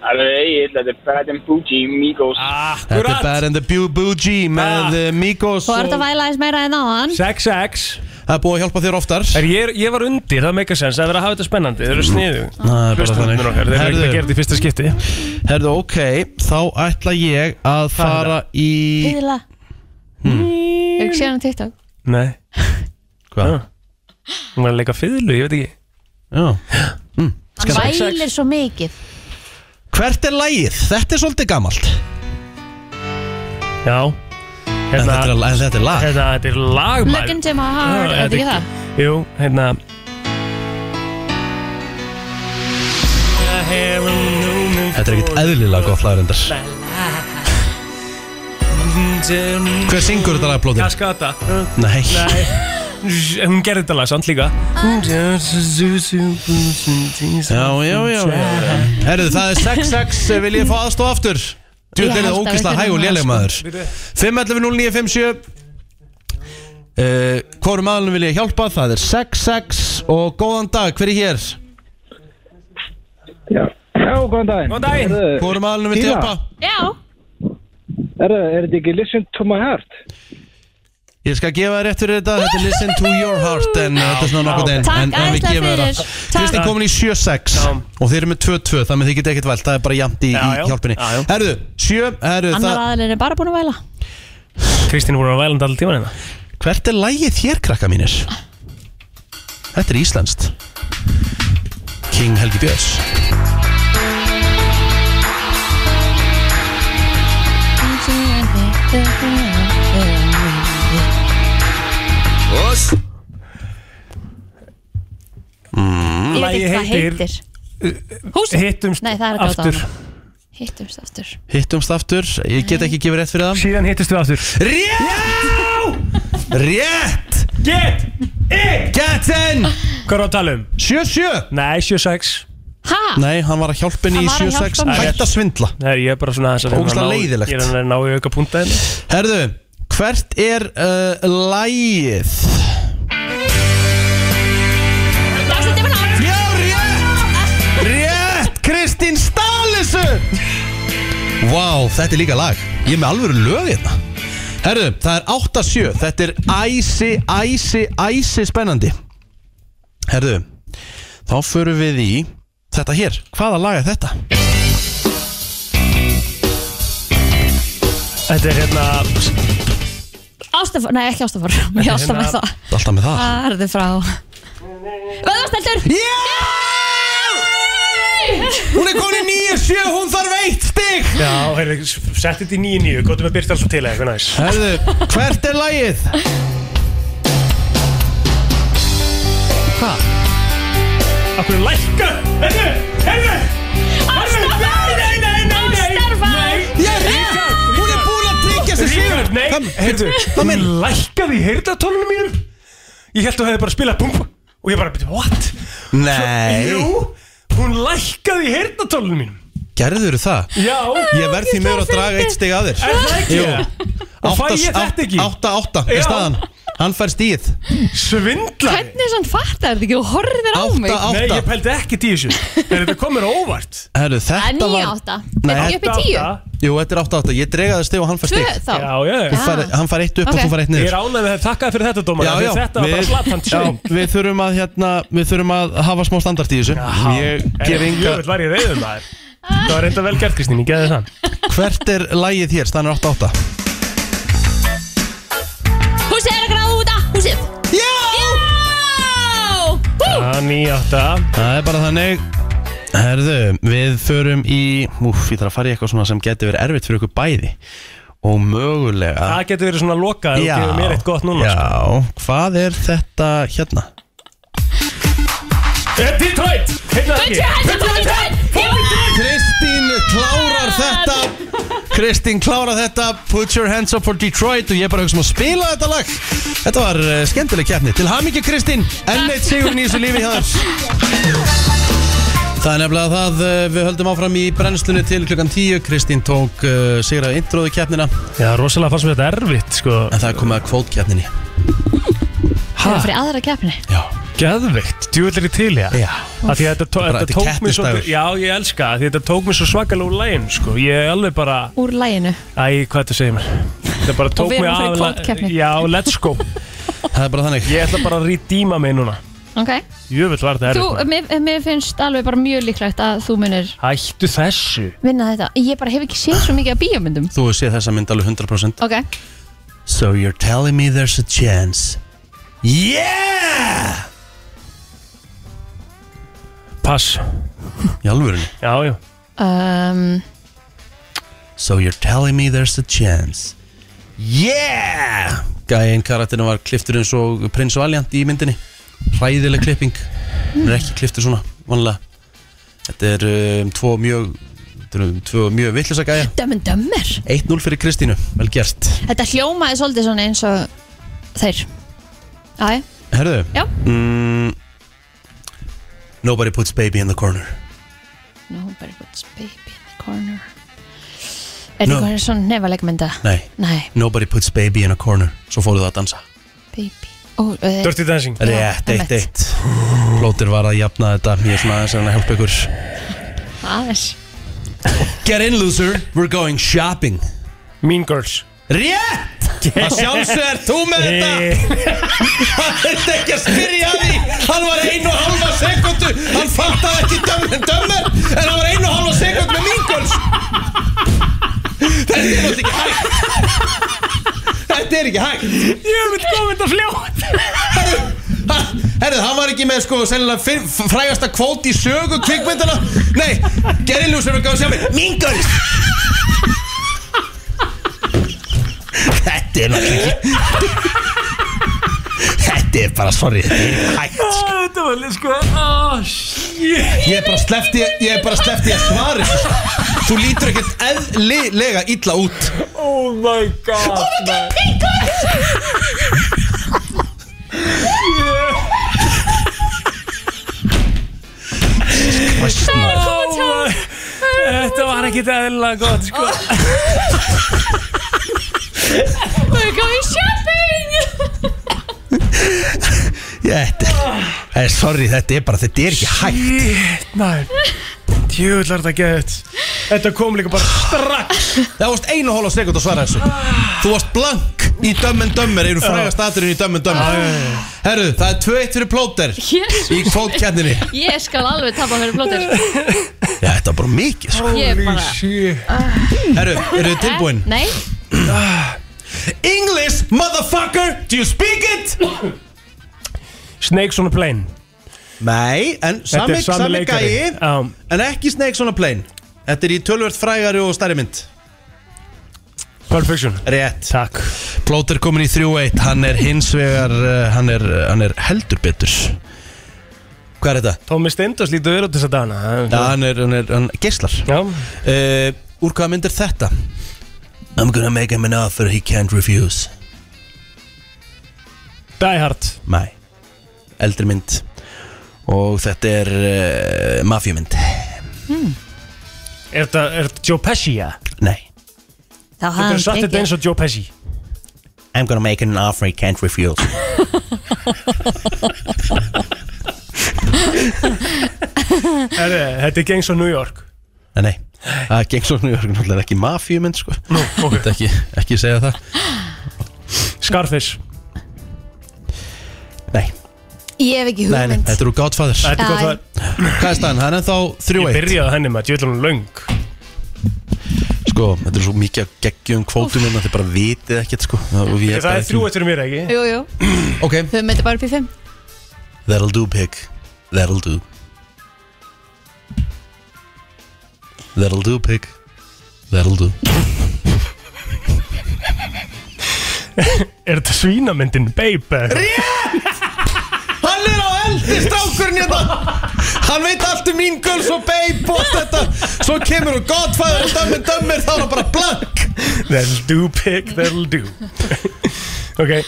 Q: Það er eigið, þetta er Fred and Fuji, Migos Akkurat
A: Þetta er Bad and the Bu Bougie með ah. Migos
B: Þú ert að væla aðeins meira en áðan
C: 6-6
A: Það er búið að hjálpa þér oftar
C: er, ég, ég var undir, það meikar sens Það er verið að hafa þetta spennandi, þeir eru sniðu
A: það er bara þannig.
C: okkar, þeir eru ekki
A: Herðu.
C: að gera þetta í fyrsta skipti
A: Herðu, ok, þá ætla ég að fara í Hmm.
B: Píðla Hugsaðu hann á TikTok
C: Nei Hvað? Hún var að leika fiðlu, ég veit ekki Mm.
A: Já
B: Hann vælir svo mikið
A: Hvert er lægið? Þetta er svolítið gamalt
C: Já Hérna-
A: En þetta er, en þetta er lag
C: Þetta, þetta er lag maður.
B: Look into my heart,
C: Já,
B: er þetta ekki það?
C: Jú, hérna
A: Þetta er ekkert eðlilega gott lag reyndar Hver syngur þetta lag plótir?
C: Kaskata
A: Nei.
C: Nei Hún gerði þetta lag samt líka Já,
A: Já, já, já, já. Herðu, það er 6-6 Vil ég fá aðstof aftur? Djúll er
C: Ég held
A: það
C: að
A: ógisla hæg
C: við
A: og
C: þurfum
A: léleg
C: að-
A: maður 511-0957 Uh, hvorum aðlunum vil ég hjálpa? Það er 6-6 og góðan dag, hver er hér?
S: Já, góðan daginn
C: Góðan daginn
A: Hvorum aðlunum vil ég hjálpa?
B: Já
S: Er, er þetta ekki Listen to my heart?
A: Ég skal gefa þér rétt fyrir þetta, þetta er Listen to your heart en uh, þetta er svona nokkuð en,
S: Takk
A: en, en við
S: æðislega
A: gefum þér
S: fyrir.
A: það
S: Takk.
A: Kristín komin í 7-6 og þeir eru með 2-2 þannig að þið getið ekkert velt, það er bara jæmt í, í hjálpinni Herðu, 7, herðu
B: Annar
A: það
B: aðalinn er bara búin að væla
C: Kristín voru að vælanda allir tíman hérna
A: Hvert er lægið þér krakka mínir? Þetta er íslenskt King Helgi Björns
R: Oss.
B: Ég veit ekki
C: Lagið
B: hvað heitir Hús
C: Hittumst
B: Nei, það er að
A: aftur.
B: gáta hana Hittumst aftur
A: Hittumst aftur, ég get ekki gefið rétt fyrir það
C: Síðan hittist við aftur
A: Rétt! Rétt!
C: Get in!
A: Get in!
C: Hvað er að tala um?
A: 7-7
C: Nei, 7-6
B: Ha?
A: Nei, hann var að hjálpa henni í
C: Hann var að hjálpa
A: 7-6
C: mér.
A: Hætt að svindla
C: Nei, ég er bara svona aðeins að reyna að
A: Ógeðslega
C: ná-
A: leiðilegt.
C: Ég er að reyna að ná í auka púnta hérna
A: Herðu, hvert er uh, lægið? Já, rétt! Rétt! Kristín Stalissu! Vá, þetta er líka lag Ég er með alvöru lög hérna Herðu, það er 8-7 Þetta er æsi, æsi, æsi spennandi Herðu, þá förum við í Þetta hér, hvaða lag er þetta?
C: Þetta er hérna
B: Ástafór, nei ekki ástafór Ég er alltaf með það
A: Alltaf
C: Ah.
A: með það
B: Farðu frá Vöðvasteltur Já
A: Hún er komin í 9-7, hún þarf eitt stig
C: Já, heyrðu, sett þetta í 9-9 Góttum við að byrta alltaf til eða eitthvað næs
A: Herðu, hvert er lægið? Hvað?
C: Akkur lækka Heyrðu, heyrðu Ástafór Nei, nei, nei, nei Ástafór
A: Já, Ríkard, hún er búin að tryggja sig sigur
C: Ríkard, nei, heyrðu Hún lækkaði í heyrðatólunum mínum Ég held að þú hefði bara spilað pump Og ég bara, what?
A: Nei
C: Jú Hún lækkaði í heyrnatólunum mínum
A: Gerður það?
C: Já
A: Ég verð því mjög að draga eitt stig að þér
C: Er það ekki? Og fæ ég þetta ekki?
A: 8-8
C: Já.
A: er staðan Hann fær stíð
C: Svindla
B: Hvernig sann fattar þetta ekki og horfir þér á mig?
C: Nei, ég pældi ekki í þessu Er þetta komur óvart?
A: Herru, þetta
B: Það er
A: var
B: 9-8 Þetta er ekki upp í 10
A: Jú, þetta er 8-8 Ég dregaði stig og hann fær
B: Tvö
A: stig
B: þá. Já, já, já.
A: Þú fær- Hann fær eitt upp
B: Ok.
A: og þú fær eitt niður
C: Ég er ánægð með þetta, þakkaði fyrir þetta dómar
A: Já, já,
C: Þetta var bara slatan sving
A: já, við þurfum að hérna, við þurfum að hafa smá standart í þessu Ég gef
C: Ég
A: enga
C: vil Eh, var ég reyðum maður Það var reynda vel gert Kristín, ég geði það
A: Hvert er lægið hér, stannur 8-8
I: Húsið er að gráða út ah, af húsið
A: Já
I: Já
C: Já, 9-8
A: Það er bara þannig Herðu, við förum í Úf, ég þarf að fara í eitthvað svona sem getur verið erfitt fyrir ykkur bæði Og mögulega
C: Það getur verið svona lokað og gefur mér eitt gott núna sko.
A: Já, hvað er þetta hérna?
C: Detroit
A: Kristín klárar þetta Kristín klárar þetta Put your hands up for Detroit Og ég er bara að hugsa um að spila þetta lag Þetta var uh, skemmtileg keppni Til hamingju Kristín, enn eitt sigurinn í þessu lífi hjá þér Það er nefnilega það, uh, við höldum áfram í brennslunni til klukkan 10 Kristín tók uh, sigra intróðu keppnina
C: Já, rosalega fannst mér þetta erfitt sko.
A: En það er komið að kvót keppninni
B: Það er fyrir aðra keppni
C: Gæðveikt, djúvillir í til já
A: Já
C: Af því að þetta, tó,
A: Bara
C: þetta
A: þetta er
C: tók mér svo
A: keppnisdagur.
C: Já, ég elska það, af því að þetta tók mér svo svakalega úr lægin sko. Ég er alveg bara
B: Úr læginu
C: Æ, hvað þetta segir mér Þetta bara tók
B: við
C: mig
B: erum að fara í
C: af
B: kvótkeppni.
C: Já, let's go
A: Það er bara þannig
C: Ég ætla bara að redeema mig núna
B: Ok
C: Jöfull var þetta
B: Þú,
C: erfitt maður.
B: mér, mér finnst alveg bara mjög líklegt að þú munir
C: Hættu þessu
B: vinna þetta Ég bara hef ekki séð svo mikið af bíómyndum
A: Þú hefur séð þessa mynd alveg 100%
B: Ok
A: So you're telling me there's a chance Yeah
C: Pass
A: Í alvörunni
C: Já, já
B: um,
A: So you're telling me there's a chance Yeah Gæinn karakterinn var kliftur eins og prins Valiant í myndinni Hræðileg klipping Hún er ekki kliftur svona, vanlega Þetta er um, tvo mjög Þetta eru tvo mjög vittlisa gæja
B: Dömmin dömmir
A: 1-0 fyrir Kristínu, vel gert
B: Þetta hljómaði svolítið svona eins og þeir Æ,
A: Herðu
B: Já.
A: mm, Nobody puts baby in the corner
B: nobody puts baby in the corner Er
A: No.
B: þetta no. svona nefalegmynda?
A: Nei,
B: Nei,
A: Nobody puts baby in a corner Svo fóruðu að dansa
B: baby Ó, uh,
C: Dirty Dancing
A: Rétt, eitt, eitt Plótir var að jafna þetta Ég er svona aðeins að reyna að hjálpa ykkur
B: Aðeins
A: Get in loser, we're going shopping
C: Mean Girls
A: Rétt! Að sjálfsög er þú með þetta Hann þurfti ekki að spyrja að því Hann var einu og halva sekundu Hann fattaði ekki dömmer, dömmer En hann var einu og halva sekund með mingurs Þetta er náttúrulega ekki hægt Þetta er ekki hægt
C: Ég vil koma þetta fljótt
A: Herðu, hann var ekki með sko sennilega fyr- frægasta kvót í sögu kvikmyndana Nei, Gary Lewis er að gáða sjá mig Mingurs Þetta er náttúrulega ekki Þetta er bara, sorry, þetta er ekki hægt
C: Þetta var líka sko Oh, shit
A: Ég er bara slefti, ég er bara slefti að svari Þú lítur ekkert eðlilega illa út
C: Oh my god Oh my god, Oh my Þetta var ekkit eðlilega gott sko
I: We're going shopping
A: Þetta er, sorry, þetta er bara, þetta er ekki hægt
C: Shit, næ Tjúðlar þetta gett Þetta kom líka bara strax
A: Það varst einu hóla sekund að svara þessu Þú varst blank í dömmen dömmer Einu frægast aðurinn í dömmen dömmer Herru, það er 2-1 fyrir plóter
B: Jesus.
A: Í kvótkenninni
B: Ég skal alveg tapa fyrir blóttir
A: Já, þetta var bara mikið sko.
B: Ég er bara
A: Herru, eru þið tilbúin?
B: Nei,
A: English, motherfucker, do you speak it?
C: Snakes on a plane
A: Nei, en
C: Þetta
A: sami,
C: er sami
A: sami
C: leikari.
A: gæi
C: Já.
A: En ekki Snakes on a Plane Þetta er í tölvöld frægari og stærri mynd
C: Perfection
A: Rétt
C: Takk
A: Plóter komin í 3-1 Hann er hins vegar, uh, hann er, hann er heldur betur Hvað er þetta?
C: Tómi Steindos lítur verið út þess að dana
A: Já, hann er, hann er, hann geislar
C: Já
A: uh, Úr hvaða mynd er þetta? I'm gonna make him an offer he can't refuse
C: Die Hard
A: Mæ Eldri mynd og þetta er uh, mafjumynd
C: Er þetta er þetta Joe Pesci, ja?
A: Nei.
B: Þá
C: Þú getur sagt þetta eins og Joe Pesci
A: I'm gonna make an offer I can't refuse
C: Herri, Þetta er Gangs of New York
A: Nei, nei, það geng svo nú Það er ekki mafjumynd sko Nú, ok ekki, ekki segja það
C: Scarface
B: Ég hef ekki
A: Nei, nei,
B: hugmynd
A: þetta eru Godfathers
B: Þetta er Já, Godfather.
A: Hvað er staðan? Það er ennþá 3-1
C: Ég byrjaði henni með að djöðla hún löng
A: Sko, þetta er svo mikið að geggjum kvótum en þið bara vitið ekkert sko og ég
C: Það
A: bara
C: er
A: ekki-
C: þrjú eftir mér, ekki?
B: Jú, jú
A: Ok
B: Hugmynd er bara upp í 5
A: That'll do, pig That'll do That'll do, pig That'll do
C: Er þetta svínamyndin Babe?
A: Hann er á eldi strákurinn hérna Hann veit allt um Mean Girls og Babe og þetta Svo kemur og Godfather og Dömmir Dömmir þá er hann bara blank
C: That'll do, pig, that'll do Ok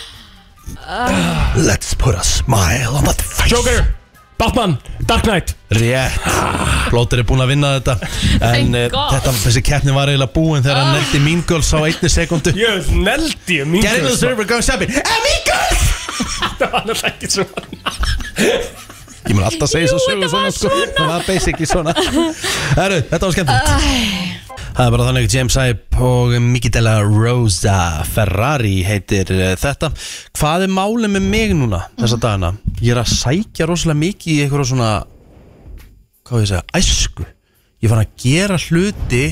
A: Let's put a smile on that face
C: Joker, Batman, Dark Knight
A: Rétt Plóter er búinn að vinna þetta En eh,
C: God.
A: þetta, þessi keppni var eiginlega búin þegar hann neldi Mean Girls á einni sekundu
C: Jöð, neldi ég Mean
A: Get in the
C: Girls,
A: server, go shopping Mean Girls
C: Það var náttúrulega ekki svo
A: Ég mun alltaf segja svo sögur svona sko Það var basic í svona Heru, Þetta var skemmtilegt Það er bara þannig James Ipe og Miki Della Rosa Ferrari heitir eh, þetta Hvað er málið með mig núna þessa dagana? Ég er að sækja rosalega mikið í einhverja svona hvað á ég að segja, æsku Ég fann að gera hluti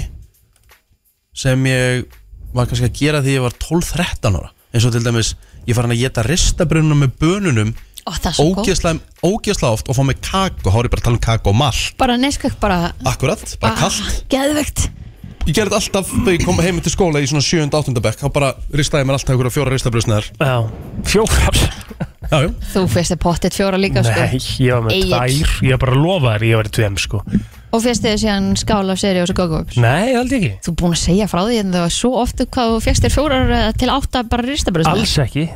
A: sem ég var kannski að gera því ég var 12-13 ára eins og til dæmis, ég fann að geta ristabrunum með bönunum
B: Ó, það er svo góð
A: ógeðslega ógeðslega oft og fá mig kakó, þá er ég bara að tala um kakó og malt
B: Bara neskök bara
A: Akkurat, bara
B: Ah,
A: kallt
B: Geðvegt
A: Ég gerði þetta alltaf þegar ég kom heim til skóla í svona 7. 8. bekk þá bara ristaði ég mér alltaf einhverja fjóra ristabrusnaðar
C: Já, fjórar
A: Já, já
B: Þú fyrst þið pottitt fjóra líka
C: Nei,
B: sko
C: ég var með
B: Egill.
C: tvær Ég var bara að lofa þér, ég var í tveim, sko
B: Og fyrst þið síðan skála á seri og svo gogo
C: Nei, held ég ekki
B: Þú er búin að segja frá því en það var svo oft hvað þú fyrst þér fjórar eh, til átta bara ristabröðsna
C: Alls ekki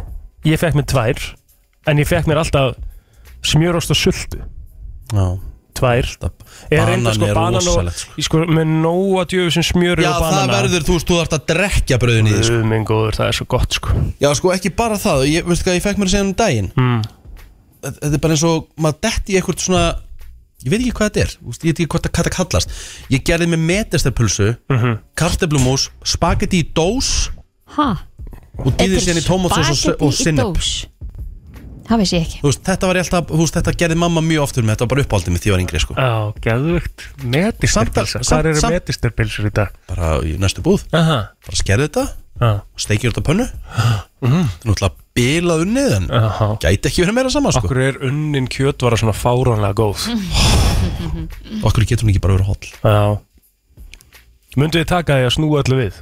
C: Ég fekk mér tvær En ég fekk mér alltaf smjörost og sultu
A: Já
C: Tvær Ég reyndi
A: banan
C: sko
A: er
C: banan og
A: rosalegt,
C: Ég sko með nóa djöfu sem smjöru
A: Já,
C: og
A: það
C: banana
A: verður, þú veist, þú þarft að drekja bröðin í því sko.
C: Minn góður, það er svo gott sko
A: Já, sko, ekki bara það, ég, veistu hvað, ég fekk mér að segja um daginn
C: mm.
A: Þetta er bara eins og, maður detti í eitthvað svona Ég veit ekki hvað þetta er, úst, ég veit ekki hvað það- hvað það kallast Ég gerði með meterstepulsu, mm
C: Mhm.
A: -hmm. karteblumús, spagetti í dós
B: Ha?
A: Og dýði síðan í tómatsós og, s- og sinneb
B: Það veist ég ekki
A: Þú veist, þetta var ég alltaf, þú veist, þetta gerði mamma mjög oftur með Þetta var bara uppáldið mitt, því ég var yngri, sko
C: Já, geðvögt Metistirpilsa,
A: Samt-
C: hvað eru
A: samt-
C: metistirpilsur í dag?
A: Bara í næstu búð,
C: Aha. Ah.
A: bara skerði þetta
C: Já.
A: og steikir þetta á pönnu
C: Mhm.
A: mm. Náttúrulega bilað unnið en gæti ekki verið meira saman, sko
C: Okkur er unnin kjötvara svona fáránlega góð
A: Okkur getur hún ekki bara verið hóll
C: Já Mundu þið taka því að snúa öllu við?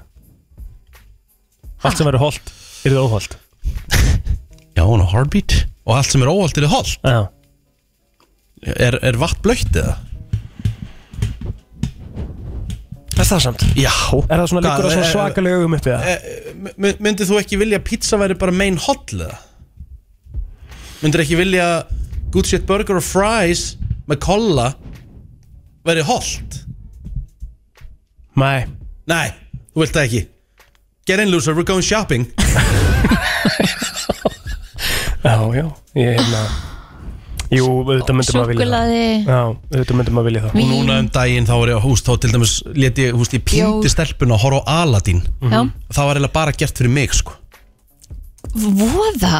C: Allt sem verður holdt, er það óholt
A: Já, hún á heartbeat Og allt sem er óholt er hóll
C: Já
A: Er, er vatn blöytt eða?
C: Er það samt?
A: Já
C: Er það svona líkur að
A: eh,
C: svona svakalega augum uppi það?
A: svakalega Myndið eh, þú ekki vilja að pizza væri bara main hóll eða? Myndir ekki vilja good shit burger og fries með kolla væri hóll?
C: Nei
A: Nei, þú vilt það ekki Get in loser, we're going shopping
C: Já, já Ég hefna Jú, auðvitað myndum maður vilja það.
B: Súkkulaði.
C: Já, auðvitað myndum maður vilja það
A: Og núna um daginn þá var ég á húst Þá til dæmis leti ég, húst, ég píndi
B: Bjór. Mhm.
A: stelpuna að horfa á Aladdin
B: Já.
A: Það var eiginlega bara gert fyrir mig sko
B: Voða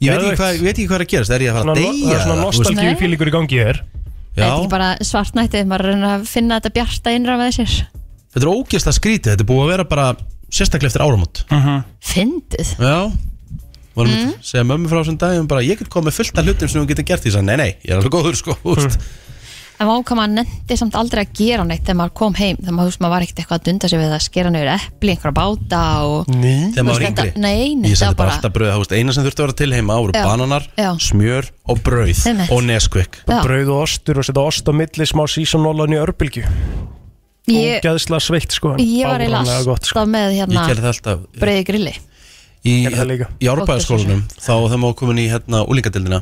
A: Ég veit ekki, hvað, ég veit ekki hvað er að gerast, er ég að fara að
C: Svona-
A: deyja?
C: það er svona nostalgíu Nei. fílingur í gangi hér
A: Já,
B: Þetta er ekki bara svartnættið Maður reynir að finna þetta bjarta innra með sér
A: þetta er ógeðslega skrítið, þetta er búið að vera bara sérstaklega eftir áramót
C: Mhm.
B: Fyndið Mhm.
A: Já, varum mm. að segja mömmu frá þessum dagum bara, ég get komið fullt af hlutum sem hún getur gert því, að nei, nei, ég er alveg góður sko, húst
B: En vá hvað maður nefndi samt aldrei að gera neitt þegar maður kom heim, þegar maður, þú veist, maður var ekkert eitthvað að dunda sig við að skera neyður epli, einhverja báta og...
C: Nei,
B: Þú
A: Þegar maður var
B: veist,
A: yngri
B: þetta- nei, nei,
A: Ég
B: þetta
A: sendi
B: var
A: bara
B: bara-
A: alltaf bröð, húst, eina sem þurfti að vera til heima voru
B: Já.
A: bananar,
B: Já.
A: smjör og brauð
B: Einmitt.
A: og neskvik
B: Já.
C: Brauð og ostur og setja ost á milli smá sísonólan í örbylgju
B: Ég,
C: Gæðsla sveitt sko en
B: ég var eiginlega
C: fáránlega gott,
B: alltaf með hérna
A: sko. Ég gerði það alltaf
B: breiði grilli.
C: Mhm.
A: Í, í árbæðaskólanum, þá þegar maður var komin í hérna úlingadildina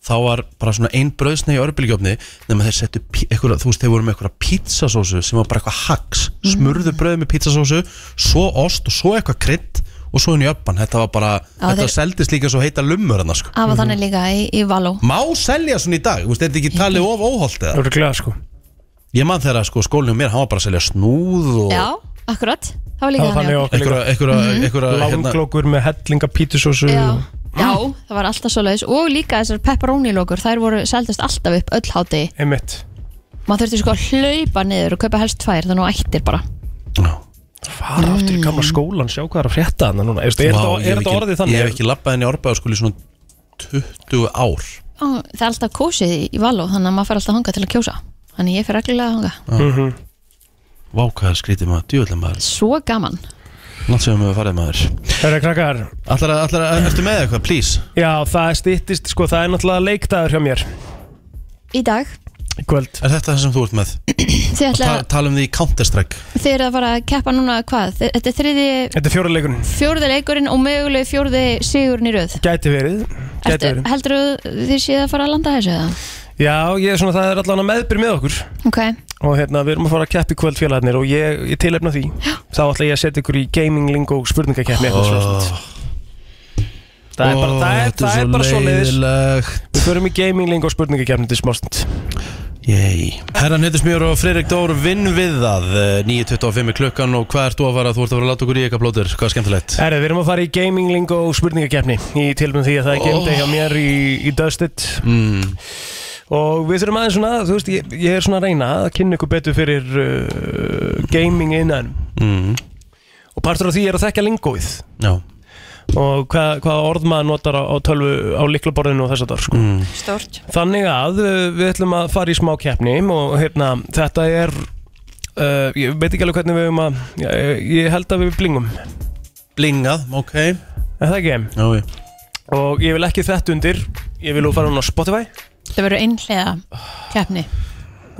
A: þá var bara svona ein brauðsnei í örbylgjöfni nema þeir settu pi- einhverja, þú veist, þeir voru með einhverja pizzasósu sem var bara eitthvað hax
B: Mhm.
A: smurðu brauð með pizzasósu, svo ost og svo eitthvað krydd og svo henni öppan þetta var bara,
B: Já,
A: þetta
B: þeir-
A: seldist líka svo heita lumur hann sko.
B: Það var þannig líka í, í Való
A: má selja svona í dag, þú veist, er þetta ekki talið of óholt eða?
C: Örglega, sko.
A: ég man þegar að sko, skólinu mér, hann var bara að selja snúð og
B: Já, akkurat, það var líka
A: Það
B: þannig
A: var þannig
B: já. Mhm.
A: okkur líka. Einhverja- einhverja- einhverja, hérna-
C: Langklókur með hellinga pítusósu
B: Já. Já, það var alltaf svo leiðis og líka þessar pepperoni-lókur, þær voru seldast alltaf upp öll háti
C: Einmitt
B: Maður þurfti sko að hlaupa niður og kaupa helst tvær þannig að ættir bara
C: Fara aftur
B: Mm.
C: í gamla skólan, sjá hvað er að frétta hann núna Veistu, Er
A: Vá,
C: þetta-
A: ég
C: er
A: hef
C: þetta
A: ekki-
C: orðið þannig?
A: ég hef ekki labbað henni orbaða skóli svona 20 ár
B: Á, Það er alltaf kósið í Való þannig að maður fer alltaf hanga til að kjósa Þannig ég fer reglulega hanga
C: Mhm.
A: -hmm. Vá, hvað er skrítið maður, djúvöldlega maður
B: Svo gaman
A: Látt sem við höfum farið maður
C: Herra krakkar
A: Allar, allar, ertu með eitthvað, please?
C: Já, það stýttist, sko, það er náttúrulega leikdagur hjá mér
B: Í dag,
C: í kvöld
A: Er þetta það sem þú ert með?
B: þið
A: Og
B: ætlaði
A: ta tala um því Counter-Strike
B: Þið eru að fara að keppa núna hvað? Þi- Þetta er þriði,
C: Þetta er fjóra leikurinn
B: fjórði leikurinn og möguleg fjórði sigurinn í röð
C: Gæti verið, gæti
B: Ertu,
C: verið.
B: Heldur þið séð að fara að landa þessu eða?
C: Já, ég er svona, það er allan að meðbyr með okkur
B: Ok,
C: og hérna, við erum að fara að keppa í kvöld félagarnir og ég, ég tilefna því þá ætla ég að setja ykkur í gaming lingo spurningakeppni eitthvað svona
A: Ah.
C: Það er bara, það er, það er bara svo leiðis Við förum í gaming lingo spurningakeppni til smástund
A: Yey. Herran Hittismjör og Freirik Dór vinn við það eh, 9.25 er klukkan og hvað ert þú að fara? Þú ert að fara að láta okkur í eitthvað blótur, hvað er skemmtilegt?
C: Herri, við erum að fara í gaming lingo spurningakeppni í tilfellum því að það er gemdi hjá mér í, í Dusted
A: mm.
C: og við þurfum aðeins svona, þú veist, ég, ég er svona að reyna að kynna ykkur betur fyrir uh, gaming innan
A: Mm.
C: og partur af því er að þekka lingoið
A: Já.
C: og hvað, hvað orð maður notar á, á tölvu á liklaborðinu og þess að það sko.
A: mm.
N: Stórt
C: Þannig að uh, við ætlum að fara í smá keppni og hérna, þetta er uh, ég veit ekki alveg hvernig við höfum að ég, ég held að við blingum
A: Blingað, ok
C: Er það ekki?
A: Já, já
C: Og ég vil ekki þetta undir Ég vil nú fara hún á Spotify
B: það verður einhlega keppni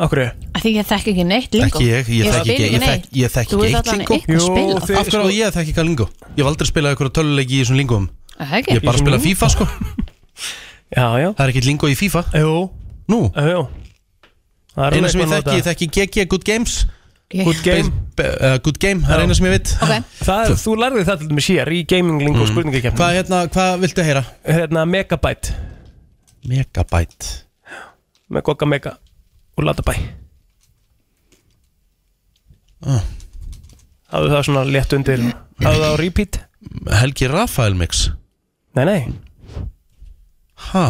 C: Akkur
B: að Því ég þekki ekki neitt lingo
A: Ekki ég, ég þekki ekki, ég þekki, ég þekki
B: ekki
A: ekki eitt lingó
B: Þú veit
A: Af hverju á ég að þekki eitthvað lingó? Ég hef aldrei spilað eitthvað töluleiki í svona lingóum
B: Það ekki?
A: Ég hef bara
C: Í svona
A: spilað FIFA sko
C: Já, já
A: Það er ekkert lingó í FIFA
C: Jú
A: Nú?
C: Jú Það er
A: Einu
C: alveg
A: sem ég þekki, ég
C: eitthvað að nota.
A: þekki GG Good Games
B: Ok.
C: Good Game.
A: Be- be- uh, Good Game, það er
C: Já.
A: eina sem ég veit
B: okay.
C: Það, þú lærði það til dæmis hér í gaming lingo mm. spurningakefni
A: Hvað hérna, hvað viltu heyra?
C: Hérna Megabyte
A: Megabyte
C: Með Goga Mega úr Latabæ
A: Ah.
C: Hafðu það svona létt undir Hafðu það á repeat
A: Mm. Helgi Rafael mix
C: Nei, nei
A: Ha?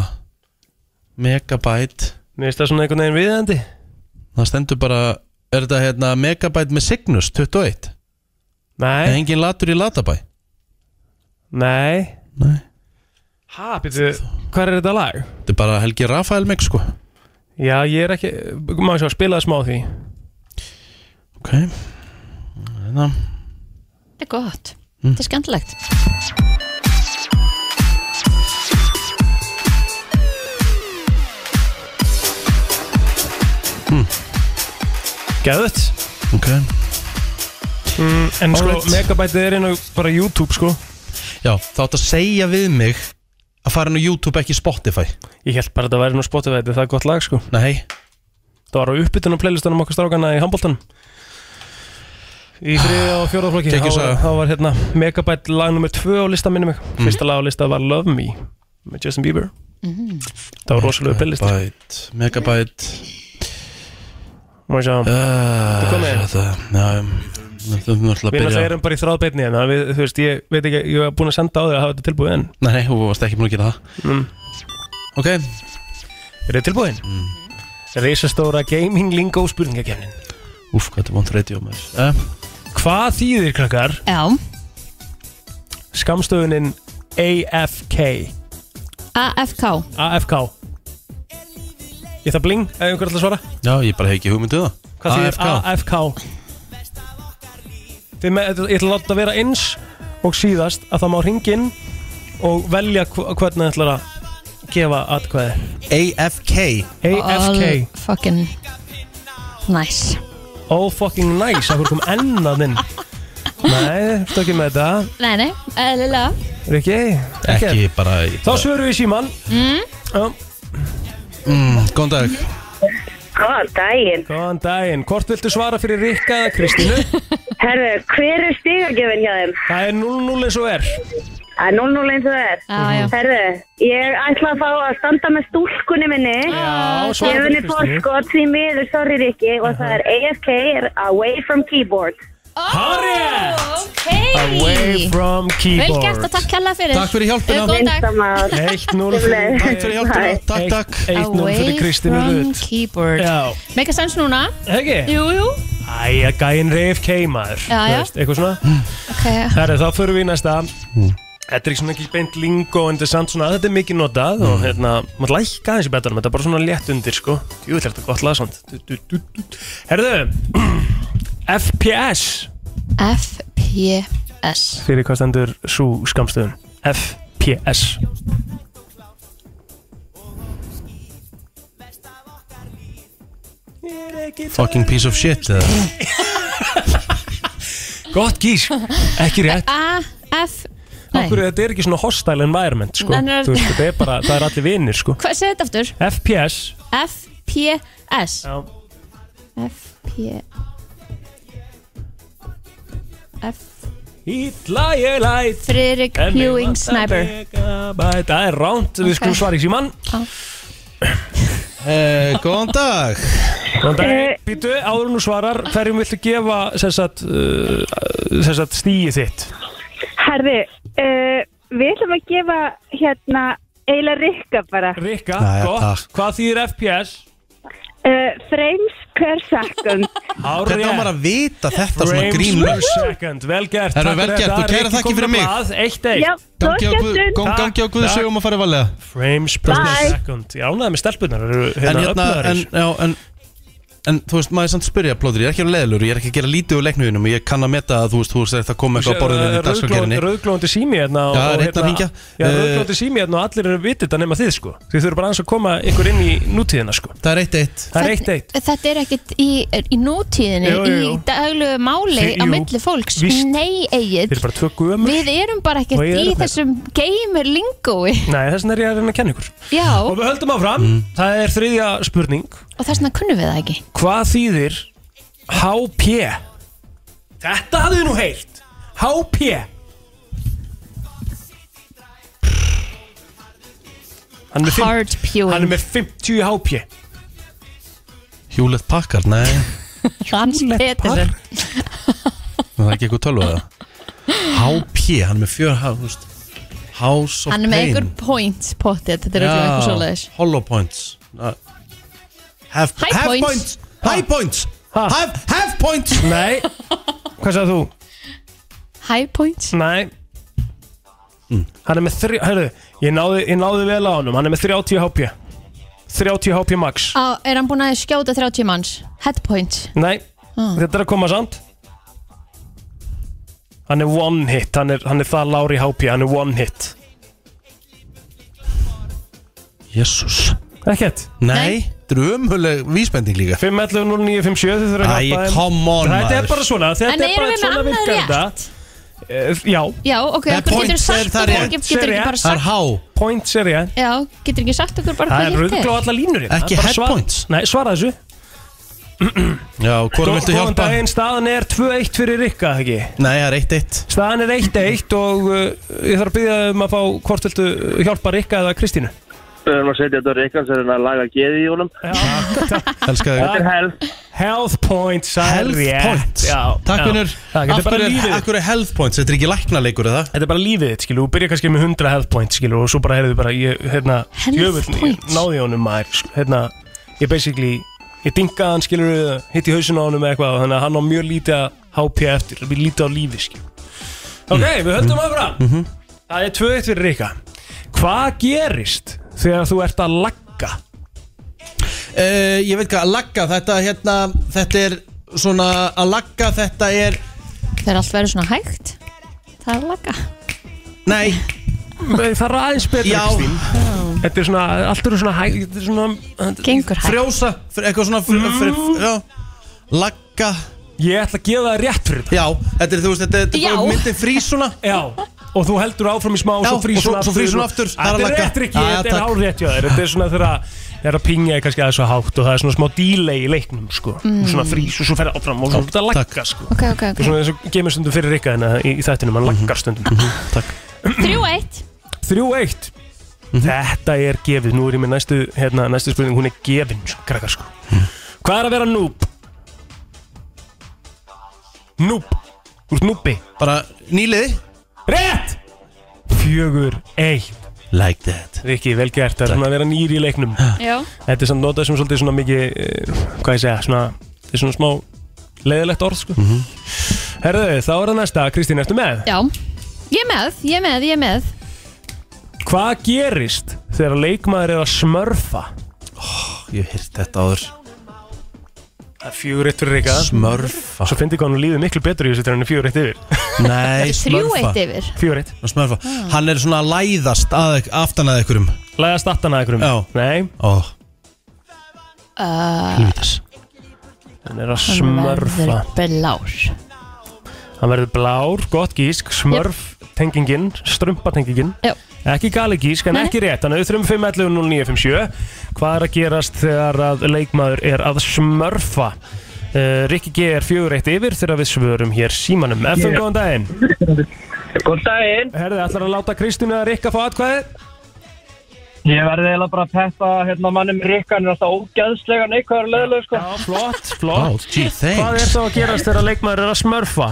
A: Megabyte
C: Mér finnst það svona einhvern veginn viðandi
A: Það stendur bara, er þetta hérna Megabyte með Cygnus 21?
C: Nei
A: En engin latur í Latabæ?
C: Nei Ha, býttu, hvað er þetta lag?
A: Þetta er bara Helgi Rafael mix sko
C: Já, ég er ekki Má ég sjá, spilaði smá af því
A: Ok Hérna
B: Þetta er gott,
A: Mm.
B: þetta er skemmtilegt
A: Mm.
C: Gæðut
A: Ok
C: mm, En sko,
A: Alright.
C: megabætið er inn á bara YouTube sko
A: Já, þá átt að segja við mig að fara inn á YouTube ekki Spotify
C: Ég held bara að þetta væri nú Spotify, þetta er það gott lag sko
A: Nei
C: Það var á uppbytunum playlistanum okkar strákana í handbóltanum Í þriðja og fjóra flokki
A: Kekjuð
C: Þá var-
A: saga. Mm.
C: Þá var hérna megabæt lag nummer tvö á lista minni mig Fyrsta lag á lista var Love Me með Justin Bieber Það var rosalega playlist
A: Megabyte Megabyte
C: Má ég sjá
A: Þetta
C: er komið
A: Þetta, já Þú erum alltaf að
C: Við erum
A: byrja
C: erum bara í þráðbeinni en það við, þú veist, ég veit ekki, ég hef búin að senda á þig að hafa þetta tilbúið en
A: Nei, nei, þú varst ekki búin að gera það
C: mm.
A: Ok
C: Er þið tilbúin? Mm. Reisastóra gaming lingo spurningakefnin
A: Úf, hvað þetta er vond radio maður eh?
C: Hvað þýðir krakkar
B: Já,
C: skamstöðunin AFK
B: AFK
C: AFK Ég það bling, ef einhver ætla að svara
A: Já, ég bara hef ekki hugmynduð það
C: Hvað þýðir AFK? Þið með, ég ætla að láta það vera eins og síðast að það má ringin og velja hv- hvernig það ætlar að gefa atkvæði
A: AFK
C: AFK
B: All fucking nice
C: All fucking nice, af hverju kom ennaðinn Nei, þetta ekki með þetta
B: Nei, nei, eðlilega
C: Rikki,
A: Ekki bara
C: Þá svörum við síman
B: mm.
C: Já.
A: mm, Góðan dag
D: Góðan daginn.
C: Góðan daginn. Hvort viltu svara fyrir Rikka eða Kristínu?
D: Herðu, hver er stigagjöfin hjá þeim?
C: Það er 0-0 eins og er.
D: Það er 0-0 eins og er.
A: Ah,
C: Já, já.
D: Herðu, ég ætla að fá að standa með stúlkunni minni.
C: Já,
D: svo.
C: svaraðu
D: Ég vinni
C: Kristínu.
D: fórskot því miður, sorry Rikki, og það er AFK, er Away from Keyboard.
C: Harrið! Away
D: Away
C: from keyboard.
D: Vel gert og takk
B: kærlega
D: fyrir.
A: Takk fyrir hjálpina.
D: Góðan dag.
C: 1-0
D: Sömuleiðis.
A: Takk fyrir hjálpina,
D: Hæ.
A: takk, takk
B: Away from keyboard
C: Já.
B: Make a sense núna
C: Ekki?
B: Jú, jú
C: Æja, gæinn reyf keimaður.
B: Já, já.
C: Eitthvað svona.
B: okay.
C: Herri, þá förum við í næsta. Þetta er ekki svona ekki beint lingo en þetta er samt svona, þetta er mikið notað og hérna, maður lækka aðeins í betanum, þetta er bara svona létt undir, sko. Jú, þetta er þetta gott laðsand. Herðu, FPS.
B: FPS
C: Fyrir hvað stendur svo skamstöðun? FPS.
A: Fucking piece of shit eða?
C: Gott gís, ekki rétt.
B: AF Nei,
C: Okkur, þetta er ekki svona hostile environment, sko.
B: Nei, nei.
C: Þú veist, þetta er bara, það er allir vinnir, sko.
B: hvað segir þetta aftur?
C: FPS.
B: FPS
C: Já.
B: FP F
C: Ítla ég læt
B: Friðrik
C: En mig
B: Hewing
C: vantar
B: Sniper.
C: megabyte. Það er ránt, við
B: Ok.
C: skulum svara í síman
B: Já.
A: Eh, Góðan dag
C: Góðan
A: Eh.
C: dag, býtu, áður nú svarar Hverjum viltu gefa sessat, uh, sessat stíi þitt?
L: Herði, uh, við ætlum að gefa hérna eiginlega Rikka bara.
C: Rikka,
L: Jæja,
C: gott, hvað þýðir FPS?
L: Uh, frames per second.
C: Hárið
A: Hvernig á maður að vita þetta svona
C: Frames
A: grínlaus?
C: per second, vel gert
A: Herru,
C: Takk
A: vel
C: fyrir
A: gert
C: þetta.
A: og kæra
C: Rikki
A: þakkir
C: kom
A: fyrir
C: með
A: mig.
C: blað, Eitt eitt
A: Já, Gangi á góð- skemmtun. gó- gangi á Guði sögum að fara valega
C: Frames per
A: Bye.
C: second Ég ánaði með stelpunar eru
A: En hérna,
C: öflugar í
A: en,
C: þessu.
A: já, en En þú veist, maður er samt spyrja plóður, ég er ekki að leðlur, ég er ekki að gera lítið úr leiknuðinum og ég kann að meta að þú veist, þú veist, þetta kom eitthvað á borðinu í
C: Rauðglóandi-
A: dagskalgerinni.
C: Rauðglóandi sími hérna
A: Já,
C: og- og
A: er einn að
C: hérna-
A: hringja.
C: Já,
A: Eh,
C: rauðglóandi sími hérna og allir eru vitið þetta nema þið sko Þið þurfum bara aðeins að koma ykkur inn í nútíðina sko
A: Það er eitt eitt
C: Það er eitt eitt
B: Þetta er ekkert í, í nútíðinni,
C: Jú, jú, jú.
B: í daglegu máli
C: Þi-
B: á
C: jú,
B: milli fólks.
C: víst.
B: Nei,
C: Þið
B: Egil,
C: eru bara tvö gömur
B: við erum bara ekkert
C: Og ég
B: í
C: er með.
B: þessum gamer lingói.
C: Nei, þess vegna er ég að reyna að kenna ykkur
B: Já,
C: Og við höldum áfram,
A: Mm.
C: það er þriðja spurning
B: og þess vegna kunnum við það ekki.
C: Hvað þýðir HP? Þetta hafðu nú heyrt HP Hann er með fimm-
B: Hard pewing.
C: Hann er með 50 HP
A: Hewlett Packard, nei,
B: Hans Pettersen.
A: það er ekki eitthvað tölvað HP, hann er með fjör, hann, þú veist, House of
B: Hann er með
A: Pain.
B: einhver points potið, þetta er örugglega eitthvað svo leiðis.
A: Hollow points uh, Half,
B: High
A: half
B: points.
A: points High points Half, half points
C: Nei Hvað sagði þú?
B: High points?
C: Nei Hann er með þrjá, hörru, ég náði, ég náði vel á honum, hann er með 30 HP 30 HP max
B: Á, er hann búinn að skjóta 30 manns? Head point.
C: Nei,
B: Ah.
C: þetta er að koma samt Hann er one hit, hann er, hann er það lári HP, hann er one hit
A: Jésús
C: Ekkert
A: Nei, þetta er umhuleg vísbending líka
C: 511-0957, þið þurfum að
A: Æ,
C: hjálpa þeim.
A: come on,
C: Þetta er
A: maður.
C: bara svona, þetta
B: En
C: er
B: erum
C: bara
B: við með
C: svona
B: annað
C: virkar
B: rétt?
C: þetta Eh, Já
B: Já, ok,
C: Nei,
B: okkur getur
C: points er
B: sagt
C: það
B: okkur, getur getur
C: rétt.
B: ekki
C: Sér
B: bara
C: ég? Það er
B: sagt,
C: Points er ég
B: já, getur ekki sagt okkur bara
C: Það er
B: hvað hitt
C: röðglá alla línur hérna,
A: Ekki
C: bara
A: head
C: svara-
A: points.
C: Nei, svara þessu
A: Já, hvorum viltu hjálpa?
C: Góðan daginn, staðan er 2-1 fyrir Rikka, ekki?
A: Nei, það er 1-1
C: Staðan er 1-1 og uh, ég þarf að byggja um að fá hvort viltu hjálpa Rikka eða Kristínu
E: Við erum að setja þetta á Rikkan sem er að laga geði í honum.
A: Elskar
E: Þetta er
C: health Health points það er
A: Health
C: rétt.
A: points
C: já,
A: Takk
C: já.
A: vinnur
C: Takk, Þetta er bara lífið
A: Akkur er health points, þetta er ekki læknaleikur eða?
C: Þetta er bara lífið þitt, skilu, þú byrjar kannski með 100 health points, skilu, og svo bara heyrðu bara, ég, hérna,
A: Health
C: jöfull, ég
A: points.
C: náði honum maður, skilu, hérna, ég basically, ég dingaði hann, skilu, hitt í hausinu á honum eða eitthvað, þannig að hann á mjög lítið að HP eftir, mjög lítið á lífi, skilu.
A: Mm.
C: Ok, við höldum
A: Mm-hmm.
C: áfram. Það er 2-1 fyrir Rika. Hvað gerist þegar þú ert að lagga?
A: Uh, ég veit hvað, að lagga þetta hérna, þetta er svona að lagga þetta er
B: Þegar allt verður svona hægt, það er laga.
A: Nei
C: Það er aðeins betra,
A: Já.
C: Kristín. Þetta er svona, allt eru svona hæg, þetta er svona...
B: Gengur hægt.
A: Frjósa, fr- eitthvað svona fr, fr, fr, já, Lagga
C: Mm. Ég ætla að gefa það rétt fyrir þetta
A: Já, þetta er, þú veist, þetta, þetta er bara myndin frís svona
C: Já Og þú heldur áfram í smá og
A: Já,
C: svo frýs
A: og svo-
C: hún
A: svo
C: aftur
A: frýs hún aftur, það er
C: Þetta
A: að
C: er
A: lagga.
C: rétt Rikki,
A: Já,
C: þetta er
A: takk.
C: hár rétt hjá þér Þetta er svona þegar að er að pingja þig kannski aðeins svo hátt og það er svona smá delay í leiknum sko
B: Mm.
C: svona frís og svo ferði áfram og svona þetta lagga sko
B: Ok, ok,
C: og svona eins og gemur stundum fyrir Rikka hérna í, í þættinum, hann laggar stundum
A: Mhm,
C: Takk
B: ok Þrjú eitt
C: 3-1 Mhm. Þetta er gefið, nú er ég með næstu, hérna, næstu spurning, hún er gefin, sko, krakkar sko Hvað er að vera núb? Núb, þú ert núbi Bara nýliði Rétt! Fjögur, eitt Like that Rikki, vel gert, það er svona að vera nýr í leiknum
N: Já.
C: Þetta er samt notað sem svolítið svona mikið, eh, hvað ég segja, svona, þetta er svona smá leiðilegt orð sko Herðu, þá er það næsta, Kristín, ertu með?
B: Já, ég er með, ég er með, ég er með
C: Hvað gerist þegar leikmaður er að smörfa?
A: Oh, Ég hef hýrt þetta áður
C: Það er fjögur eitt fyrir Rikka
A: Smörfa
C: Svo fyndi hvað hann líður miklu betur í þessu þegar hann er fjögur eitt yfir
A: Nei,
B: Þetta er þrjú eitt yfir.
C: Fjögur eitt
A: Smörfa Hann er svona að læðast að, aftan að ykkurum
C: Læðast aftan að ykkurum?
A: Já
C: Nei
A: Ó,
B: uh,
A: helvítis
C: Hann er að smörfa
B: verður blár
C: Hann verður blár, gott gísk, smörf tengingin, strumpa tengingin
B: Jú.
C: Ekki gali gísk, en
B: Nei.
C: ekki rétt Þannig að 3511 Hvað er að gerast þegar að leikmaður er að smörfa? Uh, Rikki G er fjögur eitt yfir þegar við svörum hér símanum FM,
F: Yeah.
C: góðan daginn
F: Góðan daginn
C: Herði, ætlar að láta Kristínu að Rikka fá atkvæði?
F: Ég verði eiginlega bara að peppa hérna mannum Rikka Hann er alltaf ógæðslega neikvæður leðilega sko
C: Já, flott, flott
A: gee, thanks.
C: Hvað er þá að gerast þegar leikmaður er að smörfa?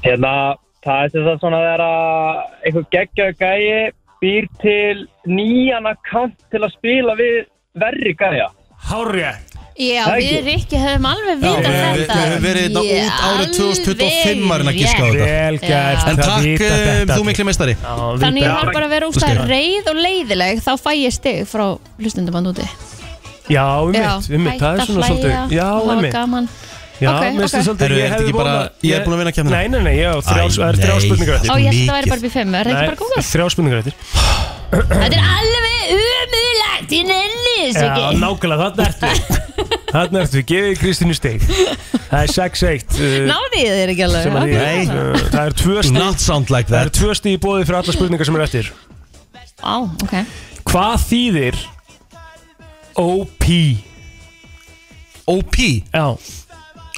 F: Hérna, það er þess að svona vera einhver geggjöðu gæi býr til nýjan akkant til að spila við verri gæja
C: Hárið
B: Já,
F: Það
B: við
F: ekki.
B: Rikki hefum alveg
A: Já,
B: vitað
A: við-
B: þetta
A: við höfum verið hérna
B: Já,
A: út árið 2025
B: alveg
A: maðurinn að giska á
B: rétt.
A: þetta
C: Vel gert,
A: En
C: það
A: takk,
C: vita
A: eh,
C: þetta
A: þú mikli meistari
B: Þannig ég þarf bara að vera
A: Þú
B: úrstæð
A: skrifar.
B: reið og leiðileg þá fæ ég stig frá hlustundum að núti
C: Já, um mitt, um mitt, það er svona svolítið Já, um mitt
B: gaman
C: Já,
B: Ok,
C: mér
B: ok.
C: finnst það svolítið,
A: Herru, er
C: ég
A: þetta
C: hefði
A: ekki bara- ég er búin að vinna keppnina.
C: Nei, nei, nei, ég á þrjá,
A: Æ,
C: það er þrjá
A: nei,
C: spurningar
A: þetta
B: Ó, ég held að það væri bara upp í fimm, er það ekki bara góð?
C: Þrjá spurningar eftir
B: Þetta er alveg umulagt, ég nenni þessu
C: Já,
B: ekki
C: nákvæmlega, þarna ertu Þarna ertu, gefið Kristínu stig Það er 6-1 uh,
B: Náði ég þér ekki alveg
C: sem að
B: ok,
C: því-
B: ok.
C: uh, Það er tvö stig
A: Not sound like
C: Það er
A: that
C: tvö stig í bóði fyrir alla spurningar sem eru eftir
B: Á, ok
C: Hvað þýðir OP?
A: OP?
C: Já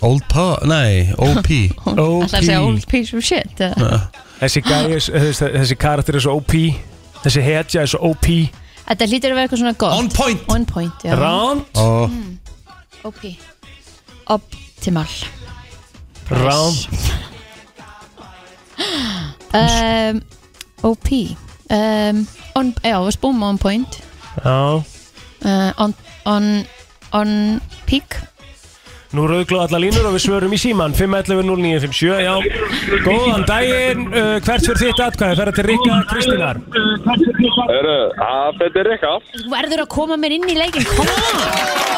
A: Old pa, nei, OP
B: Það
C: OP
B: er að segja old piece of shit eða?
C: Þessi gæi, er- þessi, þessi karakter er svo OP Þessi hetja er svo OP
B: Þetta hlýtur að vera eitthvað svona gott On
A: point
B: On point, já
C: Ránt
A: oh.
B: OP Optimal
C: Ránt
B: um, OP um, on, Já, við spúum on point
C: Já
B: uh, on, on, on peak
C: Nú rauðglóð alla línur og við svörum í síman 511-0957 Já, góðan daginn uh, Hvert fyrir þitt atkvæði? Ferða til Rikka Kristínar
J: Hörru, að þetta er eitthvað
B: Þú verður að koma mér inn í leikin Koma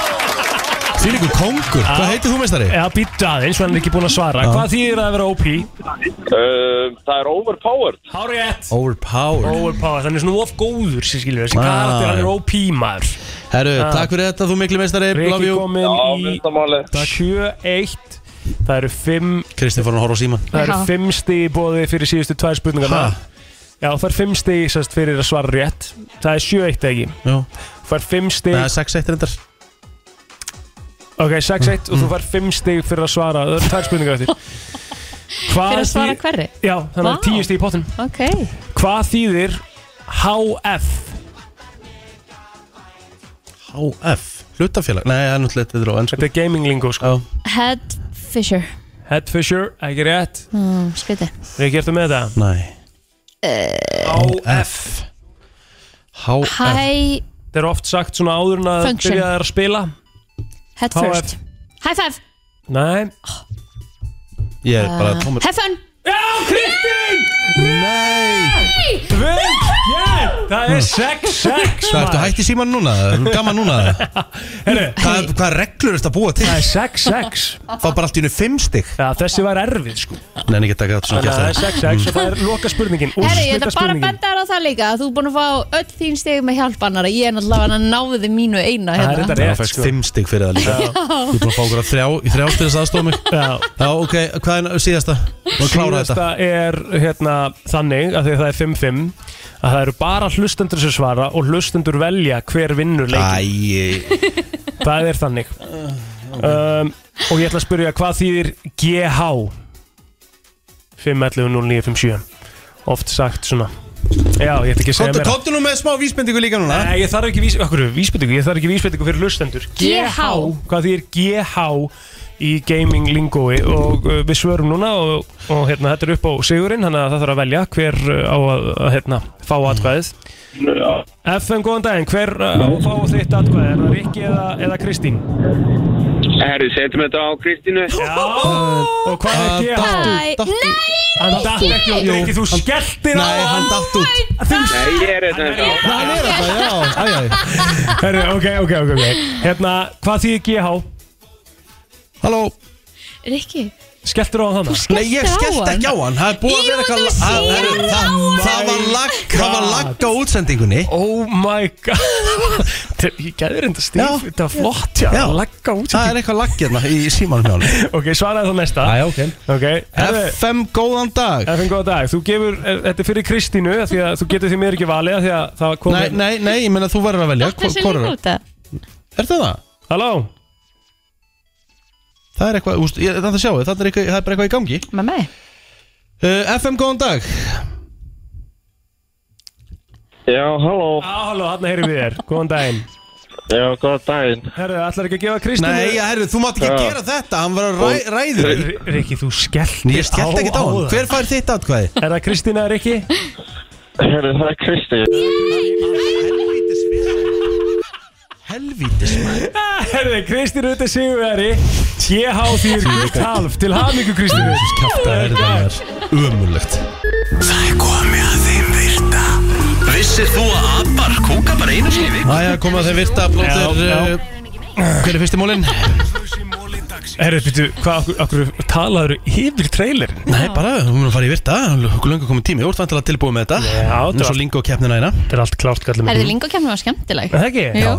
A: Þýrlingur kongur, hvað heitir þú meistari?
C: Já, býta aðeins, hann er ekki búin að svara Hvað þýðir að vera OP?
J: Uh, Það er overpowered
C: Hárétt
A: Overpowered
C: Overpower, þannig svona of góður sem skilur þessi
A: Ah.
C: karakter, hann er OP maður
A: Herru,
C: Ah.
A: takk fyrir þetta, þú mikli meistari Love
C: Rikki
A: you
C: komin í 7-1 Það eru 5
A: Kristinn fór að horfa á síman
C: Það eru fimm stig í bóði fyrir síðustu tvær spurningarna Já, það er fimm stig sérst fyrir að svara rétt Það er 7-1 ekki
A: Já.
C: Það er fimm stig
A: Það er 6-1 reyndar Mm,
C: Ok, 6-1 og þú fær fimm stig fyrir að svara Það eru tvær spurningar eftir Hvað
B: Fyrir að svara
C: þý-
B: hverri
C: Já, þannig að
B: Vá.
C: 10 stig í pottin
B: Ok
C: Hvað þýðir HF?
A: HF, hlutafélag Nei, það er náttúrulega þetta er á ennsku
C: Þetta er gaming lingo sko
B: Head Fisher
C: Headfisher, ekki rétt
B: mm, Skriti
C: Rikki, ertu með þetta?
A: Nei
C: HF
A: HF
B: High
C: Þetta er oft sagt svona áður en að
B: Function.
C: byrja að spila
B: Head
C: HF.
B: first High five
C: Nei
A: Ég er bara
B: Uh,
A: tómur
B: Have fun
C: Já, Kristín
A: Nei
C: Vel gert Það er 6-6
A: Hvað ertu hætt í síman núna? Gaman núna
C: Herru
A: Hvað, hvað reglur ertu að búa til?
C: Það er 6-6
A: Fá bara allt í unni 5 stygg
C: Já, þessi var erfið sko
A: Nei, en ég get ekki þetta svona Mm.
C: Þannig að það er
A: kjaftaði.
C: 6-6 og það er loka spurningin
B: Herri, ég ætla bara að benda þér á það líka að Þú er búin að fá öll þín stig með hjálpanara Ég er náttúrulega að náði mínu eina
A: Það er
B: hérna.
A: þetta rétt Það
C: sko.
A: fæst 5 stygg fyrir það líka
B: Já.
A: Þú er búin að fá okkur að þrjá Í þrjá til þess aðstofa mig
C: Já
A: Já, ok, hvað er síðasta? Má klára
C: Síðasta
A: þetta
C: er hérna þannig að því að það er 5-5 að það eru bara hlustendur sem svara og hlustendur velja hver vinnur leikin Æi. það er þannig
E: Eh,
C: um, og ég ætla að spyrja hvað þýðir GH 511-0957 oft sagt svona já, ég ætla ekki að segja
A: Komdu,
C: meira
A: komdu nú með smá vísbendingu líka núna
C: Nei, ég þarf ekki vís, okkur, vísbendingu, ég þarf ekki vísbendingu fyrir lustendur
A: GH.
C: Hvað því er GH í gaming lingói og uh, við svörum núna og, og hérna, þetta er upp á sigurinn þannig að það þarf að velja hver uh, á að, að hérna, fá atkvæðið FM, góðan daginn, hver uh, á að fá þitt atkvæðið, er það Rikki eða, eða Kristín?
E: Herru, setjum þetta á Kristínu Já
C: Og hvað er
E: Uh,
C: GH? Hann datt ekki,
E: Jú.
C: Rikki, þú skelltir á
A: Nei, hann datt út
E: Nei, ég er hérna. þetta ennþá.
A: Hann er þetta, já Æ, æ, æ.
C: Herru, ok, ok, ok, ok Hérna, hvað því er GH?
A: Halló
B: Rikki
C: Skelltir á hann
B: skelltir
A: Nei, ég skellti ekki á hann Það er búið að vera eitthvað
B: Ímyndaðu
A: Það-
B: sér hann á
A: það- það-
E: hérna.
A: Það
B: honum.
A: var lag Það var lagga útsendingunni
C: Oh my god Þetta- Ég gæði reynda stíf, þetta var flott já,
A: Já.
C: Lagga útsendingunni
A: Það er eitthvað laggirna í símanum hjá hann
C: Ok, svaraði þá næsta
A: Æ, ok
C: okay.
A: FM, góðan dag
C: FM, góðan dag Þú gefur, eh, þetta er fyrir Kristínu af Því að þú getur því mér ekki valið af Því að það kom
A: Nei, nei, nei, ég meina þú verður að velja Hvor- hvor er-
B: það?
A: Er það það?
C: Halló
A: Það er eitthvað, úst, ég, þetta sjáu, það er, eitthvað, það er bara eitthvað í gangi
B: Með mig
A: uh, FM, góðan dag
E: Já, halló
C: Já, halló, hann heyri við þér Góðan daginn
E: Já, góðan daginn
C: Herru, ætlar ekki að gefa Kristínu
A: Nei, ja, herru, þú mátt ekki
E: Já.
A: gera þetta Hann var að ræ, ræður því.
C: Rikki, þú skellt
A: Ég skellti ekki á hann Hver fær þitt atkvæði?
C: Er það Kristína eða Rikki?
E: Herru, það er Kristín
A: Helvítis maður
C: Herðu, Kristín Rutte Sigurveri TH þýr Kalf Til hamingu Kristín
A: Kjafta er það Ömulegt
I: Það er komið að þeim virta Vissir þú að abar kúka bara einu sinni í viku?
A: Æja, koma þeim virta blóttir
C: Já, já.
A: uh, Hver er fyrsti mólin?
C: Herru, býttu, hvað, okkur talaður yfir trailerin?
A: Nei, bara, við erum að fara í virta Lunga komið tími, þú ert vantilega tilbúið með þetta
C: Já,
A: Nú svo lingo keppnina eina
C: Þetta er allt klárt gallum
B: Herðu lingokemni var skemmtileg
C: Er það ekki?
B: Jú.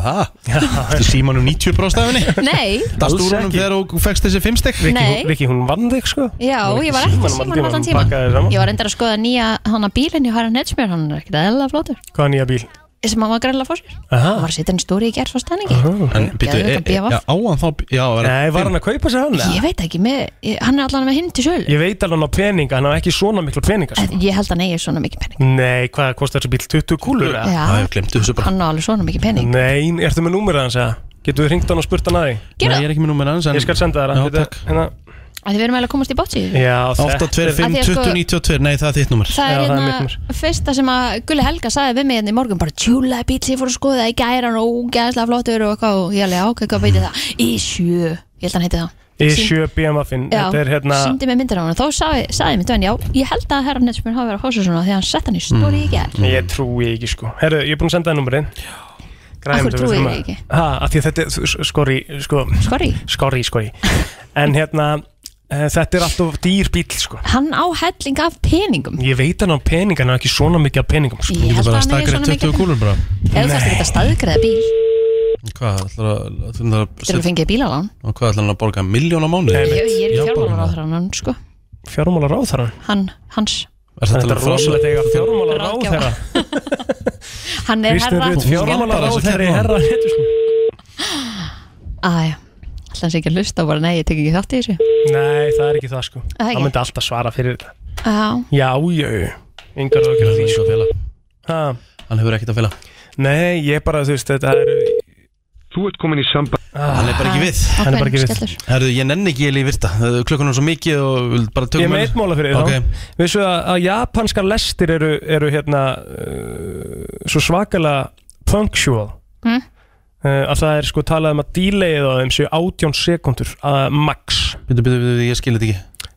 A: Þetta er símanum 90 bróðstæðinni
B: Nei
A: Dast úr honum
C: ekki.
A: þegar þú fegst þessi fimmstek
B: Rikki, Nei. hún-
C: Rikki, hún vann þig sko
B: Já, ég var ekki símanum allan tíma Ég var endar að skoða nýja hana bílinn í Hæra Netsmjör Hann er ekkert eðla flótur
C: Hvað er nýja bíl?
B: sem hann var greinlega fór sér
C: Aha.
B: Hann var að setja hann stóri í gerð svo stæningi
A: En býtu,
B: Geðveika BVF.
A: á hann þá já, var
C: Nei, var hann að kaupa sér hann?
B: Ég veit ekki, með, ég, hann er allan með hinn til sölu
C: Ég veit alveg hann á peninga, hann á ekki svona miklu peninga sko.
B: En Ég held að hann eigi svona mikið pening
C: Nei, hvað kostar þessi bíl? 20 kúlur? eða?
B: Já. Já, ég
A: glemtu þessu
B: Hann á alveg svona mikið pening
C: Nei, ertu með númerið hans eða? Getur við hringt hann og spurt hann að því?
B: Gerðu Nei, það. ég
A: er ekki með númerið hans
C: Ég skal senda þér
A: Já,
C: það hérna,
B: Að þið verðum eiginlega að komast í bátsi
C: Já,
A: 8, 2,
B: Af
A: 5,
B: því að
A: 20,
B: sko-
A: 92 Nei, það er þitt númer
B: Það er hérna fyrsta sem að Gulli Helga sagði við mig hérna í morgun bara tjúla bíl sem ég fór að skoða í gæran og ógæðslega flottur og eitthvað og ég alveg ákveð hvað beiti það í sjö, ég held að hann heiti það
C: Í
B: Sýn-
C: sjö BMF-in
B: Já,
C: Þetta er hérna
B: síndi mig myndir á hann og þá sagði, sagði mér dvenn, já, ég held að herra Netsmjörn hafi verið að hósa svona því að hann sett hann í
C: Mm.
B: stóri í gær
C: Ég trúi ekki sko Herru, ég er búin að senda það númerið
B: Af hverju trúið þið ekki?
C: Ha, af því að þetta er s- skori sko,
B: Skori?
C: Skori, skori En hérna, eh, þetta er alltof dýr bíl sko
B: Hann á helling af peningum
C: Ég veit hann á pening, hann á ekki svona mikið af peningum sko.
B: Ég Þú getur held bara að hann eigi staðgreitt svona 20 mikið. kúlur
A: bara
B: Ef þú þarfst ekki að staðgreða bíl,
A: Hvað, ætlar að- ætlar að
B: getur þú fengið bílalán
A: Og hvað ætlar hann að borga miljón á mánu?
B: Ég ég er fjármálaráðherran, sko
C: Fjármálar á þar
B: Hann, hans,
A: Er
C: Þetta
A: þetta
C: er rosalegt eiga fjármálar á þeirra
B: hann er herra
C: fjármálar á þeirra herra
B: Æja, ætla hans ekki að hlusta bara nei, ég tek ekki þátt í þessu
C: Nei, það er ekki það sko
B: Það ekki.
C: Það myndi alltaf svara fyrir þetta
B: Já,
C: Já, já, yngar ákjör að því sko Ha?
A: Hann hefur ekkert að fela
C: Nei, ég bara, þú veist, þetta er Þú ert komin í samband
A: Hann er bara ekki við
C: Hann er bara ekki við
A: Herðu, ég nenni ekki ég í virta Klukkan er svo mikið og vil bara
C: Ég er
A: tökum
C: með eitt mála fyrir
A: okay.
C: þá Vissu að, að japanskar lestir eru, eru hérna uh, svo svakalega punctual
B: Mm.
C: uh, að það er sko talað um að delayið á þeim séu 18 sekundur að max
A: Býtu, býtu, býtu, ég skil þetta ekki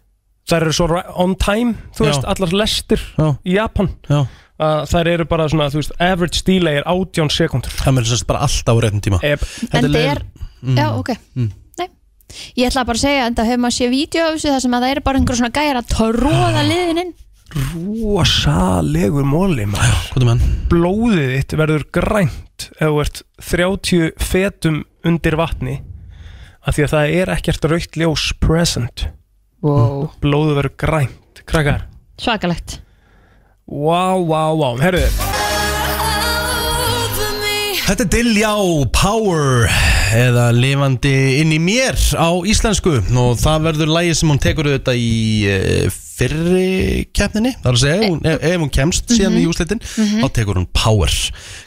C: Þær eru svo ra- on time, þú
A: Já.
C: veist, allar lestir
A: Já.
C: í Japan
A: Já.
C: að þær eru bara svona, þú veist, average delay er 18 sekundur
A: Það með þess að bara alltaf á réttum tíma
C: Ef,
B: en það er Já, ok,
A: Mm.
B: nei Ég ætla bara að segja, en það hefur maður séð vídeo af þessu þar sem að það eru bara einhver svona gæjar að tróða
A: Ah.
B: liðin inn
C: Rósalegur móli
A: Hvað er með hann?
C: Blóðið þitt verður grænt ef þú ert 30 fetum undir vatni af því að það er ekkert raukt ljós present
B: wow.
C: Blóðið verður grænt Krakkar
B: Svakalegt
C: Vá, vá, vá Herðu
A: Þetta er Diljá Power eða lifandi inn í mér á íslensku og það verður lægi sem hún tekur auðvitað í eh, fyrri keppninni það er að segja, ef hún, ef, ef hún kemst síðan í úslitin
B: Mhm.
A: þá tekur hún Power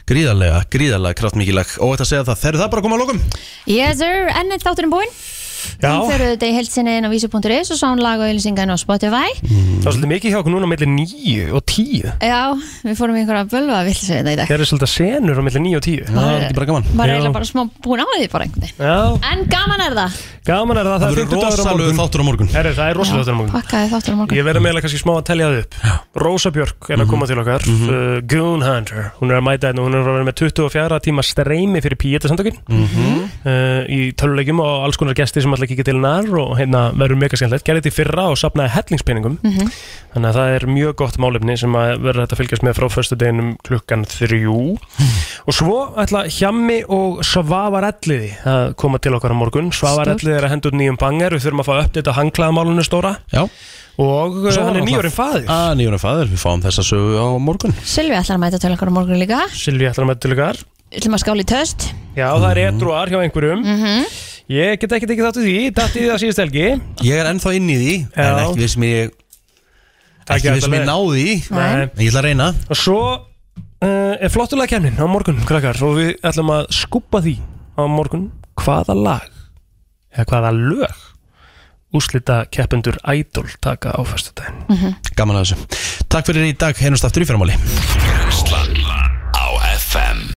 A: gríðarlega, gríðarlega kraftmikilag og þetta segja það, þeir eru það bara að koma að lokum
B: Yes sir, enn eitt þátturinn búinn Þau eru þetta í heilsinni inn á vísu.is og sáum lag og ylsingan á Spotify
C: Það var svolítið mikið hjá okkur núna mellir 9 og 10
B: Já, við fórum í einhverja bölva vilsu þetta í dag
C: Það eru svolítið senur á mellir 9 og 10
B: það er ekki bara
A: gaman
B: Var eiginlega bara smá búin á því bara einhvern veginn
C: Já,
B: En gaman er það
C: gaman er það,
A: Það verður rosalegur
C: þáttur á morgun Herri, Það er rosalega þáttur á morgun
B: Pakkaði þátturinn á morgun
C: Ég verði meðlega kannski smá að telja það upp Rósa Björk er að koma til okkar uh, Goon Hunter, hún er að mæta hérna Hún er að vera með 24 tíma streymi fyrir Píeta samtökin uh, Í tölulegjum og alls konar gesti sem alltaf kíkja til hennar Og hérna verður mega skemmtilegt Gerði þetta í fyrra og sapnaði hellingspinningum Þannig að það er mjög gott málefni sem að verður þetta að fylgjast með frá föstudeginum klukkan þrjú Og svo ætla Hjammi og Svavarelliði að koma til okkar á morgun Svavarelliði er að henda út nýjum banger Við þurfum að fá uppdata hanglaðamálunu stóra
A: Já
C: Og uh, hann er nýjórinn faðir
A: að nýjórinn Ah, faðir, við fáum þessa sögu á morgun
B: Silvi ætlar að mæta til okkar á morgun líka
C: Silvi ætlar að mæta til okkar
B: Ætlum að skála í töst
C: Já, það er edruar hjá einhverjum
B: Mhm.
C: Ég get ekki tekið þátt í því, datt í því að síðust helgi
A: Ég er ennþá inn í því, en
C: Já.
A: ekki við sem ég
C: Takk
A: ekki við sem ég náði í
C: Nei.
A: en ég ætla að reyna
C: Og svo uh, er flottulega kemnin á morgun, krakkar Og við ætlum að skúpa því á morgun Hvaða lag, eða hvaða lög Úslita keppendur Idol taka á föstudaginn
E: Mhm.
A: Gaman að þessu Takk fyrir í dag, hennast aftur í fyrramáli
G: Brenslan á FM